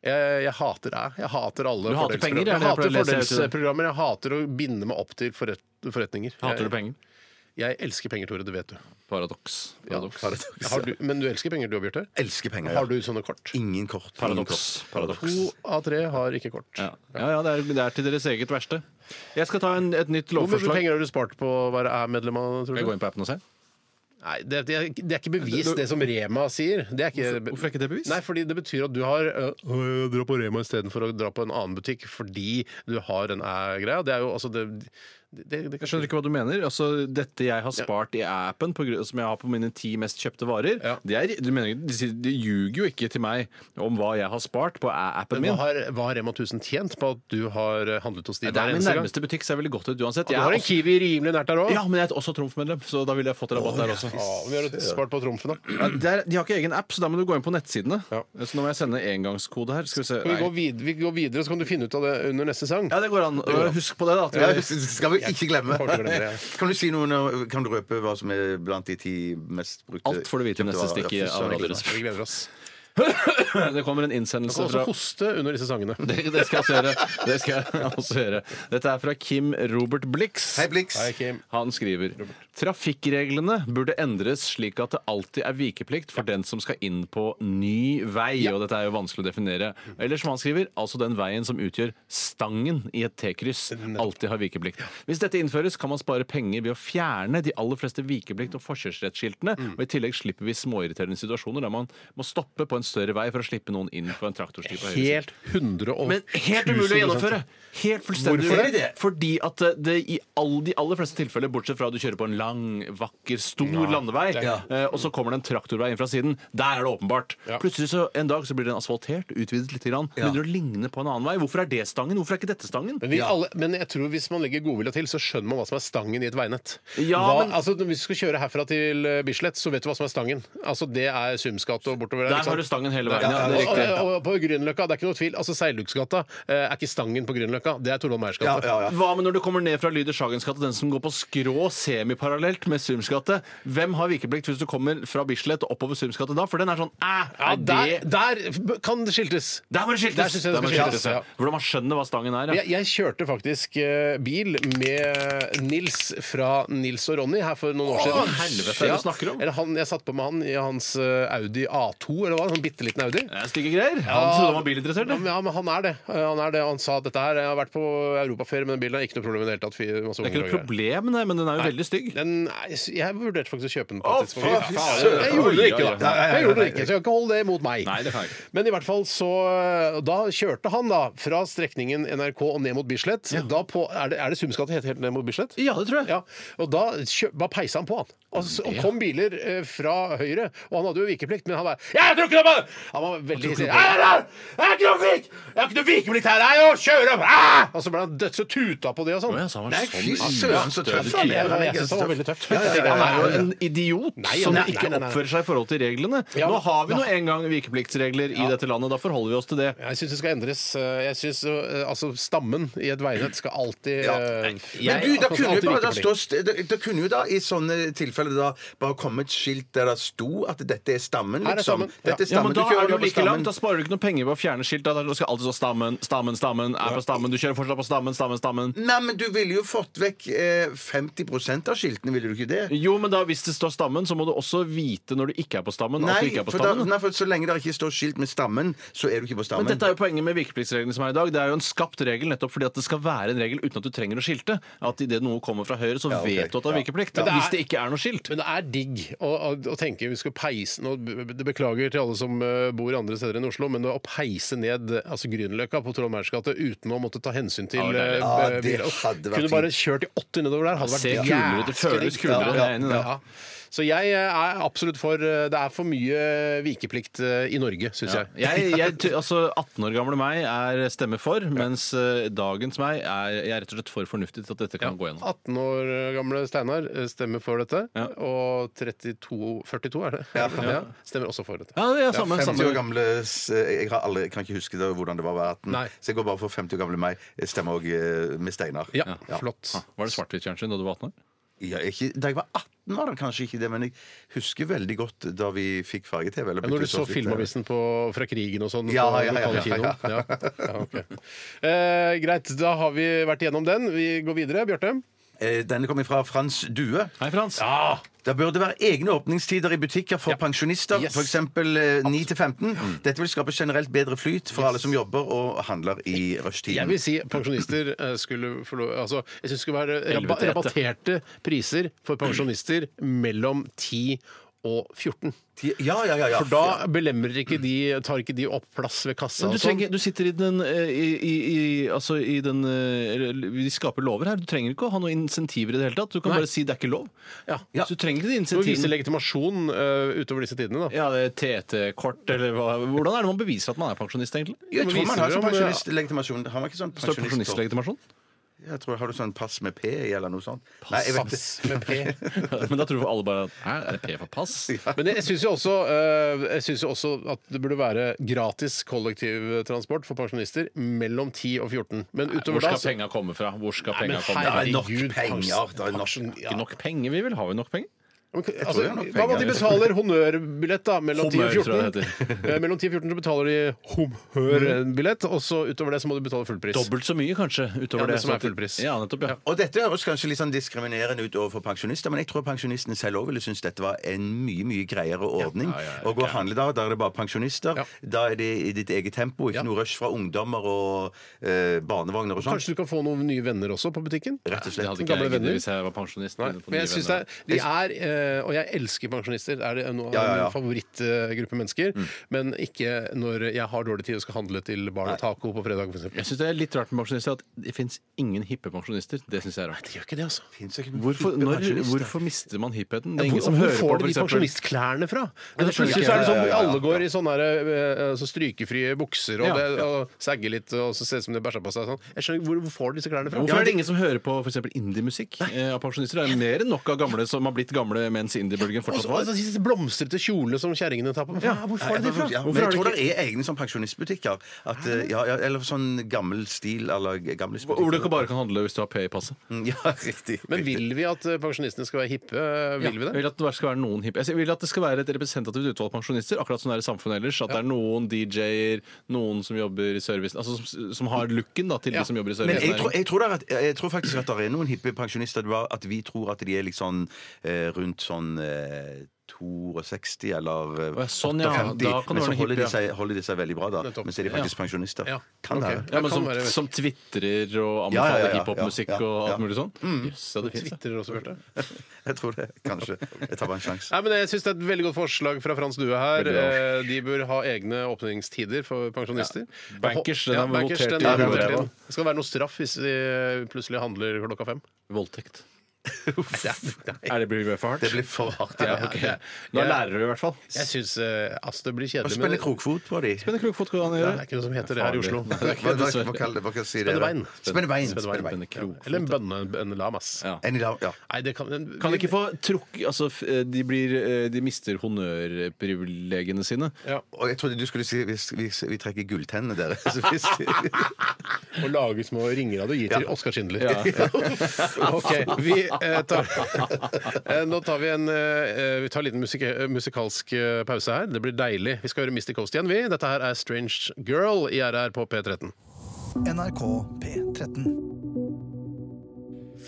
Speaker 6: Jeg, jeg hater deg. Jeg hater alle
Speaker 5: Du hater penger, ja,
Speaker 6: Jeg
Speaker 5: men jeg
Speaker 6: hater
Speaker 5: pleier å lese hele tiden.
Speaker 6: fordelsprogrammer. Jeg hater å binde meg opp til forret, forretninger.
Speaker 5: Hater du
Speaker 6: jeg,
Speaker 5: penger?
Speaker 6: jeg elsker penger, Tore. Det vet du.
Speaker 5: Paradoks. Paradoks.
Speaker 6: Har du, men du elsker penger, du og Bjarte?
Speaker 7: Elsker penger. Ja.
Speaker 6: Har du sånne kort?
Speaker 7: Ingen kort. Ingen
Speaker 5: Paradoks.
Speaker 7: kort.
Speaker 5: Paradoks.
Speaker 6: To av tre har ikke kort.
Speaker 5: Ja, ja, ja det, er, det er til deres eget verste. Jeg skal ta en, et nytt
Speaker 6: Hvor mye
Speaker 5: lovforslag.
Speaker 6: penger har du spart på å være medlem av? Tror
Speaker 5: Skal jeg
Speaker 6: du?
Speaker 5: gå inn på appen og se?
Speaker 6: Nei, det, det, er- det er ikke bevis, det som Rema sier. Det er ikke,
Speaker 5: Hvorfor- hvorfor er ikke det bevis?
Speaker 6: Nei, fordi det betyr at du har øh, øh, dra på Rema istedenfor å dra på en annen butikk fordi du har den æ-greia. Det er jo altså det, det, det, det
Speaker 5: Jeg skjønner ikke hva du mener. Altså, dette jeg har spart i appen, på, grunn- som jeg har på mine ti mest kjøpte varer
Speaker 6: Ja.
Speaker 5: det er, du mener, de, sier- de ljuger jo ikke til meg om hva jeg har spart på appen
Speaker 6: Men
Speaker 5: min.
Speaker 6: hva har, hva har Rema 1000 tjent på at du har eh, handlet hos de
Speaker 5: Det er
Speaker 6: hver
Speaker 5: min
Speaker 6: eneste gang?
Speaker 5: nærmeste butikk, så jeg ville gått ut uansett.
Speaker 6: Du
Speaker 5: Jeg
Speaker 6: har
Speaker 5: er
Speaker 6: en
Speaker 5: også,
Speaker 6: Kiwi rimelig nært der òg.
Speaker 5: ja, men jeg er også Trumf-medlem, så da ville jeg fått rabatt der også.
Speaker 6: vi har spart på trumfen, da.
Speaker 5: Ja, det er, de har ikke egen app, så da må du gå inn på nettsidene.
Speaker 6: Ja.
Speaker 5: Så nå må jeg sende engangskode her. Skal vi se.
Speaker 6: Skal vi, gå
Speaker 5: Nei.
Speaker 6: vid vi går videre, så kan du finne ut av det under neste sang.
Speaker 5: Ja, det går an. Husk på det, da.
Speaker 7: Ja,
Speaker 5: At vi,
Speaker 7: det skal vi ikke glemme.
Speaker 6: kommer til å glemme det, ja.
Speaker 7: *laughs* Kan du si noe, nå- kan du røpe hva som er blant de ti mest brukte
Speaker 5: Alt får du vite i
Speaker 7: kjøpte
Speaker 5: neste
Speaker 7: varer?
Speaker 5: stikk i
Speaker 7: Ja, fy søren,
Speaker 5: Radio
Speaker 7: jeg gleder meg.
Speaker 6: Vi gleder oss.
Speaker 5: *laughs* det kommer en
Speaker 6: Du
Speaker 5: innsendelse
Speaker 6: kan også
Speaker 5: fra
Speaker 6: hoste under disse sangene.
Speaker 5: *laughs* det, det skal jeg også gjøre. Det skal jeg også gjøre. Dette er fra Kim Robert Blix.
Speaker 7: Hei, Blix.
Speaker 6: Hei, Kim.
Speaker 5: Han skriver trafikkreglene burde endres slik at det alltid er vikeplikt for den som skal inn på ny vei. Og dette er jo vanskelig å definere. Eller som han skriver, altså den veien som utgjør stangen i et T-kryss. Alltid har vikeplikt. Hvis dette innføres, kan man spare penger ved å fjerne de aller fleste vikeplikt- og forkjørsrettskiltene. Og i tillegg slipper vi småirriterende situasjoner der man må stoppe på en større vei for å slippe noen inn på en traktorsti på høyre side.
Speaker 6: Helt 100 og
Speaker 5: Men helt umulig å gjennomføre! Helt fullstendig
Speaker 6: Hvorfor er
Speaker 5: umulig. Fordi at eh, det i all, de aller fleste tilfeller, bortsett fra at du kjører på en lang, vakker, stor landevei, eh, og så kommer det en traktorvei inn fra siden, der er det åpenbart.
Speaker 6: Ja.
Speaker 5: Plutselig så en dag så blir den asfaltert, utvidet litt, grann, begynner å ligne på en annen vei. Hvorfor er det stangen? Hvorfor er ikke dette stangen?
Speaker 6: Men, vi alle, men jeg tror hvis man legger godvilja til, så skjønner man hva som er stangen i et veinett.
Speaker 5: Ja,
Speaker 6: hva,
Speaker 5: men-
Speaker 6: altså, hvis du skal kjøre herfra til eh, Bislett, så vet du hva som er stangen. Altså, det er Sumsgata og bortover
Speaker 5: Der
Speaker 6: ikke sant?
Speaker 5: har du stangen hele veien, ja,
Speaker 6: Ja,
Speaker 5: det er
Speaker 6: og,
Speaker 5: riktig.
Speaker 6: og, og på Grünerløkka, det er ikke noe tvil. Altså, Seilduksgata eh, er ikke stangen på Grünerløkka, det er Torvald Meyers
Speaker 7: Ja,
Speaker 6: gate.
Speaker 7: ja, ja.
Speaker 5: Hva med når du kommer ned fra Lyder Sagens gate, den som går på skrå semiparallelt med Sums gate? Hvem har vikeplikt hvis du kommer fra Bislett og oppover Sums gate da? For den er sånn æ,
Speaker 6: Ja,
Speaker 5: er det
Speaker 6: der, der kan det skiltes!
Speaker 5: Der må det
Speaker 6: Der
Speaker 5: skiltes!
Speaker 6: synes jeg det
Speaker 5: Der må det
Speaker 6: skal
Speaker 5: skiltes,
Speaker 6: skiltes, ja.
Speaker 5: ja. Hvordan man skjønner hva stangen er. Ja.
Speaker 6: Jeg, jeg kjørte faktisk eh, bil med Nils fra Nils og Ronny her for noen år siden.
Speaker 5: helvete, hva er det du snakker om?
Speaker 6: Eller han, jeg satt på med han i hans eh, Audi A2, eller hva? En sånn bitte liten Audi.
Speaker 5: Det er stygge greier. Han trodde han var bilinteressert.
Speaker 6: Ja,
Speaker 5: det.
Speaker 6: men- ja, men han er det. Eh, Han er det. Han sa at dette her, jeg har vært på europaferie med den bilen, det er ikke noe problem i det hele tatt. Fy- masse
Speaker 5: Det er ikke
Speaker 6: unger og
Speaker 5: noe
Speaker 6: greier.
Speaker 5: problem, nei, men den er jo veldig stygg.
Speaker 6: Den, nei, jeg vurderte faktisk å kjøpe den. på et
Speaker 5: fy
Speaker 6: tidspunkt.
Speaker 5: faen.
Speaker 6: Jeg gjorde det ikke,
Speaker 5: Oi, oi,
Speaker 6: da. Jeg gjorde det ikke, Så jeg kan ikke holde det mot meg.
Speaker 5: Nei, det kan jeg ikke.
Speaker 6: Men i hvert fall så eh, Da kjørte han da fra strekningen NRK og ned mot Bislett. Da på, er det, er det Sumsgata helt, helt ned mot Bislett?
Speaker 5: Ja, det tror jeg.
Speaker 6: Ja, og da, kjø, da peisa han på han. Og, så, og kom biler eh, fra høyre, og han hadde jo vikeplikt, men han bare «Ja, Jeg tror ikke noe på det! Han var veldig hissig. «Ja, ja, ja! Jeg har ikke noe vik! Jeg har ikke noe vikeplikt her! Jeg er jo kjører opp! Ah!» Og så ble han dødt så tuta på det og sånn.
Speaker 5: Å, ja, så han var
Speaker 6: Nei,
Speaker 5: sånn.
Speaker 7: Fy søren, så tøff
Speaker 6: faen,
Speaker 7: han
Speaker 6: jeg, jeg, jeg
Speaker 7: er.
Speaker 6: synes han var veldig tøff.
Speaker 5: Han er jo en idiot
Speaker 6: Nei,
Speaker 5: som
Speaker 6: nei, nei,
Speaker 5: ikke
Speaker 6: nei, nei.
Speaker 5: oppfører seg i forhold til reglene.
Speaker 6: Ja,
Speaker 5: Nå
Speaker 6: men-
Speaker 5: har vi nå engang vikepliktsregler i dette landet, da forholder vi oss til det.
Speaker 6: Jeg syns det skal endres. Eh, Jeg syns altså stammen i et veinett skal alltid
Speaker 7: Ja.
Speaker 6: eh,
Speaker 7: Men du, da
Speaker 6: alltid
Speaker 7: kunne, jo bare, da,
Speaker 6: vikeplikt.
Speaker 7: stå, st- da kunne jo da i sånne tilfeller da bare komme et skilt der det sto at dette er stammen,
Speaker 6: Her er
Speaker 7: liksom.
Speaker 6: stammen.
Speaker 7: Dette er
Speaker 5: Ja, men
Speaker 7: stammen.
Speaker 5: Da
Speaker 7: Du kjører
Speaker 5: er det
Speaker 7: jo
Speaker 5: jo
Speaker 7: på
Speaker 5: like
Speaker 7: stammen.
Speaker 5: langt, da sparer du ikke noe penger ved å fjerne skilt. Da skal alltid stå 'stammen', 'stammen', 'stammen', er på stammen. Du kjører fortsatt på 'stammen', 'stammen', 'stammen'.
Speaker 7: Nei, men du ville jo fått vekk eh, 50 av skiltene, ville du ikke det?
Speaker 5: Jo, men da hvis det står 'stammen', så må du også vite når du ikke er på stammen. at du
Speaker 7: Nei,
Speaker 5: ikke er på
Speaker 7: for, da,
Speaker 5: stammen.
Speaker 7: nei, for så lenge det ikke står skilt med stammen, så er du ikke på stammen.
Speaker 5: Men dette er jo poenget med virkepliktsreglene som er i dag. Det er jo en skapt regel nettopp fordi at det skal være en regel uten at du trenger å skilte. At idet noe kommer fra høyre, så
Speaker 7: Ja, ok.
Speaker 5: vet du at det er vikeplikt.
Speaker 6: Men det er-
Speaker 5: Hvis det ikke er noe skilt.
Speaker 6: Men det er digg å, å, å tenke vi skal peise nå, Det beklager til alle som eh, bor andre steder enn Oslo, men å peise ned eh, altså Grünerløkka på Troll Meyers gate uten å måtte ta hensyn til
Speaker 5: Ja, det er det.
Speaker 6: eh,
Speaker 7: Ja, det
Speaker 6: biler.
Speaker 7: hadde vært
Speaker 6: Kunne bare kjørt i 80 nedover der. Hadde vært
Speaker 5: Se kulere ut. Det
Speaker 6: jæsklig.
Speaker 5: føles kulere.
Speaker 6: Ja,
Speaker 5: Jeg er enig i det.
Speaker 6: ja. Så jeg eh, er absolutt for eh, Det er for mye vikeplikt eh, i Norge, syns jeg.
Speaker 5: Jeg, jeg, ty- altså 18 år gamle meg er stemmer for, mens eh, dagens meg er jeg er rett og slett for fornuftig til at dette kan gå gjennom.
Speaker 6: 18 år gamle Steinar eh, stemmer for dette.
Speaker 5: Ja.
Speaker 6: Og 32 42 er det? Ja, stemmer også for dette.
Speaker 5: Ja, ja, samme,
Speaker 7: 50 år
Speaker 5: samme.
Speaker 7: gamle s- eh, Jeg har aldri, kan ikke huske det, hvordan det var å være 18.
Speaker 6: Nei.
Speaker 7: Så jeg går bare for 50 år gamle meg. Jeg stemmer òg med Steinar.
Speaker 6: Ja, flott.
Speaker 5: Var det svart-hvitt-fjernsyn da du var 18 år?
Speaker 7: Ja, ikke, da jeg var 18 var det kanskje ikke det, men jeg husker veldig godt da vi fikk farge-TV. eller
Speaker 6: Ja, når du så
Speaker 7: bytte ut eh, farge-TV.
Speaker 6: filmavisen på, fra krigen og sånn
Speaker 7: Ja,
Speaker 6: på
Speaker 7: ja, ja,
Speaker 6: lokale
Speaker 7: ja,
Speaker 6: kino?
Speaker 7: ja.
Speaker 6: Ja, ja, ok. eh, greit, da har vi vært igjennom den. Vi går videre. Bjarte?
Speaker 7: Eh, Denne kommer fra Frans Due.
Speaker 5: Hei, Frans.
Speaker 6: Ja!
Speaker 7: Det burde være egne åpningstider i butikker for pensjonister,
Speaker 6: Yes.
Speaker 7: f.eks. 9 til 15. Dette vil skape generelt bedre flyt for alle som jobber og handler i
Speaker 6: Jeg
Speaker 7: rushtiden.
Speaker 6: vil si pensjonister eh, skulle få lov Altså, jeg syns det skulle være
Speaker 5: Elleve
Speaker 6: raba-
Speaker 5: til ett, ja.
Speaker 6: rabatterte priser for pensjonister mellom 10 og 14.
Speaker 7: Ja, ja, ja, ja.
Speaker 6: For da belemrer ikke de, tar ikke de opp plass ved kassa
Speaker 5: Men
Speaker 6: og
Speaker 5: du,
Speaker 6: sånn.
Speaker 5: trenger, du sitter i den eh, i, i, i, Altså i den eh, Vi skaper lover her. Du trenger ikke å ha noen insentiver i det hele tatt. Du kan
Speaker 6: Nei.
Speaker 5: bare si det er ikke lov.
Speaker 6: Ja.
Speaker 5: Så du trenger ikke de
Speaker 6: Du må vise
Speaker 5: insentivene.
Speaker 6: legitimasjon eh, utover disse tidene, da.
Speaker 5: Ja, det er TT-kort eller hva Hvordan er det man beviser at man er pensjonist, egentlig?
Speaker 7: Jeg tror
Speaker 6: Viser
Speaker 7: man har
Speaker 6: du
Speaker 7: sånn
Speaker 6: om, eh,
Speaker 7: pensjonistlegitimasjon. Har man ikke sånn
Speaker 5: Står det
Speaker 7: pensjonistkort?
Speaker 5: pensjonistlegitimasjon?
Speaker 7: Jeg tror, Har du sånn pass med P i, eller noe sånt? Nei, jeg vet ikke.
Speaker 6: Med *laughs* P.
Speaker 5: *laughs* Men da tror alle bare at Hæ, er det P for pass?
Speaker 6: Men jeg syns jo, også, eh, jeg synes jo også at det burde være gratis kollektivtransport for pensjonister mellom 10 og 14. Men
Speaker 5: Hvor
Speaker 6: utover da
Speaker 5: skal
Speaker 6: så-
Speaker 5: penga komme fra? Hvor skal
Speaker 6: Nei, men
Speaker 5: penga komme fra?
Speaker 7: Det er nok penger,
Speaker 6: pens-
Speaker 7: det er nok-
Speaker 6: pensjon-
Speaker 5: Ikke nok penger vi vil. Har vi nok penger?
Speaker 6: Men,
Speaker 7: tror
Speaker 6: altså,
Speaker 7: det er nok
Speaker 6: hva med at de
Speaker 7: penger.
Speaker 6: betaler honnørbillett, da? Mellom 10 og
Speaker 5: Humør, tror jeg
Speaker 6: 14. Eh, Mellom 10 og 14 så betaler de humørbillett, og så utover det så må du betale full pris.
Speaker 5: Dobbelt så mye, kanskje.
Speaker 6: Ja,
Speaker 5: utover
Speaker 6: det
Speaker 5: det.
Speaker 6: som er
Speaker 5: Så at-
Speaker 6: fullpris.
Speaker 5: Ja, nettopp, ja.
Speaker 7: Og dette høres kanskje litt sånn diskriminerende ut overfor pensjonister, men jeg tror pensjonistene selv òg ville synes dette var en mye mye greiere ordning.
Speaker 5: Ja, ja, ja,
Speaker 7: Å gå handledag, der er det bare pensjonister.
Speaker 6: Ja.
Speaker 7: Da er det i ditt eget tempo, ikke
Speaker 6: Ja.
Speaker 7: noe rush fra ungdommer og eh, barnevogner og sånt.
Speaker 6: Kanskje du kan få noen nye venner også på butikken?
Speaker 7: Rett
Speaker 5: Det hadde
Speaker 7: og slett.
Speaker 5: ikke
Speaker 6: Gamle
Speaker 5: jeg giddet
Speaker 6: venner.
Speaker 5: hvis jeg var pensjonist.
Speaker 6: Nei,
Speaker 5: men på
Speaker 6: men jeg
Speaker 5: nye
Speaker 6: synes det
Speaker 5: venner.
Speaker 6: er, de er eh, Og jeg elsker pensjonister. Det er det noe av
Speaker 7: Ja, ja, ja.
Speaker 6: min favorittgruppe mennesker.
Speaker 5: Mm.
Speaker 6: Men ikke når jeg har dårlig tid og skal handle til barn og taco på fredag,
Speaker 5: Jeg
Speaker 6: f.eks.
Speaker 5: syns det er litt rart med pensjonister at det fins ingen hippe pensjonister. Det syns jeg er rart.
Speaker 6: De gjør ikke det, altså.
Speaker 7: Finnes det ikke noen
Speaker 5: Hvorfor,
Speaker 7: hippe
Speaker 5: når,
Speaker 7: pensjonister?
Speaker 5: hvorfor mister man hippheten? Det er
Speaker 6: Hvor,
Speaker 5: ingen som
Speaker 6: hvor
Speaker 5: hører på,
Speaker 6: får de de
Speaker 5: for eksempel.
Speaker 6: pensjonistklærne fra? Men
Speaker 5: skjønner
Speaker 6: plutselig
Speaker 5: jeg
Speaker 6: så
Speaker 7: ikke.
Speaker 6: er det sånn
Speaker 7: Ja, ja, ja, ja.
Speaker 6: alle går i sånne her, eh, altså strykefrie bukser og,
Speaker 5: Ja,
Speaker 6: det- og sagger litt og så ser det ut som de har bæsja på seg. og Sånn. Jeg skjønner, ikke, hvor, hvor får de disse klærne fra?
Speaker 5: Hvorfor er det ingen som hører på f.eks. indiemusikk eh, av pensjonister? Det er mer enn nok av gamle som har blitt gamle mens indiebølgen
Speaker 6: Og
Speaker 5: fortsatt
Speaker 6: så- og
Speaker 5: var.
Speaker 6: så disse blomstrete kjolene som kjerringene tar på. Ja, hvor får de
Speaker 7: Nei,
Speaker 6: det fra?
Speaker 7: ja, men jeg tror det er egne sånn pensjonistbutikker. At, eh, ja, ja, eller sånn gammel stil eller gamlisbutikker.
Speaker 5: Hvor du ikke bare kan handle hvis du har P i passet.
Speaker 7: Ja, *laughs* riktig.
Speaker 6: Men
Speaker 7: riktig.
Speaker 6: vil vi at eh, pensjonistene skal være hippe? Vil vi det?
Speaker 5: Jeg vil at det bare skal være noen hippe. Jeg vil at det skal være et representativt utvalg pensjonister, akkurat som det er i samfunnet ellers. At det er noen DJ-er, noen som jobber i servicen, altså som, som har looken da, til
Speaker 6: Ja.
Speaker 5: de som jobber i
Speaker 7: Men
Speaker 5: servicen.
Speaker 7: jeg tror, jeg, tror det er at, jeg tror faktisk at det er noen hippe pensjonister. Det er bare at vi tror at de er litt sånn eh, rundt sånn eh, 62 eller eh,
Speaker 5: Å, ja, sånn, ja.
Speaker 7: 58,
Speaker 5: Da kan det være
Speaker 7: men så
Speaker 5: noen
Speaker 7: holder de,
Speaker 5: hippe,
Speaker 7: seg, holder de seg veldig bra da.
Speaker 6: Nettopp.
Speaker 7: Men så er de faktisk pensjonister.
Speaker 6: Ja.
Speaker 7: Kan
Speaker 6: Ok.
Speaker 7: det være.
Speaker 5: ja, men
Speaker 6: kan
Speaker 5: som,
Speaker 6: være veldig-
Speaker 5: som tvitrer og
Speaker 7: Ja, ja,
Speaker 5: anbefaler
Speaker 7: ja, ja,
Speaker 5: hiphopmusikk
Speaker 7: ja, ja,
Speaker 5: og
Speaker 7: ja. Mm.
Speaker 5: alt mulig sånn. Jøss, ja, det er fint.
Speaker 6: Twitter også, Bjarte.
Speaker 7: Jeg tror det, kanskje. Jeg tar bare en sjanse.
Speaker 6: Nei, men jeg synes Det er et veldig godt forslag fra Frans Due her.
Speaker 5: Veldig bra.
Speaker 6: Eh, De bør ha egne åpningstider for pensjonister.
Speaker 5: Bankers, den
Speaker 6: ja,
Speaker 5: er
Speaker 6: bankers,
Speaker 5: votert
Speaker 6: den
Speaker 5: i
Speaker 6: er
Speaker 5: hodet.
Speaker 6: votert inn. Det skal være noe straff hvis de plutselig handler klokka fem.
Speaker 5: *laughs* Voldtekt.
Speaker 7: *laughs*
Speaker 6: Nei,
Speaker 5: Er det blir det for hardt?
Speaker 7: Det blir for hardt.
Speaker 5: ja,
Speaker 7: Ja.
Speaker 5: ok. Nå er lærere i hvert fall.
Speaker 6: Jeg syns altså, det blir
Speaker 7: Og
Speaker 6: kjedelig.
Speaker 7: spenne
Speaker 6: Men
Speaker 7: krokfot på de.
Speaker 5: Spenne krokfot kan han
Speaker 6: det
Speaker 5: gjøre.
Speaker 6: er ikke noe som heter det her i Oslo.
Speaker 5: Farlig. Nei,
Speaker 7: Hva, hva, hva,
Speaker 5: dessverre.
Speaker 7: kaller- hva kan jeg si
Speaker 6: Spenne
Speaker 7: det?
Speaker 6: bein.
Speaker 7: Spenne bein.
Speaker 6: Spenne
Speaker 7: Spenne bein.
Speaker 5: Spenne krokfot.
Speaker 6: Eller en bønne, en lamas.
Speaker 5: Ja.
Speaker 7: En i dag, ja.
Speaker 6: Nei, det kan,
Speaker 5: Kan de ikke få trukk... Altså, f- de, blir, eh, de mister honnørprivilegiene sine.
Speaker 6: ja,
Speaker 7: Og jeg trodde du skulle si hvis, hvis vi trekker gulltennene deres. *laughs* Så hvis,
Speaker 6: Og lage små ringer av det og gi til Oskar Schindler. *laughs* OK, vi eh, tar eh, Nå tar vi en eh, Vi tar en liten musik eh, musikalsk eh, pause her. Det blir deilig. Vi skal høre Mystic Coast igjen, vi. Dette her er Strange Girl i RR på P13.
Speaker 4: NRK P13.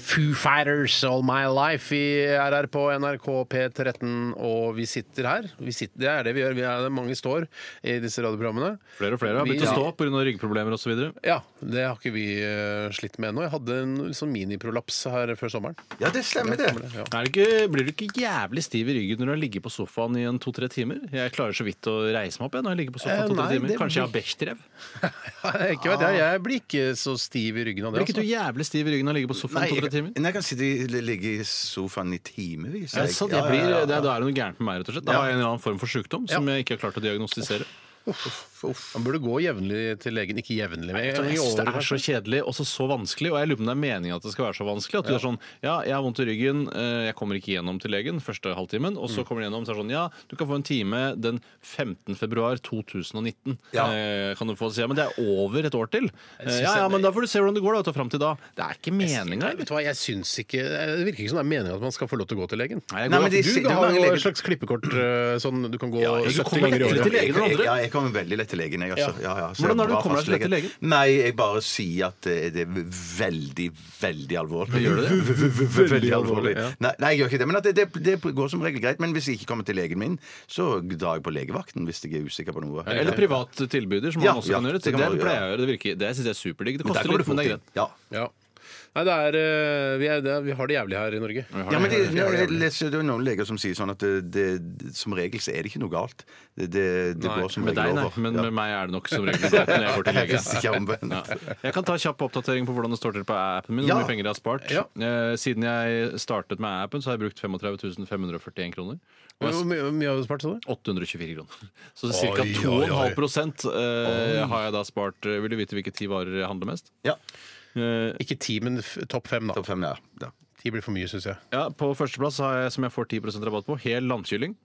Speaker 6: Foo Fighters All My Life i RR på NRK P13, og vi sitter her. Vi sitter, det er det vi gjør. Vi er, mange står i disse radioprogrammene.
Speaker 5: Flere og flere har begynt
Speaker 6: Vi-
Speaker 5: å stå pga. ryggproblemer osv.
Speaker 6: Ja, det har ikke vi eh, slitt med ennå. Jeg hadde en sånn miniprolaps her før sommeren.
Speaker 7: ja, det stemmer, det.
Speaker 6: Ja.
Speaker 5: Er det ikke, blir du ikke jævlig stiv i ryggen når du har ligget på sofaen i en to-tre timer? Jeg klarer så vidt å reise meg opp jeg, når jeg ligger på sofaen
Speaker 6: Eh,
Speaker 5: to-tre
Speaker 6: nei,
Speaker 5: timer.
Speaker 6: det
Speaker 5: Kanskje jeg har
Speaker 6: blir-
Speaker 5: Bechdrev?
Speaker 6: Nei, ikke vet jeg. Jeg blir ikke så stiv i ryggen av det.
Speaker 5: Blir ikke du jævlig stiv i ryggen når du ligger på sofaen
Speaker 7: Nei, jeg,
Speaker 5: to-tre timer?
Speaker 7: Nei, jeg kan sitte, i- ligge i sofaen i timevis.
Speaker 5: Ja,
Speaker 7: jeg.
Speaker 5: så det
Speaker 7: Ja, ja,
Speaker 5: blir, eh,
Speaker 7: ja, ja.
Speaker 5: det, da er det noe gærent med meg, rett og slett. Da har jeg en eller annen form for sykdom som jeg ikke har klart å diagnostisere.
Speaker 6: altså. Man burde gå jevnlig til legen. Ikke jevnlig, men
Speaker 5: Jeg
Speaker 6: i
Speaker 5: synes det
Speaker 6: året,
Speaker 5: er så
Speaker 6: kanskje.
Speaker 5: kjedelig og så så vanskelig, og jeg lurer på om det er meningen at det skal være så vanskelig. At du er sånn Ja, jeg har vondt i ryggen, eh, jeg kommer ikke gjennom til legen første halvtimen. Og så kommer du gjennom, så er det sånn Ja, du kan få en time den 15. februar 2019.
Speaker 7: Ja.
Speaker 5: Eh, Kan du få si, ja, men det er over et år til. Eh,
Speaker 6: synes
Speaker 5: Ja, ja,
Speaker 6: jeg-
Speaker 5: men da får du se hvordan det går, da. Ta fram til da. Det er ikke meninga,
Speaker 6: Nei, vet du hva, jeg syns ikke Det virker ikke som det er meningen at man skal få lov til å gå til legen.
Speaker 7: Nei, men de
Speaker 6: Du
Speaker 7: sier- det er
Speaker 6: har jo
Speaker 7: mange leger-
Speaker 6: et slags klippekort øh, sånn du kan gå
Speaker 5: jeg
Speaker 6: 70
Speaker 5: kommer
Speaker 6: ganger i
Speaker 5: ikke til
Speaker 6: året.
Speaker 5: legen. den andre?
Speaker 7: Ja, jeg kommer veldig lett til legen. Jeg, altså. ja. Ja,
Speaker 5: Hvordan
Speaker 7: så jeg
Speaker 5: er det du
Speaker 7: bra
Speaker 5: kommer deg så lett til
Speaker 7: fastlege. Nei, jeg bare sier at eh, det er veldig, veldig alvorlig.
Speaker 5: Gjør det det?
Speaker 7: V- v- v- Veldig alvorlig.
Speaker 6: ja.
Speaker 7: Nei, nei, jeg gjør ikke det. Men at det, det, det går som regel greit. Men hvis jeg ikke kommer til legen min, så drar jeg på legevakten hvis jeg er usikker på noe.
Speaker 5: Eller privat tilbyder, som
Speaker 7: Ja,
Speaker 5: man også
Speaker 7: ja,
Speaker 5: kan gjøre.
Speaker 7: det kan
Speaker 5: Det,
Speaker 7: man gjøre,
Speaker 5: pleier jeg å gjøre. Det, virker- det syns jeg er superddigg. Det
Speaker 7: Men
Speaker 5: koster
Speaker 7: der går
Speaker 5: litt,
Speaker 7: det
Speaker 5: men
Speaker 7: fort
Speaker 5: det er
Speaker 7: inn.
Speaker 5: greit.
Speaker 7: Ja.
Speaker 6: Ja. Nei, det er, øh, vi, er det, er- vi har det jævlig her i Norge.
Speaker 7: Ja, men det, jeg leser, det er noen leger som sier sånn at det, det, som regel så er det ikke noe galt. Det, det, det
Speaker 5: Nei,
Speaker 7: går som
Speaker 5: med
Speaker 7: regel
Speaker 5: deg, nei.
Speaker 7: over.
Speaker 5: Men
Speaker 7: Ja.
Speaker 5: med meg er det nok som regel greit når jeg
Speaker 7: *laughs*
Speaker 5: går til
Speaker 7: Hvis
Speaker 5: legen.
Speaker 7: ikke omvendt.
Speaker 5: Ja. *laughs* Jeg kan ta kjapp oppdatering på hvordan det står til på appen min. Hvor
Speaker 7: Ja.
Speaker 5: mye penger jeg har spart.
Speaker 6: Ja.
Speaker 5: Eh, Siden jeg startet med appen, så har jeg brukt 35 541 kroner. Og jeg
Speaker 6: Hvor
Speaker 5: har
Speaker 6: mye, hvor mye har du spart, sa du?
Speaker 5: 824 kroner. *laughs* Så
Speaker 6: Oi,
Speaker 5: ca.
Speaker 6: oi, oi.
Speaker 5: 2,5 eh, har jeg da spart. Eh, Vil du vite hvilke ti varer jeg handler mest?
Speaker 7: Ja.
Speaker 5: Eh,
Speaker 6: Ikke ti, men f- topp fem, da.
Speaker 7: Topp fem, ja. ja.
Speaker 6: Ti blir for mye, syns jeg.
Speaker 5: Ja, På førsteplass har jeg, som jeg får 10 rabatt på, hel landkylling.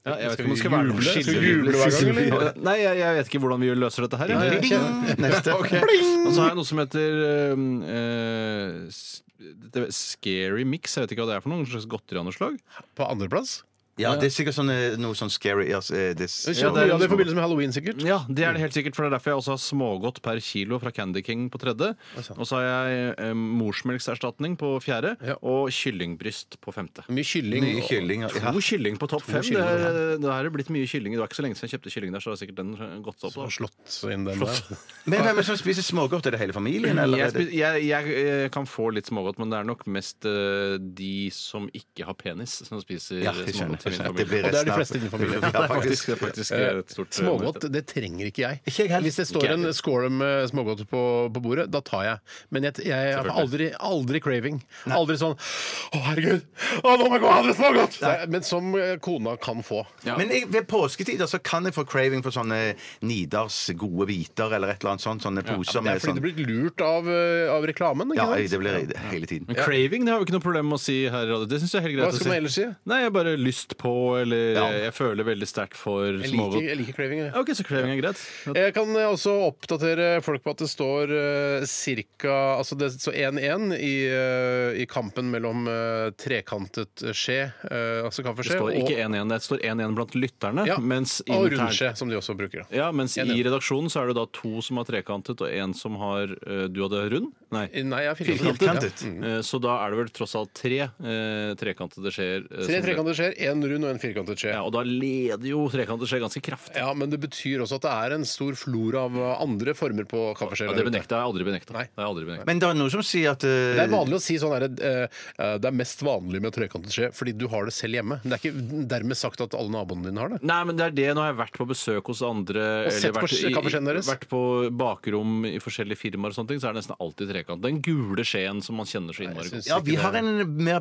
Speaker 5: Ja, jeg vet ikke
Speaker 6: Skal
Speaker 5: om
Speaker 6: vi
Speaker 5: det skal være noe
Speaker 6: juble?
Speaker 5: skille.
Speaker 6: Skal vi juble hver gang,
Speaker 5: *laughs*
Speaker 6: eller?
Speaker 5: Nei, jeg, jeg vet ikke hvordan vi løser dette her. jeg.
Speaker 7: Neste.
Speaker 5: Og så har jeg noe som heter eh, eh, s- det er Scary Mix. Jeg vet ikke hva det er for noe. En slags godteri av noe slag.
Speaker 6: På andreplass?
Speaker 7: Ja, det er sikkert sånn, eh, noe sånn scary altså, eh, det, er-
Speaker 6: Ja, det er i forbindelse med halloween, sikkert.
Speaker 5: Ja, det er det helt sikkert, for det er derfor jeg også har smågodt per kilo fra Candy King på tredje. Og så har jeg eh, morsmelkserstatning på fjerde,
Speaker 6: Ja.
Speaker 5: og kyllingbryst på femte.
Speaker 6: Mye kylling.
Speaker 7: Mye
Speaker 6: og-
Speaker 7: kylling. ja.
Speaker 5: To kylling på topp fem. Det
Speaker 6: kylling,
Speaker 5: er, det her er blitt mye kylling. Det var ikke så lenge siden jeg kjøpte kylling der, så har sikkert den gått opp. Da.
Speaker 6: Og slått inn den der.
Speaker 7: Men hvem er det som spiser smågodt? Er det hele familien? Eller?
Speaker 5: Jeg,
Speaker 7: er det-
Speaker 5: spi- jeg, jeg eh, kan få litt smågodt, men det er nok mest eh, de som ikke har penis, som spiser
Speaker 7: Ja, jeg skjønner.
Speaker 5: smågodt til min
Speaker 7: Det blir
Speaker 5: familie.
Speaker 6: Og det er de
Speaker 7: resten av-
Speaker 6: fleste i din familie. *laughs*
Speaker 7: Ja, faktisk.
Speaker 5: faktisk, *laughs* det er faktisk et stort eh,
Speaker 6: Smågodt,
Speaker 5: møte.
Speaker 6: det trenger ikke jeg.
Speaker 7: Ikke jeg heller.
Speaker 6: Hvis det
Speaker 5: Ikke
Speaker 6: står
Speaker 5: jeg
Speaker 6: en
Speaker 5: heller.
Speaker 6: skål med smågodt på, på bordet, da tar jeg. Men jeg, jeg har aldri, aldri craving. Aldri sånn 'Å, herregud, å, nå må jeg gå og ha det smågodt!' Nei, Men som eh, kona kan få.
Speaker 5: Ja.
Speaker 7: Men jeg, ved påsketider så kan jeg få craving for sånne Nidars gode biter eller et eller annet sånt. Sånne poser
Speaker 6: Det
Speaker 7: med
Speaker 6: er fordi
Speaker 7: sånn
Speaker 6: du blir lurt av, eh, av reklamen. Ikke
Speaker 7: Ja,
Speaker 6: sant?
Speaker 7: det blir det hele tiden.
Speaker 5: Men craving det har vi ikke noe problem med å si her. i radio. Det synes jeg er helt greit
Speaker 6: Hva skal
Speaker 5: å si.
Speaker 6: man ellers si?
Speaker 5: Nei, jeg bare lyst på, eller
Speaker 7: Ja.
Speaker 5: jeg føler veldig sterkt for
Speaker 6: Jeg liker,
Speaker 5: smågodt.
Speaker 6: jeg liker craving. Jeg.
Speaker 5: Ja, Ok, så craving er greit.
Speaker 6: Jeg kan også oppdatere folk på at det står uh, cirka Altså det står 1-1 i, eh, i kampen mellom eh, trekantet skje, eh, altså
Speaker 5: Det
Speaker 6: kaffeskje,
Speaker 5: står
Speaker 6: og-
Speaker 5: ikke 1-1, det står 1-1 blant lytterne.
Speaker 6: Ja,
Speaker 5: Mens,
Speaker 6: og
Speaker 5: internt,
Speaker 6: rundskje, som de også bruker. da.
Speaker 5: ja, mens i
Speaker 6: 1-1.
Speaker 5: redaksjonen så er det da to som har trekantet, og én som har eh, Du hadde rund? Nei.
Speaker 6: Nei, jeg er firkantet. Mm.
Speaker 7: Firkantet.
Speaker 5: Eh, Så da er det vel tross alt tre eh, trekantede skjeer. eh,
Speaker 6: Tre
Speaker 5: som-
Speaker 6: trekantet skjer, én rund og en firkantet skje.
Speaker 5: Ja,
Speaker 6: Ja.
Speaker 5: og da leder jo trekantet skje ganske kraftig.
Speaker 6: Men det betyr også at det er en stor flora av eh, andre former på kaffeskjeer.
Speaker 5: Ja, det benekter jeg aldri benekta.
Speaker 6: Nei.
Speaker 5: Det har jeg aldri benekta.
Speaker 7: Men det er noe som sier at eh,
Speaker 6: Det er vanlig å si sånn her, eh, eh, det er mest vanlig med trekantet skje fordi du har det selv hjemme. Men det er ikke dermed sagt at alle naboene dine har det.
Speaker 5: Nei, men det er det. Nå har jeg vært på besøk hos andre.
Speaker 6: Og sett på
Speaker 5: vært, i-
Speaker 6: kaffeskjeen deres.
Speaker 5: vært på bakrom i forskjellige firmaer, og sånne ting, så er det nesten alltid trekant. Den gule skjeen som man kjenner så innmari
Speaker 6: Jeg
Speaker 5: godt.
Speaker 6: synes
Speaker 7: Ja,
Speaker 6: ikke
Speaker 7: vi
Speaker 6: det-
Speaker 7: har en mer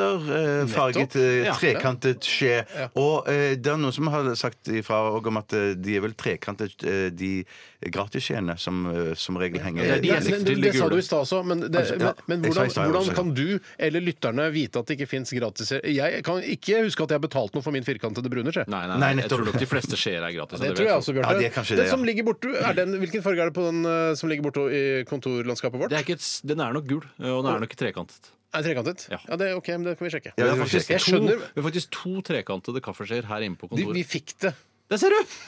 Speaker 7: burgunderfarget
Speaker 6: Nettopp.
Speaker 5: Ja.
Speaker 7: trekantet skje. Og eh, det er noen som har sagt ifra også om at eh, de er vel trekantet, eh, de gratisskjeene som eh, som regel henger
Speaker 5: Ja, de er
Speaker 6: men, men,
Speaker 5: til de
Speaker 6: det sa
Speaker 5: gule.
Speaker 6: du i stad også, men, det,
Speaker 7: Altså, ja,
Speaker 6: men, men
Speaker 7: jeg sa i
Speaker 6: hvordan,
Speaker 7: stad også,
Speaker 6: hvordan
Speaker 7: ja.
Speaker 6: kan du eller lytterne vite at det ikke fins gratis Jeg kan ikke huske at jeg har betalt noe for min firkantede brune skje.
Speaker 5: Nei, nei,
Speaker 7: Nei,
Speaker 5: jeg
Speaker 7: nettopp.
Speaker 5: tror nok de fleste skjeer er gratis.
Speaker 6: Det
Speaker 5: vet
Speaker 6: tror jeg
Speaker 5: jeg.
Speaker 6: også,
Speaker 7: Ja,
Speaker 6: Bjarte.
Speaker 7: det er kanskje
Speaker 6: Den
Speaker 7: det, ja.
Speaker 6: som ligger borte, er den, hvilken farge er det på den eh, som ligger borte i kontorlandskapet vårt?
Speaker 5: Det er ikke, et- den er nok gul, eh, og den er nok trekantet.
Speaker 6: Er det trekantet?
Speaker 5: Ja.
Speaker 6: Ja, det, er ok, men det kan vi sjekke.
Speaker 7: Ja,
Speaker 5: Det er faktisk
Speaker 6: Jeg
Speaker 5: to,
Speaker 6: skjønner
Speaker 5: vi har faktisk to trekantede kaffeskjeer her inne på
Speaker 6: de,
Speaker 5: kontoret.
Speaker 6: Vi fikk det.
Speaker 5: Der ser du!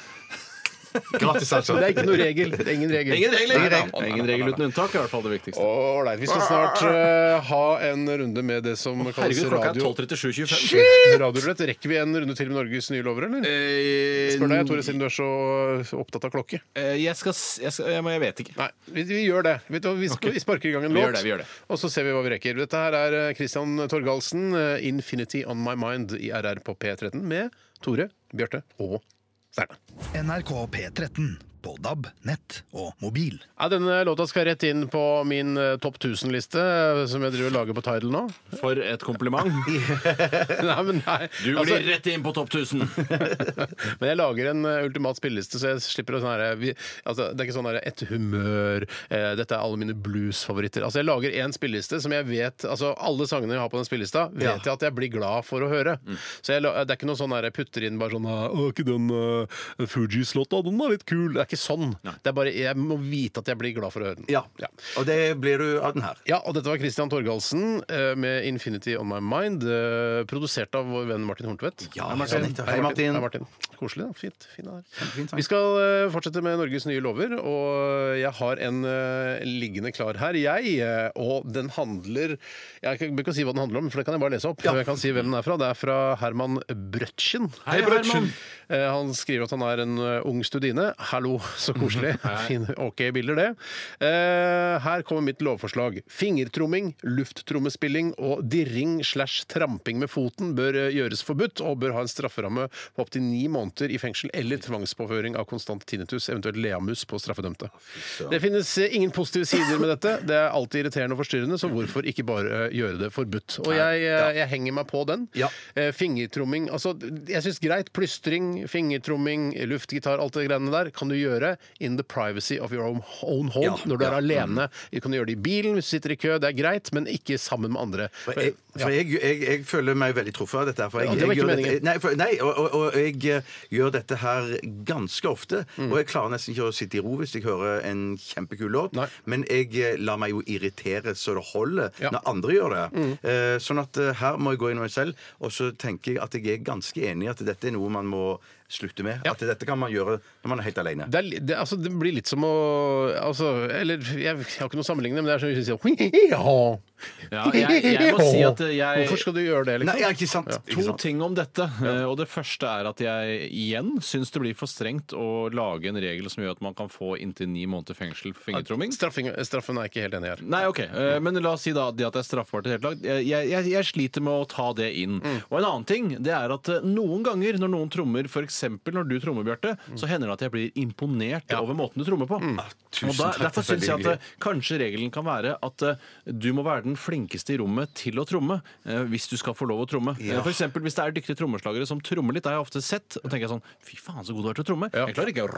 Speaker 7: gratis, altså.
Speaker 6: Det er ikke noe regel. Det er ingen regel.
Speaker 5: Ingen regel, ingen regel. Ingen regel uten unntak er i hvert fall det viktigste.
Speaker 6: Ålreit. Vi skal snart eh, ha en runde med det som kalles
Speaker 5: Herregud, klokka er
Speaker 6: radio.
Speaker 5: 12.37,25.
Speaker 6: Radiorulett. Rekker vi en runde til med Norges nye lover, eller? Spør deg, Tore, siden du er så opptatt av klokke.
Speaker 5: Eh, Jeg skal, s- jeg skal jeg, må- jeg vet ikke.
Speaker 6: Nei, vi, vi gjør det. Vet du, hva, vi, sk-
Speaker 5: Ok.
Speaker 6: vi sparker i gang
Speaker 5: Vi
Speaker 6: en låt,
Speaker 5: gjør det, vi gjør det.
Speaker 6: og så ser vi hva vi rekker. Dette her er eh, Christian Torgalsen, eh, 'Infinity On My Mind' i RR på P13, med Tore, Bjarte og Steinar.
Speaker 4: NRK P13. på DAB, nett og mobil.
Speaker 6: Ja, denne låta skal rett inn på min eh, topp 1000-liste, eh, som jeg driver og lager på Tidal nå. *laughs*
Speaker 5: For et kompliment.
Speaker 6: nei, men nei.
Speaker 5: Du blir
Speaker 6: Altså,
Speaker 5: rett inn på topp 1000.
Speaker 6: men jeg lager en eh, ultimat spilleliste, så jeg slipper å sånn her vi, altså, Det er ikke sånn her ett humør, eh, dette er alle mine bluesfavoritter. Altså, jeg lager en spilleliste som jeg vet Altså, alle sangene jeg har på den spillelista, vet jeg at jeg blir glad for å høre.
Speaker 7: Mm.
Speaker 6: Så jeg, la- det er ikke noe sånn her jeg putter inn bare sånn eh, Å, ikke den uh, Fugees-låta, den er litt kul. Det er ikke sånn. Det er bare Jeg må vite at jeg blir glad for å høre den.
Speaker 7: Ja. Og det blir du av den her.
Speaker 6: Ja, og dette var Christian Torgalsen eh, med 'Infinity On My Mind', eh, produsert av vår venn Martin Horntvedt.
Speaker 7: Ja,
Speaker 6: Hei,
Speaker 7: ja, nettopp. Hei, Martin.
Speaker 6: Hei, Martin. Koselig, da. Fint. Fin her.
Speaker 7: fint, takk.
Speaker 6: Vi skal eh, fortsette med Norges nye lover, og jeg har en eh, liggende klar her, jeg. eh, Og den handler Jeg kan ikke si hva den handler om, for det kan jeg bare lese opp. Jeg kan si hvem den er fra. Det er fra Herman Brøtchen.
Speaker 5: Hei, Brøtchen.
Speaker 6: Eh, Han skriver at han er en eh, ung studine. Hallo, så koselig. Fine, ok bilder, det. Eh, Her kommer mitt lovforslag. Fingertromming, lufttrommespilling og dirring slash tramping med foten bør eh, gjøres forbudt og bør ha en strafferamme på opptil ni måneder i fengsel eller tvangspåføring av konstant tinnitus, eventuelt leamus på straffedømte. Det finnes eh, ingen positive sider med dette. Det er alltid irriterende og forstyrrende, så hvorfor ikke bare eh, gjøre det forbudt? Og jeg, eh, jeg henger meg på den.
Speaker 7: Ja.
Speaker 6: Eh, Fingertromming altså, Jeg syns greit. Plystring, fingertromming, luftgitar, alt det greiene der kan du gjøre in the privacy of your own, own home
Speaker 7: Ja,
Speaker 6: når du er
Speaker 7: ja. Mm.
Speaker 6: alene. Du kan gjøre det i bilen hvis du sitter i kø, det er greit, men ikke sammen med andre. Eh,
Speaker 7: For jeg, for
Speaker 6: ja.
Speaker 7: jeg, jeg, jeg føler meg veldig truffet av dette. her, For jeg,
Speaker 6: Ja, det var
Speaker 7: jeg
Speaker 6: ikke
Speaker 7: gjør
Speaker 6: meningen.
Speaker 7: dette, nei, for, nei og, og, og jeg eh, gjør dette her ganske ofte.
Speaker 6: Mm.
Speaker 7: Og jeg klarer nesten ikke å sitte i ro hvis jeg hører en kjempekul låt.
Speaker 6: Nei.
Speaker 7: Men jeg eh, lar meg jo irritere så det holder
Speaker 6: Ja. Mm.
Speaker 7: når andre gjør det. Eh, sånn at eh, her må jeg gå inn i meg selv, og så tenker jeg at jeg er ganske enig i at dette er noe man må slutte med.
Speaker 6: Ja.
Speaker 7: At dette kan man gjøre når man er helt alene.
Speaker 6: Det, er, li- det, altså, det blir litt som å altså, Eller jeg, jeg har ikke noe sammenlignende, men det er sånn at *laughs* du sier
Speaker 5: Ja, jeg, jeg må si at jeg
Speaker 6: Hvorfor skal du gjøre det?
Speaker 7: Nei,
Speaker 6: Liksom?
Speaker 7: ja, ikke sant? Ikke
Speaker 5: To
Speaker 7: sant?
Speaker 5: ting om dette. eh, Og det første er at jeg igjen syns det blir for strengt å lage en regel som gjør at man kan få inntil ni måneder fengsel for fingertromming.
Speaker 6: Straffing, straffen er jeg ikke helt enig i her.
Speaker 5: Nei, ok. Eh, Men la oss si da det at det er straffbart i det hele tatt. Jeg, jeg, jeg sliter med å ta det inn. Og en annen ting det er at eh, noen ganger når noen trommer, f.eks. når du trommer, Bjarte, så hender det at jeg blir imponert over måten du trommer på.
Speaker 7: tusen
Speaker 5: Og da, derfor
Speaker 7: takk, det er veldig
Speaker 5: syns jeg at eh, kanskje regelen kan være at eh, du må være den flinkeste i rommet til å tromme eh, hvis du skal få lov å tromme.
Speaker 7: Ja.
Speaker 5: Eh, For eksempel, hvis det er dyktige trommeslagere som trommer litt, det har jeg ofte sett, og tenker jeg sånn Fy faen, så god du er til å tromme. Jeg klarer ikke å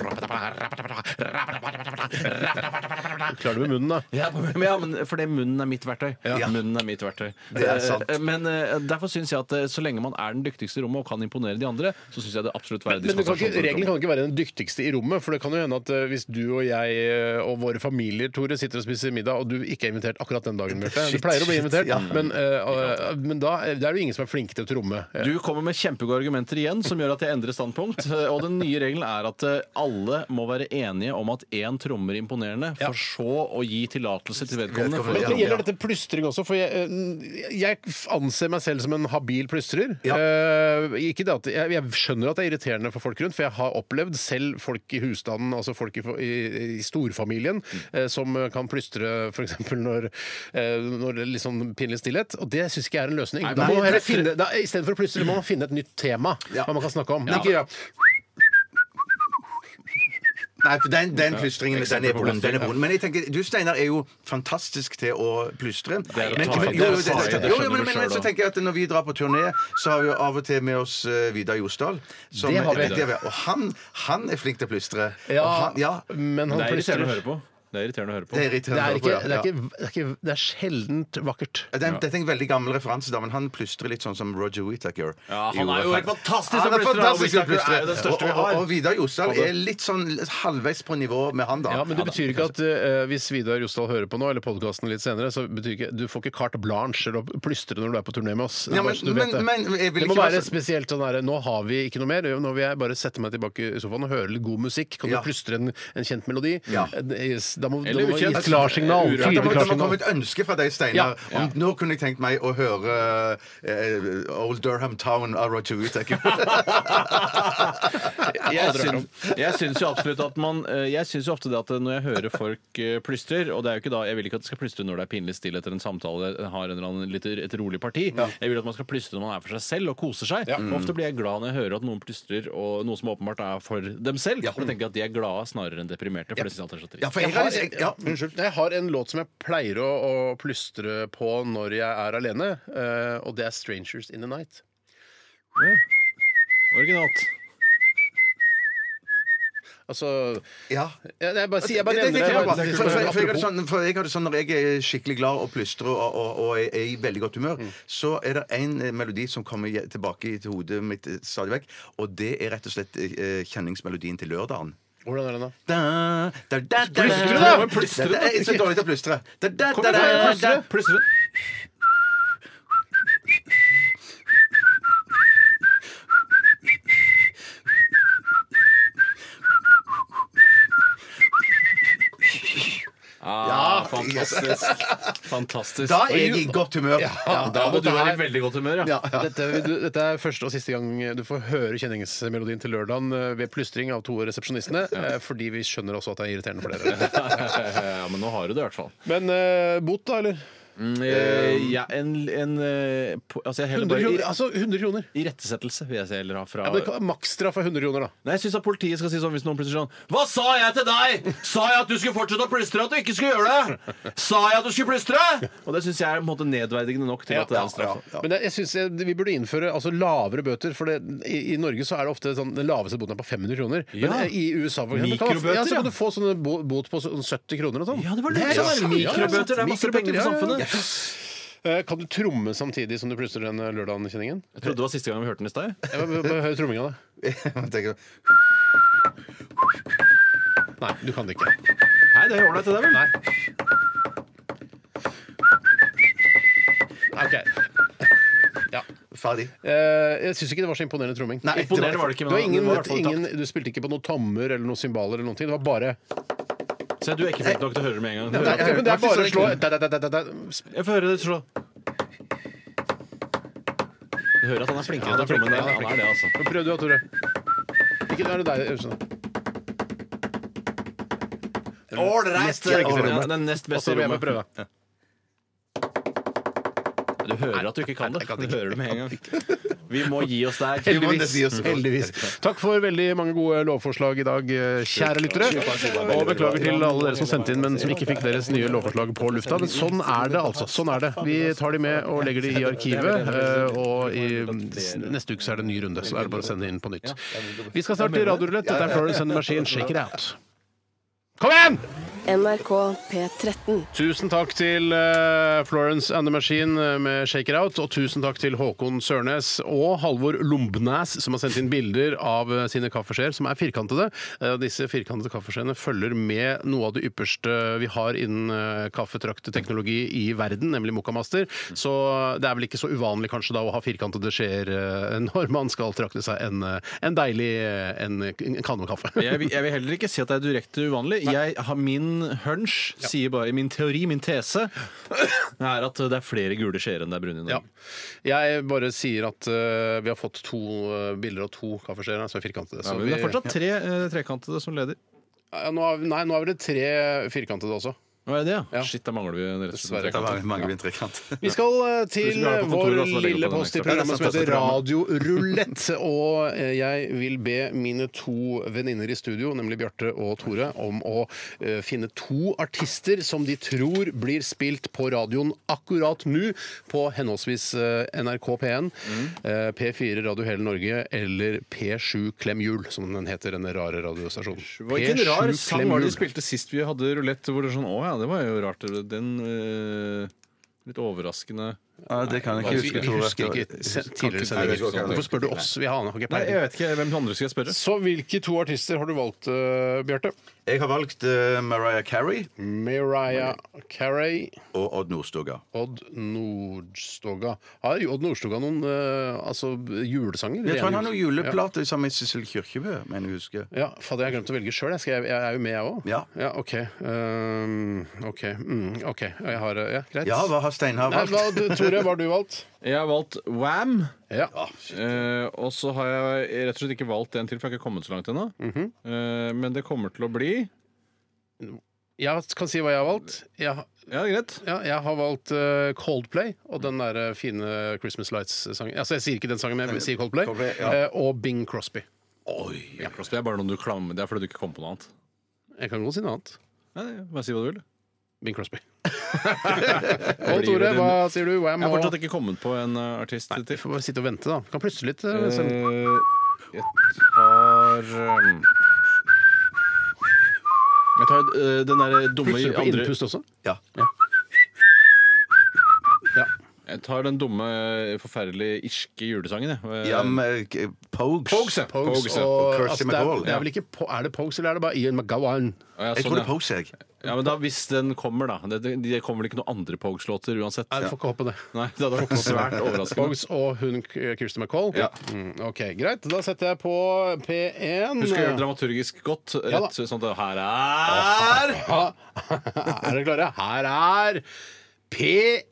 Speaker 6: Klarer du med munnen, da?
Speaker 5: ja, men, ja, men fordi munnen er mitt verktøy. Munnen er mitt verktøy.
Speaker 7: Det er sant.
Speaker 5: Eh, Men eh, derfor syns jeg at eh, så lenge man er den dyktigste i rommet og kan imponere de andre, så syns jeg det er absolutt verdig.
Speaker 6: Men du kan
Speaker 5: dispensasjon
Speaker 6: ikke,
Speaker 5: for å
Speaker 6: regelen kan ikke være den dyktigste i rommet. For det kan jo hende at eh, hvis du og jeg eh, og våre familier Tore, sitter og spiser middag, og du ikke er invitert akkurat den dagen, Bjarte
Speaker 7: *laughs*
Speaker 6: Du
Speaker 7: Shit,
Speaker 6: pleier å bli
Speaker 7: shit,
Speaker 6: invitert,
Speaker 7: ja.
Speaker 6: men, eh, eh, men da eh, det er det jo ingen som er flinke til å tromme. Eh,
Speaker 5: Du kommer med kjempegode argumenter igjen som gjør at jeg endrer standpunkt. eh, Og den nye regelen er at eh, alle må være enige om at én trommer er imponerende, for så å gi tillatelse til vedkommende.
Speaker 7: Vedkommende,
Speaker 5: For
Speaker 6: Men
Speaker 5: å
Speaker 6: det
Speaker 5: tromme.
Speaker 6: gjelder dette plystring også, for jeg, eh, jeg anser meg selv som en habil plystrer.
Speaker 7: Ja.
Speaker 6: Eh, ikke det at, jeg, jeg skjønner at det er irriterende for folk rundt, for jeg har opplevd selv folk i husstanden, altså folk i, i, i storfamilien,
Speaker 7: Mm.
Speaker 6: eh, som kan plystre f.eks. når, eh, når det er litt sånn pinlig stillhet. Og det syns ikke jeg er en løsning.
Speaker 5: Nei,
Speaker 6: Da
Speaker 5: nei,
Speaker 6: må man heller
Speaker 5: det-
Speaker 6: finne, da, I stedet for å plystre må man finne et nytt tema
Speaker 7: Ja.
Speaker 6: hva man kan snakke om.
Speaker 5: Ja.
Speaker 6: Ikke, ja.
Speaker 7: Nei, for den, den plystringen den er
Speaker 5: eksempel på
Speaker 7: vond. Den er
Speaker 5: plystring,
Speaker 7: vond. Men jeg tenker, du Steinar er jo fantastisk til å plystre.
Speaker 5: er å
Speaker 7: Men-
Speaker 5: ta i,
Speaker 7: men-
Speaker 5: det
Speaker 7: jo,
Speaker 5: er
Speaker 7: jo,
Speaker 5: å
Speaker 7: det-
Speaker 5: ta i,
Speaker 7: det-
Speaker 5: det
Speaker 7: jo,
Speaker 5: skjønner
Speaker 7: jo, men
Speaker 5: du
Speaker 7: men-
Speaker 5: selv
Speaker 7: men så
Speaker 5: da.
Speaker 7: tenker jeg at når vi drar på turné, så har vi jo av og til med oss eh, Vidar Josdal. som-
Speaker 6: Det har vi.
Speaker 7: Og han, han er flink til å plystre.
Speaker 6: Ja,
Speaker 7: Og han, ja,
Speaker 6: men han
Speaker 5: Det er irriterende å
Speaker 6: plystrer.
Speaker 5: høre på. Det er irriterende å høre på.
Speaker 7: det er irriterende.
Speaker 6: Det er,
Speaker 7: å
Speaker 6: ikke,
Speaker 7: høre på,
Speaker 6: det, er
Speaker 7: ja.
Speaker 6: ikke, det, er ikke, det er sjeldent vakkert.
Speaker 7: Ja, den, Dette er en veldig gammel referanse, da, men han plystrer litt sånn som Roger Whittaker.
Speaker 5: Ja, han
Speaker 7: gjorde.
Speaker 5: er jo helt fantastisk til
Speaker 7: Han
Speaker 5: å
Speaker 7: er
Speaker 5: plystre, og
Speaker 7: fantastisk til å
Speaker 5: Whittaker er jo den
Speaker 7: plystre.
Speaker 5: største vi
Speaker 7: Og, og,
Speaker 5: har.
Speaker 7: og Vidar Josdal er litt sånn halvveis på nivå med han, da.
Speaker 6: Ja, men det betyr ikke at eh, hvis Vidar Jostal hører på nå, eller podkasten litt senere, så betyr ikke du får ikke carte blanche eller å plystre når du er på turné med oss. Det er
Speaker 7: Ja,
Speaker 6: bare
Speaker 7: men-
Speaker 6: så du vet
Speaker 7: men- men jeg vil
Speaker 6: det må
Speaker 7: ikke
Speaker 6: være
Speaker 7: være så-
Speaker 6: spesielt sånn herre Nå har vi ikke noe mer. Nå vil jeg bare sette meg tilbake i sofaen og høre litt god musikk. Kan du
Speaker 7: Ja.
Speaker 6: plystre en, en kjent melodi?
Speaker 7: Ja.
Speaker 6: Eh, da må, da
Speaker 5: Eller
Speaker 6: må gi
Speaker 5: ukjent.
Speaker 6: et klarsignal.
Speaker 5: Urørt.
Speaker 6: Tydelig
Speaker 7: Ja, det, må, det må komme
Speaker 6: klarsignal.
Speaker 7: et ønske fra deg, Steinar.
Speaker 6: Ja, ja.
Speaker 7: Om Nå kunne jeg tenkt meg å høre eh, Old Durham Town av Roger Whittaker.
Speaker 5: Jeg syns, jeg syns jo absolutt at man eh, Jeg syns jo ofte det at når jeg hører folk eh, plystrer Og det er jo ikke da Jeg vil ikke at de skal plystre når det er pinlig stille etter en samtale eh, har en eller annen litt, et rolig parti. Jeg vil at man skal plystre når man er for seg selv og koser seg. Og Ofte blir jeg glad når jeg hører at noen plystrer og noe som åpenbart er for dem selv. For jeg tenker at de er glade snarere enn deprimerte. For det synes jeg alltid er så trist.
Speaker 7: ja, for jeg,
Speaker 6: Jeg har,
Speaker 7: jeg, ja,
Speaker 6: unnskyld. Jeg har en låt som jeg pleier å, å plystre på når jeg er alene, eh, og det er 'Strangers In The Night'.
Speaker 5: Originalt.
Speaker 6: Altså
Speaker 7: ja.
Speaker 6: Jeg, jeg bare sier jeg bare
Speaker 7: Det- det- det-
Speaker 6: nevner
Speaker 7: det-
Speaker 6: det.
Speaker 7: det- for- for- for jeg har det sånn- For jeg har det sånn når jeg er skikkelig glad og plystrer og, og, og er er i veldig godt humør, så er det en eh, melodi som kommer je- tilbake til hodet mitt eh, stadig vekk, og det er rett og slett eh, kjenningsmelodien til lørdagen.
Speaker 6: Hvordan er den, da?
Speaker 7: Da, da, da, da,
Speaker 5: Plystre, da! Men plystre, da!
Speaker 7: Jeg er så dårlig til å plystre. Da, da,
Speaker 5: Kom
Speaker 7: da, da,
Speaker 5: igjen, plystre!
Speaker 7: da.
Speaker 5: plystre. Ah, fantastisk. Fantastisk.
Speaker 7: Da er jeg i godt humør.
Speaker 5: Da må
Speaker 6: og
Speaker 5: du
Speaker 6: det
Speaker 5: være i
Speaker 6: her-
Speaker 5: veldig godt humør, ja.
Speaker 6: Ja, Dette, du- dette er første og siste gang du får høre kjenningsmelodien til lørdagen eh, ved plystring av to av resepsjonistene, eh, fordi vi skjønner også at det er irriterende for dere.
Speaker 5: *laughs* *laughs* ja. Men nå har du det, i hvert fall.
Speaker 6: Men eh, bot, da, eller?
Speaker 5: Eh, ja, en, en eh, po- Altså, jeg heller
Speaker 6: 100
Speaker 5: bare
Speaker 6: kroner. Altså 100 kroner.
Speaker 5: Irettesettelse vil jeg si heller ha fra
Speaker 6: Ja, det kan- Maksstraff er 100 kroner, da.
Speaker 5: Nei, jeg syns at politiet skal si sånn hvis noen plutselig sånn Hva sa jeg til deg?! Sa jeg at du skulle fortsette å plystre, at du ikke skulle gjøre det?! Sa jeg at du skulle plystre?! Og det syns jeg er på en måte nedverdigende nok til at det er en straff.
Speaker 6: Men jeg, jeg synes jeg, vi burde innføre altså, lavere bøter. For det, i, i Norge så er det ofte sånn, den laveste boten er på 500 kroner. Men
Speaker 5: Ja.
Speaker 6: eh, i USA for eksempel,
Speaker 5: Mikrobøter,
Speaker 6: kan, man- ja, så
Speaker 5: ja.
Speaker 6: kan du få sånne bo, bot på sånn 70 kroner og sånn.
Speaker 5: Ja, det var det. Det er
Speaker 6: sant.
Speaker 5: mikrobøter, det er masse
Speaker 6: Mikrobøter,
Speaker 5: penger for
Speaker 6: ja, ja,
Speaker 5: samfunnet.
Speaker 6: ja. Eh, Kan du tromme samtidig som du plystrer den eh, lørdagen, kjenningen?
Speaker 5: Jeg trodde det var siste gang vi hørte den i stad. jeg.
Speaker 6: Jeg vil bare høre tromminga, da.
Speaker 7: *laughs* Jeg tenker,
Speaker 6: Nei, du kan det ikke.
Speaker 5: Nei, det er ålreit, det der, vel?
Speaker 6: Nei. OK. Ja.
Speaker 7: Ferdig.
Speaker 6: Eh, Jeg syns ikke det var så imponerende tromming.
Speaker 7: Nei,
Speaker 5: Imponerende var det ikke,
Speaker 6: Du,
Speaker 5: men
Speaker 6: har ingen,
Speaker 5: det var i hvert fall
Speaker 6: ingen, du spilte ikke på noen tommer eller noen cymbaler eller noen ting. Det var bare
Speaker 5: takt. Se, du er ikke flink nok til å høre det med en
Speaker 6: Nei,
Speaker 5: gang.
Speaker 6: men det er bare å slå
Speaker 7: Faktisk
Speaker 6: da, da, da, da, da.
Speaker 5: Jeg får høre det slå. Du hører at han er flinkere til å tromme enn deg. Han er det, altså.
Speaker 6: Men Prøv du, da, Tore. Ikke er det deg, Øystein.
Speaker 5: Ålreit!
Speaker 6: flinkeste i rommet.
Speaker 5: Den nest
Speaker 6: Også
Speaker 5: beste i
Speaker 6: vil jeg
Speaker 5: rommet.
Speaker 6: bare prøve.
Speaker 5: Du hører at du ikke kan det. Du hører det med en gang. *laughs* Vi må gi oss der.
Speaker 6: Heldigvis. Heldigvis. Takk for veldig mange gode lovforslag i dag, eh, kjære lyttere. Og beklager til alle dere som sendte inn, men som ikke fikk deres nye lovforslag på lufta. Men sånn er det, altså. Sånn er det. Vi tar de med og legger de i arkivet, eh, og i neste uke så er det en ny runde. Så er det bare å sende inn på nytt. Vi skal snart til Radiorulett. Dette er Florence and the Machine, Shake It Out. Kom igjen!
Speaker 1: NRK P13.
Speaker 6: Tusen takk til eh, Florence and the Machine eh, med Shake It Out. Og tusen takk til Håkon Sørnes og Halvor Lombnes, som har sendt inn bilder av eh, sine kaffeskjeer, som er firkantede. Eh, og Disse firkantede kaffeskjeene følger med noe av det ypperste vi har innen eh, kaffetrakteteknologi i verden, nemlig Mokamaster. Så eh, det er vel ikke så uvanlig kanskje da å ha firkantede skjeer eh, når man skal trakte seg en, eh, en deilig eh, en, en kanne med kaffe.
Speaker 5: jeg, vil- jeg vil heller ikke si at det er direkte uvanlig. Jeg har min hunch sier bare Min teori, min tese, er at det er flere gule skjeer enn det er brune i Norge.
Speaker 6: Ja.
Speaker 5: Mm.
Speaker 6: Jeg bare sier at eh, vi har fått to eh, bilder og to kaffeskjeer som er firkantede. Så
Speaker 5: men
Speaker 6: vi,
Speaker 5: det er fortsatt tre eh, trekantede som leder.
Speaker 6: ja, nå har, vi- nei, nå har vi det tre firkantede også.
Speaker 5: Hva er det, ja?
Speaker 6: Ja.
Speaker 5: Shit, da mangler vi en rett og slett
Speaker 6: Dessverre.
Speaker 5: en trekant.
Speaker 7: Det var mange vinterkant.
Speaker 6: Vi skal eh,
Speaker 5: Hvis
Speaker 6: til
Speaker 5: vi har det på
Speaker 6: vår
Speaker 5: kontoret, så legger vi
Speaker 6: lille
Speaker 5: på den
Speaker 6: post i
Speaker 5: ekstra.
Speaker 6: programmet som
Speaker 7: Det er
Speaker 6: heter
Speaker 7: det
Speaker 6: Radiorulett. Og eh, jeg vil be mine to venninner i studio, nemlig Bjarte og Tore, om å eh, finne to artister som de tror blir spilt på radioen akkurat nå, på henholdsvis eh, NRK P1, eh, P4 Radio Hele Norge eller P7 Klem Hjul, som den heter, denne rare radiostasjonen.
Speaker 5: Det var ikke en rar
Speaker 6: P7
Speaker 5: sang
Speaker 6: Klem
Speaker 5: var det de
Speaker 6: Hjul.
Speaker 5: spilte sist vi hadde rulett, hvor det er sånn Å ja, det var jo rart. Den eh, litt overraskende
Speaker 7: *laughs* Ja, det kan jeg ikke
Speaker 6: Vi
Speaker 7: huske. Tore.
Speaker 6: husker ikke se- tidligere sendinger.
Speaker 7: Nei,
Speaker 6: Hvorfor spør du oss? Vi har har ikke
Speaker 5: Nei, jeg
Speaker 6: peiling.
Speaker 5: vet ikke hvem andre skal jeg spørre.
Speaker 6: Så hvilke to artister har du valgt, uh, Bjarte?
Speaker 7: Jeg har valgt eh, Mariah Carey
Speaker 6: Mariah Carey.
Speaker 7: og Odd Nordstoga.
Speaker 6: Odd Nordstoga. Har Odd Nordstoga noen eh, altså, julesanger?
Speaker 7: Jeg tror han har
Speaker 6: Rene
Speaker 7: noen
Speaker 6: jul-
Speaker 7: juleplater sammen med Sissel Kyrkjebø, mener jeg å huske.
Speaker 6: Ja, ja Fader, jeg har glemt å velge sjøl. Jeg, skal- jeg er jo med, jeg òg.
Speaker 7: Ja.
Speaker 6: OK. Um, OK. Mm, ok. Jeg har Ja, greit.
Speaker 7: Ja, hva har Steinar
Speaker 6: Nei,
Speaker 7: valgt?
Speaker 6: hva,
Speaker 7: *laughs*
Speaker 6: du, Tore, hva har du valgt?
Speaker 5: Jeg har valgt Wam.
Speaker 6: Ja.
Speaker 7: Ah,
Speaker 5: Eh, og så har jeg rett og slett ikke valgt en til, for jeg har ikke kommet så langt ennå. eh, men det kommer til å bli
Speaker 6: Jeg kan si hva jeg har valgt. Jeg, har-
Speaker 5: Ja, greit.
Speaker 6: ja, jeg har valgt eh, Coldplay og den der eh, fine Christmas Lights-sangen. Altså, jeg sier ikke den sangen, men jeg sier Coldplay.
Speaker 7: Coldplay, ja.
Speaker 6: Eh, og Bing Crosby.
Speaker 5: Ja, Crosby er bare noen du klammer Det er fordi du ikke kom på noe annet.
Speaker 6: Jeg kan godt si noe annet.
Speaker 5: Nei, bare si hva du vil.
Speaker 6: Bing Crosby. og Tore, hva sier du? Wham
Speaker 5: Jeg har
Speaker 6: og-
Speaker 5: fortsatt ikke kommet på en eh, artist
Speaker 6: Vi
Speaker 5: til.
Speaker 6: får bare sitte og vente, da. Vi kan plutselig litt eh, selv.
Speaker 5: Eh, jeg tar eh, Jeg tar eh, den der dumme
Speaker 6: Plutselig på
Speaker 5: andre
Speaker 6: innpust også.
Speaker 7: Ja.
Speaker 6: Ja.
Speaker 5: Jeg tar den dumme, forferdelige irske julesangen, jeg. Eh,
Speaker 7: ja men, eh, Pogues.
Speaker 5: Pogues, ja.
Speaker 6: Pogues
Speaker 5: Pogues, ja.
Speaker 6: og
Speaker 7: Kirsty
Speaker 6: altså, det er,
Speaker 7: MacDonald,
Speaker 6: det
Speaker 7: ja.
Speaker 6: er, vel ikke, po- er det Pogues, eller er det bare Ian McGowan?
Speaker 5: Å, ja,
Speaker 7: Jeg
Speaker 5: sånn,
Speaker 7: tror det
Speaker 5: ja.
Speaker 7: er Pogues, jeg.
Speaker 5: Ja, men da, Hvis den kommer, da. Det, det, det kommer vel ikke noen andre Pogues-låter uansett?
Speaker 6: Nei, vi får ikke håpe det.
Speaker 5: Nei, det hadde vært svært overraskende.
Speaker 6: Pogues og hun K- Kirsty McCall?
Speaker 5: Ja.
Speaker 6: Mm, ok, Greit, da setter jeg på P1.
Speaker 5: Du skal gjøre det dramaturgisk godt.
Speaker 6: Ja da.
Speaker 5: Rett, sånn at det her er
Speaker 6: Ja. *laughs* Er dere klare? Her er P1!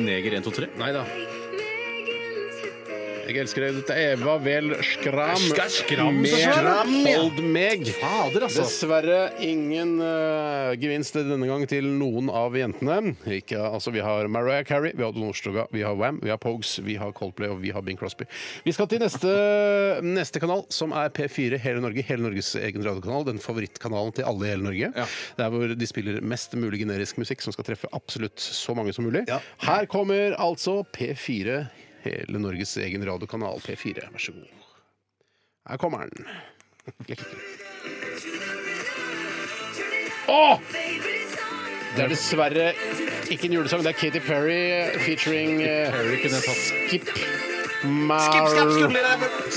Speaker 5: Neger 123.
Speaker 6: Nei da. Jeg elsker deg. Dette er Eva Vel Skram.
Speaker 5: Skal Skram
Speaker 6: med
Speaker 5: så svær?
Speaker 6: Hold meg.
Speaker 5: Fader, altså!
Speaker 6: Dessverre ingen eh, gevinst denne gang til noen av jentene. Ikke, altså, vi har Mariah Carey, vi har Odd Nordstoga, vi har Wham, vi har Pogues, vi har Coldplay og vi har Bing Crosby. Vi skal til neste, neste kanal, som er P4 Hele Norge. Hele Norges egen radiokanal. Den favorittkanalen til alle i hele Norge.
Speaker 5: Ja.
Speaker 6: Der hvor de spiller mest mulig generisk musikk som skal treffe absolutt så mange som mulig. Her kommer altså P4 Hele Norges egen radiokanal P4. Vær så god. Her kommer den. Åh! Det er dessverre ikke en julesang. Det er Katy Perry featuring eh, Skip Marley.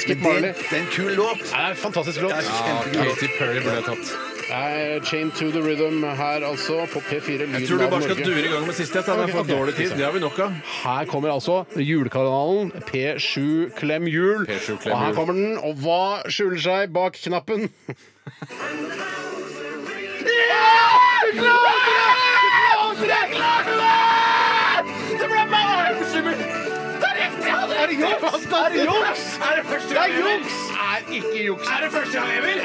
Speaker 6: Skip Marley.
Speaker 7: Det er en kul låt.
Speaker 6: Det er en fantastisk låt.
Speaker 5: Katy Perry ble tatt.
Speaker 6: Det er Chain to the Rhythm her, altså, på P4 Lyden
Speaker 5: Jeg tror du
Speaker 6: av
Speaker 5: bare skal
Speaker 6: Norge.
Speaker 5: dure i gang med siste. Det
Speaker 6: Ok,
Speaker 5: er for
Speaker 6: ok.
Speaker 5: dårlig tid. Det har vi nok av.
Speaker 6: Her kommer altså julekanalen P7 Klem Jul.
Speaker 5: P7 Klem
Speaker 6: og her
Speaker 5: Jul.
Speaker 6: kommer den. Og hva skjuler seg bak knappen? Er det juks? Er det juks? Er det første gang jeg juks? Er ikke juks. Er det første gang jeg vil?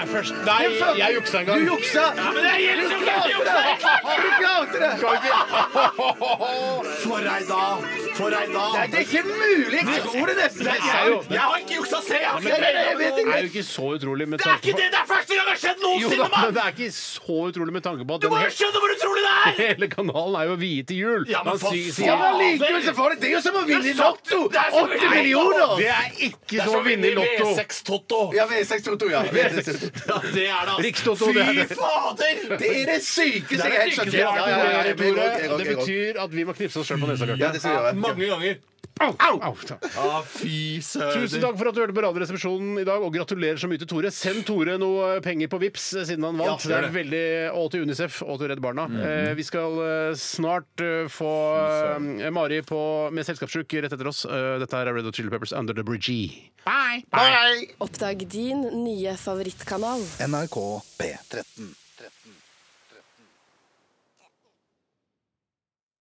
Speaker 6: Nei, jeg juksa en gang. Du juksa! Ja, men det er helt som klart juksa! Du klarte det! For ei dag! For ei dag! Det er, det er ikke mulig! Jeg tror det nesten. Jeg, jeg, jeg har ikke juksa, se! Det er jo ikke så utrolig med tanke på Det er ikke det! Det er første gang det har skjedd noensinne! men det er ikke så utrolig med tanke på at Du må jo skjønne hvor utrolig det er! Hele kanalen er jo viet til jul. Ja, men for faen!
Speaker 7: likevel så får det. Det er jo som å vinne i Lotto! 80 millioner!
Speaker 6: Det er ikke som å vinne i Lotto.
Speaker 7: Ja, V6 Toto, ja.
Speaker 6: Rikstoto, det er det.
Speaker 7: fader! Det er det sykeste jeg har hørt. Ja, ja, ja, jeg går, jeg går,
Speaker 6: Det
Speaker 7: jeg går.
Speaker 6: betyr at vi må knipse oss sjøl på nesa. Bjarte.
Speaker 7: Ja, det skal vi gjøre.
Speaker 6: Au! Au!
Speaker 5: Eh,
Speaker 6: Tusen takk for at du hørte på Radioresepsjonen i dag, og gratulerer så mye til Tore. Send Tore noe penger på Vips eh, siden han vant. det er veldig, Og til Unicef og til Redd Barna. Eh, vi skal eh, snart eh, få eh, Mari på, med selskapssjuk rett etter oss. Eh, dette her er Red Hot Chili Peppers Under the Bridge. Bye! Bye.
Speaker 1: Oppdag din nye favorittkanal.
Speaker 4: NRK P13.